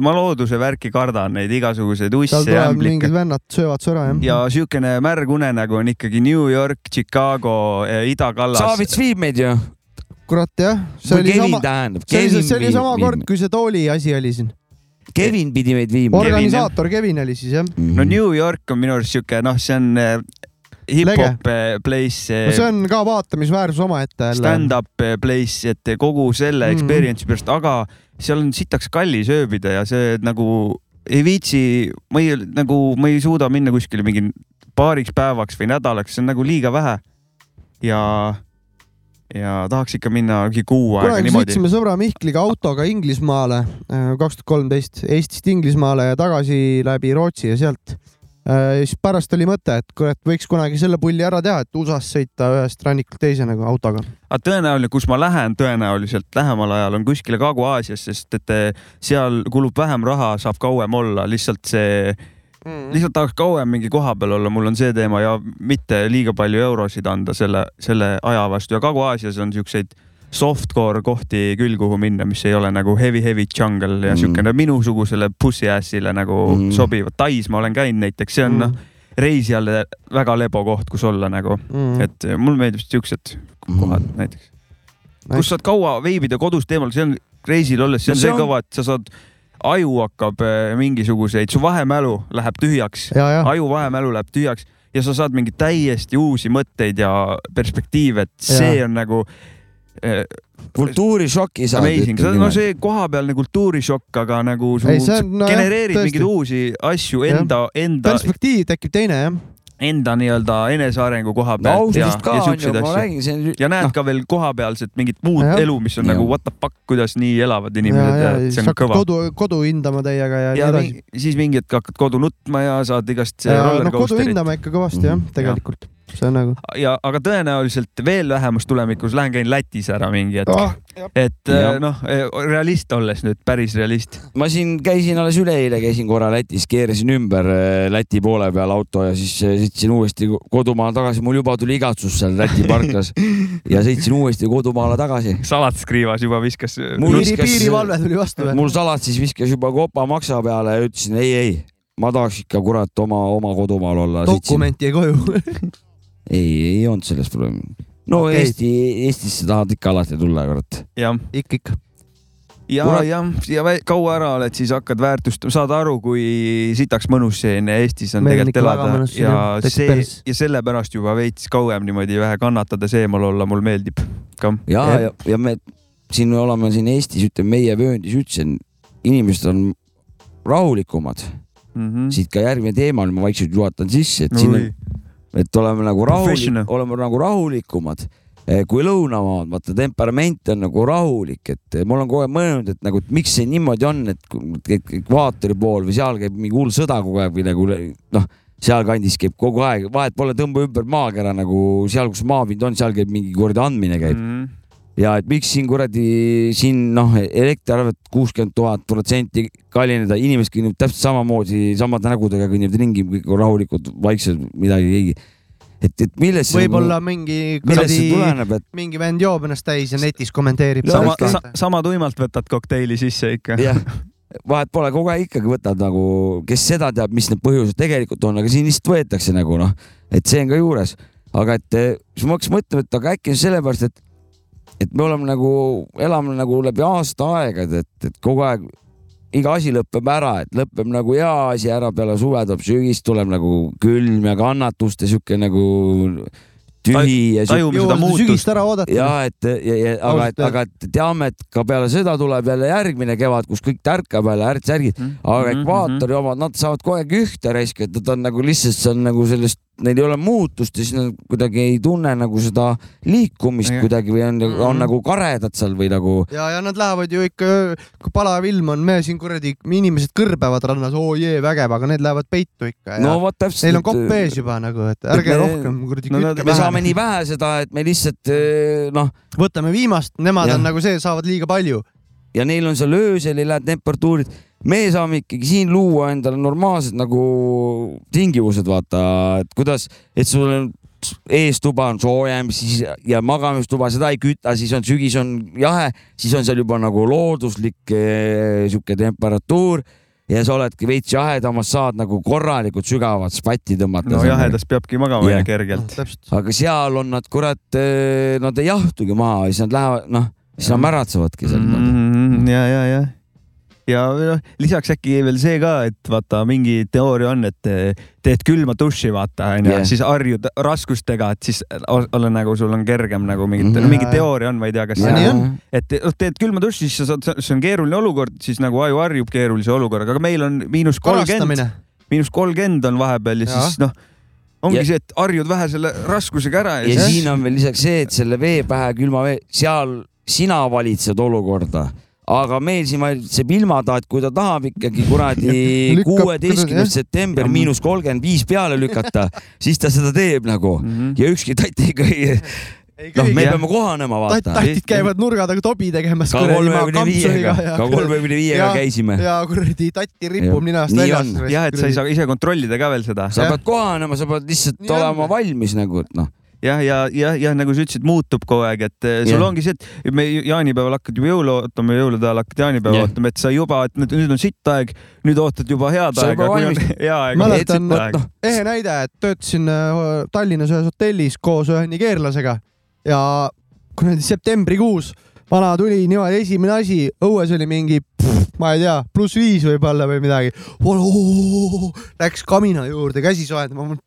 B: ma looduse värki kardan , neid igasuguseid
A: seal
B: usse ja
A: tulevad mingid
B: ämblikke .
A: vennad , söövad sõra jah .
B: ja siukene märg unenägu on ikkagi New York , Chicago , eh, idakallas .
C: Saavits viib meid ju .
A: kurat jah , see
C: Või
A: oli
C: Kevin
A: sama ,
C: tähendab,
A: see oli
C: Kevin
A: see oli
C: viib-
A: sama
C: viib
A: kord , kui see tooli asi oli siin .
C: Kevin pidi meid viima .
A: organisaator Kevin oli siis jah ?
B: no New York on minu arust sihuke , noh , see on eh, hip-hop eh, place
A: no see , on ka vaatamisväärsus omaette jälle .
B: stand-up eh, place , et kogu selle
A: Mhm.
B: experience'i pärast , aga seal on sitaks kallis ööbida ja see nagu ei viitsi , ma ei nagu , ma ei suuda minna kuskile mingi paariks päevaks või nädalaks , see on nagu liiga vähe . ja , ja tahaks ikka minna mingi kuu aega
A: kunagi
B: niimoodi
A: sõitsime . sõbra Mihkliga autoga Inglismaale , kaks tuhat kolmteist , Eestist Inglismaale ja tagasi läbi Rootsi ja sealt . siis pärast oli mõte , et kurat , võiks kunagi selle pulli ära teha , et USA-s sõita ühest rannikult teise nagu autoga .
B: aga tõenäoline , kus ma lähen tõenäoliselt lähemal ajal on kuskile Kagu-Aasias , sest et eh, seal kulub vähem raha , saab kauem olla , lihtsalt see mm. , lihtsalt tahaks kauem mingi koha peal olla , mul on see teema ja mitte liiga palju eurosid anda selle , selle aja vastu ja Kagu-Aasias on siukseid softcore kohti küll , kuhu minna , mis ei ole nagu heavy , heavy jungle ja mm. siukene minusugusele pussy-ass'ile nagu mm. sobivad . Tais ma olen käinud näiteks , see on mm. noh , reisijale väga lebo koht , kus olla nagu
A: Mm.
B: mm. , et mulle meeldib siuksed
A: Mhm.
B: kohad mm. näiteks . kus saad kaua veebida kodust eemal , see on reisil olles , see on
A: No
B: no,
A: see
B: see
A: on-
B: kõva , et sa saad , aju hakkab äh, mingisuguseid , su vahemälu läheb tühjaks ,
A: Ja, ja.
B: aju vahemälu läheb tühjaks ja sa saad mingeid täiesti uusi mõtteid ja perspektiive , et see
C: Ja.
B: ja. on nagu äh,
C: kultuurišoki saad,
B: Amazing ,
C: ütleme
B: no
C: niimoodi.
B: see kohapealne kultuurišokk , aga nagu su,
A: Ei,
B: Ei,
A: see
B: on,
A: on- no
B: no,
A: jah,
B: genereerid
A: tõesti.
B: mingeid uusi asju
A: Jah.
B: enda , enda ,
A: perspektiiv tekib teine jah .
B: enda nii-öelda enesearengu koha
C: no
B: pealt ja,
C: austusest ka
B: ja
C: on ju ,
B: siukseid
C: ma
B: asju .
C: räägin , see on
B: ja näed no. ka veel kohapealset mingit muud
A: Jah.
B: ja. elu , mis on ja. nagu what the fuck , kuidas nii elavad inimesed ja, ja, ja see on kõva .
A: kodu , kodu hindama teiega ja, ja
B: ja
A: nii edasi .
B: mi- siis mingi hetk hakkad kodu nutma ja saad igast
A: ja
B: roller
A: noh , kodu
B: coaster'it
A: hindame ikka kõvasti jah , tegelikult . see on nagu ,
B: ja , aga tõenäoliselt veel lähemas tulevikus lähen käin Lätis ära mingi hetk
A: Ah,
B: oh, . et äh,
C: Jah.
B: noh , realist olles nüüd , päris realist .
C: ma siin käisin alles üleeile , käisin korra Lätis , keerasin ümber äh, Läti poole peal auto ja siis äh, sõitsin uuesti ko- kodumaale tagasi , mul juba tuli igatsus seal Läti parklas ja sõitsin uuesti kodumaale tagasi .
B: salatskriivas juba viskas .
A: Piiri- piirivalve tuli vastu või?
C: mul salat siis viskas juba kopa maksa peale ja ütlesin ei , ei , ma tahaks ikka kurat oma , oma kodumaal olla .
A: dokumenti jäi koju .
C: ei , ei olnud selles probleemi . no
A: Okei.
C: okay. Eesti , Eestisse tahad ikka alati tulla , kurat .
B: jah .
A: ikka , ikka .
B: ja ,
C: Kurat.
B: ja , ja vä- kaua ära oled , siis hakkad väärtustama , saad aru , kui sitaks mõnus siin Eestis on
A: Meil on
B: tegelikult
A: ikka väga
B: elada
A: mõnus siin,
B: ja
A: jah. Täitsa
B: see
A: päris.
B: ja sellepärast juba veits kauem niimoodi vähe kannatades eemal olla , mul meeldib ka .
C: ja , ja , ja me siin oleme siin Eestis , ütleme meie vööndis üldse on- inimesed on rahulikumad mm .
B: -hmm.
C: siit ka järgmine teema , ma vaikselt juhatan sisse , et
B: Oi.
C: siin on , et oleme nagu rahulik
B: Professional. ,
C: oleme nagu rahulikumad eh, kui lõunamaad , vaata temperament on nagu rahulik , et mul on kogu aeg mõelnud , et nagu , et miks see niimoodi on , et kui- et ekvaatori pool või seal käib mingi hull sõda kogu aeg või nagu noh , sealkandis käib kogu aeg , vahet pole , tõmba ümber maakera nagu seal , kus maapind on , seal käib mingi kuradi andmine käib
B: Mhm.
C: mm . -hmm ja et miks siin kuradi siin noh , elektriarved kuuskümmend tuhat protsenti kallineda , inimesed kõnnivad täpselt samamoodi , samade nägudega kõnnivad ringi , kõik on rahulikud , vaiksed , midagi keegi . et , et millest see
A: võib-olla
C: nagu,
A: mingi
C: millest see tuleneb , et
A: mingi vend joob ennast täis ja netis kommenteerib .
B: sama , sa, sama tuimalt võtad kokteili sisse ikka .
C: jah , vahet pole , kogu aeg ikkagi võtad nagu , kes seda teab , mis need põhjused tegelikult on , aga siin lihtsalt võetakse nagu noh , et see on ka juures . aga et eh, siis ma hakkasin mõtlema , et aga äkki on sellepärast , et , et me oleme nagu , elame nagu läbi aastaaegade , et , et kogu aeg iga asi lõpeb ära , et lõpeb nagu hea asi ära , peale suve tuleb sügis , tuleb nagu külm ja kannatust ja sihuke nagu tühi ja .
B: tajume seda Jõuame seda muutust. sügist ära oodata.
C: ja et , aga ,
B: Ausalt
C: et , aga et teame , et ka peale seda tuleb jälle järgmine kevad , kus kõik tärkab jälle , ärts järgid , aga ekvaatori omad , nad saavad kogu aeg ühte raiska , et nad on nagu lihtsalt , see on nagu sellest , neil ei ole muutust ja siis nad kuidagi ei tunne nagu seda liikumist kuidagi või on , on nagu karedad seal või nagu
A: ja , ja nad lähevad ju ikka , kui palav ilm on , me siin kuradi , inimesed kõrbevad rannas , oo jee , vägev , aga need lähevad peitu ikka .
C: No vot täpselt,
A: Neil on kopp
C: et-
A: ees juba nagu , et ärge
C: me-
A: me... rohkem kuradi
C: no,
A: no,
C: nad-
A: kütke
C: me saame nii vähe seda , et me lihtsalt eh, noh .
A: võtame viimast , nemad on nagu see , saavad liiga palju .
C: ja neil on seal öösel ei lähe temperatuurid , me saame ikkagi siin luua endale normaalsed nagu tingimused , vaata , et kuidas , et sul on eestuba on soojem , siis ja magamistuba , seda ei küta , siis on sügis on jahe , siis on seal juba nagu looduslik eh, sihuke temperatuur ja sa oledki veits jahedamas , saad nagu korralikult sügavat spatti tõmmata .
B: no jahedas peabki magama
C: Jah.
B: yeah. kergelt .
C: aga seal on nad , kurat , nad ei jahtugi maha , siis nad lähevad , noh , siis nad märatsevadki seal .
B: Mm-hmm. ja , ja , ja . ja noh, lisaks äkki veel see ka , et vaata mingi teooria on , et eh, teed külma duši , vaata onju
C: Jah.
B: yeah. , siis harjud raskustega , et siis o- ole nagu sul on kergem nagu mingit no, , mingi teooria on , ma ei tea , kas
C: Jaa. Nii on. .
B: et noh, teed külma duši , siis sa saad , see on keeruline olukord , siis nagu aju harjub keerulise olukorraga , aga meil on miinus kolmkümmend
A: Korrastamine. ,
B: miinus kolmkümmend on vahepeal ja siis
C: Jaa.
B: noh , ongi
C: Ja-
B: see , et harjud vähe selle raskusega ära
C: ja siin on veel lisaks see , et selle vee pähe külma vee , seal sina valitsed olukorda , aga meil siin valitseb ilmataat , kui ta tahab ikkagi kuradi
B: Lükkab-
C: kuueteistkümnes
B: jah.
C: september miinus kolmkümmend viis peale lükata , siis ta seda teeb nagu mm -hmm.
B: Mhm.
C: ja ükski tatt ikka ei , noh , me
A: jah.
C: peame kohanema , vaata .
A: tatid käivad nurga taga tobi tegemas .
C: Ka kolmekümne viiega, ka kolmekümne viiega käisime.
A: ja kuradi tatti ripub ninast väljas .
B: jah , et sa ei saa ise kontrollida ka veel seda .
A: Sa Jah. pead
B: kohanema , sa pead lihtsalt
A: Nii on. olema
B: valmis nagu , et noh jah , ja , ja , ja nagu sa ütlesid , muutub kogu aeg , et eh, sul
C: Jah.
B: ongi see , et me ju- jaanipäeval hakkad juba jõule ootama , jõulude ajal hakkad jaanipäeva
C: Jah.
B: yeah. ootama , et sa juba , et nüüd, nüüd on sitt aeg , nüüd ootad juba head
C: Sa
B: aega .
C: juba valmis-
B: hea aeg .
A: mäletan , ehe näide , et töötasin äh, Tallinnas ühes hotellis koos ühe nigeerlasega ja kuradi septembrikuus vana tuli niimoodi , esimene asi , õues oli mingi , ma ei tea , pluss viis võib-olla või midagi . Läks kamina juurde käsi soojendama , ma mõtlen ,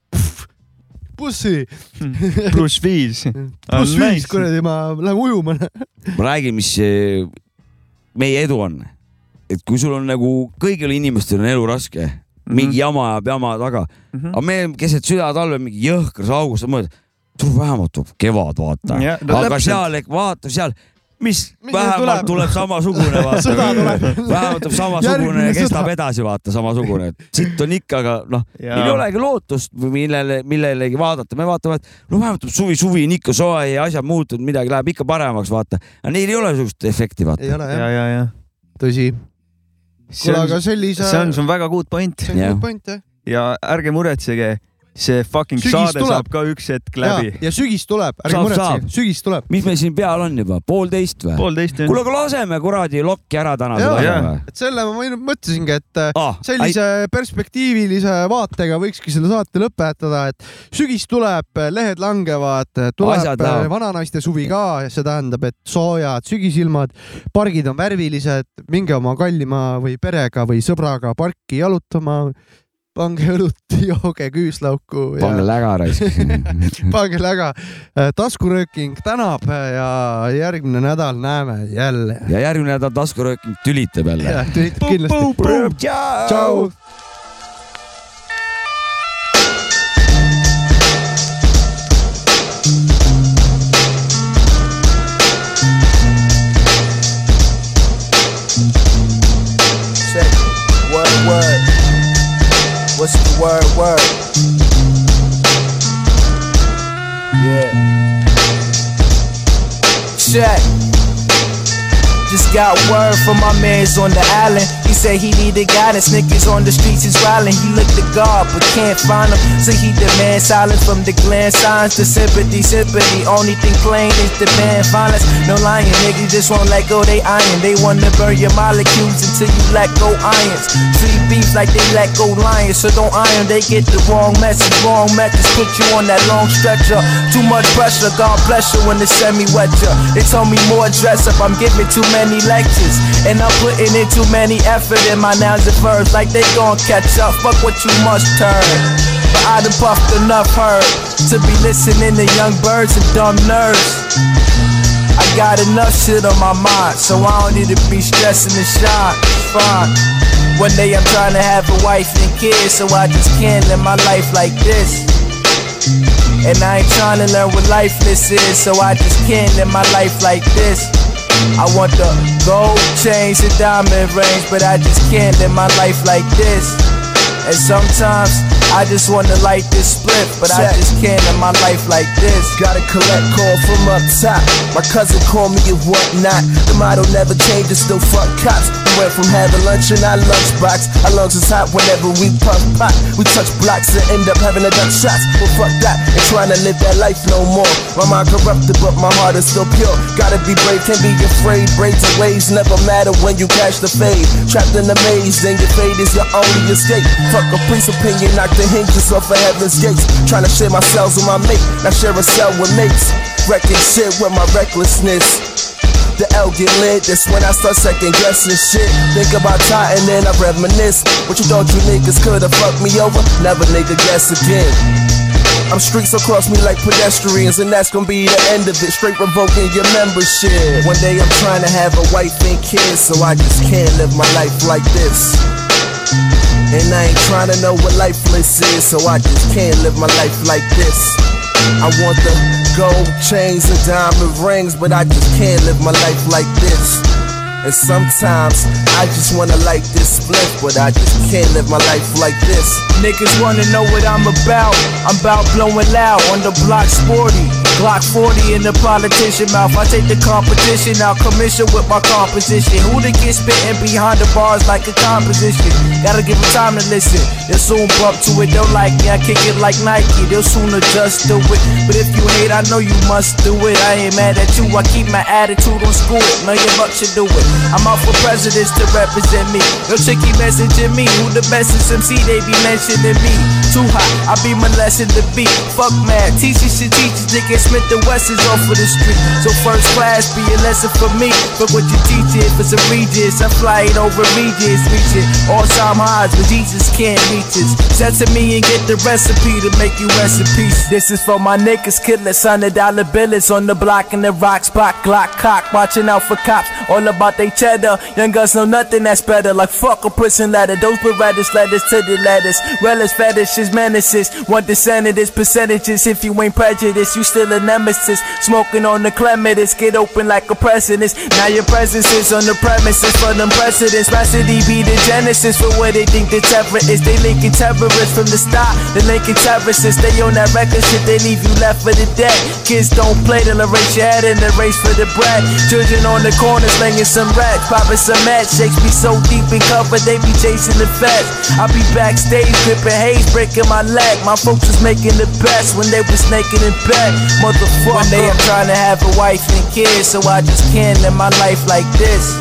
A: pussi .
B: Hmm.
C: noh.
B: pluss viis .
A: pluss viis , kuradi , ma lähen ujuma .
C: ma räägin , mis eh, meie edu on . et kui sul on nagu kõigil inimestel on elu raske mm ,
B: Mhm.
C: -hmm. mingi jama ajab jama taga mm , -hmm. aga meil keset südatalve mingi jõhkras august , sa mõtled , tuleb vähemalt tuleb kevad , vaata
B: Jah, no
C: aga
B: täpselt.
C: seal , vaata seal , mis
B: Mis
C: vähemalt
B: tuleb?
C: tuleb samasugune , vaata .
B: Sõda tuleb.
C: vähemalt tuleb samasugune
B: Järgmine
C: ja kestab
B: sõda.
C: edasi , vaata samasugune , et sitt on ikka , aga noh ,
B: Jaa.
C: meil ei olegi lootust või millele , millelegi vaadata , me vaatame , et no vähemalt tuleb suvi , suvi on ikka soe ja asjad muutunud , midagi läheb ikka paremaks , vaata . aga neil ei ole niisugust efekti , vaata .
A: Ei ole, jah. Ja,
B: ja , ja .
A: tõsi . kuule , aga see oli
B: see on , see on väga good point .
A: see on good point jah .
B: ja ärge muretsege , see fucking
A: Sügis
B: sügis saade
A: tuleb.
B: tuleb. saab ka üks hetk läbi .
A: ja sügis tuleb , ärge
C: Saab,
A: muretsege ,
C: saab.
A: sügis tuleb .
C: mis meil siin peal on juba , poolteist või ?
B: Poolteist, jah.
C: kuule , aga laseme kuradi lokki ära täna seda asja või ?
A: et selle ma võin- mõtlesingi , et
C: Ah,
A: ah, sellise ai... perspektiivilise vaatega võikski selle saate lõpetada , et sügis tuleb , lehed langevad ,
C: Asjad
A: tuleb
C: lähevad.
A: vananaiste suvi ka ja see tähendab , et soojad sügisilmad , pargid on värvilised , minge oma kallima või perega või sõbraga parki jalutama , pange õlut , jooge küüslauku ja
C: pange läga raisk .
A: pange läga . taskurööking tänab ja järgmine nädal näeme jälle .
C: ja järgmine nädal taskurööking tülitab jälle
A: jah ,. tülitab kindlasti . tšau .
E: Check. Word, word. What's the word, word? Yeah. Check. Just got word from my mans on the island. He said he needed guidance. Niggas on the streets is wildin'. He looked to God, but can't find him. So he demands silence from the gland signs to sympathy, sympathy. Only thing plain is demand violence. No lying, niggas just won't let go they iron. They wanna burn your molecules until you let go irons. Treat beef like they let go lions. So don't iron, they get the wrong message. Wrong methods put you on that long stretcher. Too much pressure, God bless you when the semi wet ya. They told me more dress up, I'm giving too many lectures. And I'm putting in too many effort in my nouns and verbs. Like they gon' catch up, fuck what you must turn. But I done buffed enough herd to be listening to young birds and dumb nerds. I got enough shit on my mind, so I don't need to be stressing and shy. It's fine. One day I'm trying to have a wife and kids, so I just can't live my life like this. And I ain't trying to learn what lifeless is, so I just can't live my life like this. I want the gold chains and diamond rings, but I just can't live my life like this. And sometimes I just wanna light this split, but I
U: Check.
E: just can't live my life like this.
U: Got a collect call from up top. My cousin called me and whatnot. The motto never changes, still fuck cops. We went from having lunch in our lunchbox. Our lungs is hot whenever we pump pot. We touch blocks and end up having a duck shots. Well, fuck that. Ain't trying to live that life no more. My mind corrupted, but my heart is still pure. Gotta be brave, can't be afraid. Braids and waves never matter when you catch the fade. Trapped in the maze, then your fade is your only escape. Fuck a priest's opinion, knock the hinges off of heaven's gates. Trying to share my cells with my mate, not share a cell with mates. Wrecking shit with my recklessness. The L get lit, that's when I start second guessing shit. Think about time and then I reminisce. What you thought you niggas could've fucked me over? Never nigga guess again. I'm streets so cross me like pedestrians, and that's gonna be the end of it. Straight revoking your membership. One day I'm trying to have a wife and kids, so I just can't live my life like this. And I ain't trying to know what lifeless is, so I just can't live my life like this. I want the gold chains and diamond rings, but I just can't live my life like this. And sometimes I just wanna like this split, but I just can't live my life like this.
E: Niggas wanna know what I'm about. I'm about blowing loud on the block sporty. Glock 40 in the politician mouth. I take the competition out, commission with my composition. Who to get spitting behind the bars like a composition? Gotta give 'em time to listen. They'll soon bump to it. They'll like me. I kick it like Nike. They'll soon adjust to it. But if you hate, I know you must do it. I ain't mad at you. I keep my attitude on school. It million bucks should do it. I'm out for presidents to represent me. Yo, chicky messaging me. Who the best is MC? They be mentioning me. Too hot. I be molesting the beat. Fuck mad. Teachers should teach us. Nigga Smith and West is off of the street. So first class be a lesson for me. But what you teach it for some regions. I fly it over regions. Reaching all time highs, but Jesus can't reach us. Set to me and get the recipe to make you rest in peace. This is for my niggas. Killers, hundred dollar billets on the block and the rock spot. Glock cock. Watching out for cops. All about they cheddar. Young guns know nothing that's better. Like fuck a prison ladder. Those berettas letters to the letters. Relish fetishes, menaces. One descent of this percentages. If you ain't prejudiced, you still a nemesis. Smoking on the clematis. Get open like a precedence. Now your presence is on the premises for them precedents. Recipe be the genesis for what they think the terror is. They linking terrorists from the start. They linking terrorists. They on that record shit. They leave you left for the dead. Kids don't play. They'll erase your head and the race for the bread. Children on the corner slinging some racks. Popping some mad shakes. Be so deep in cover. They be chasing the facts. I be backstage gripping haze. Breaking my leg. My folks was making the best when they was naked in bed. Motherfucker. One day I'm trying to have a wife and kids. So I just can't live my life like this.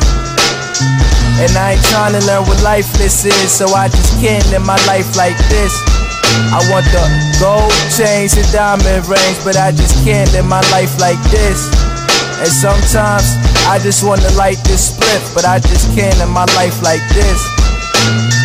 E: And I ain't trying to learn what lifeless is. So I just can't live my life like this. I want the gold chains and diamond rings, but I just can't live my life like this. And sometimes I just wanna light this split, but I just can't live my life like this.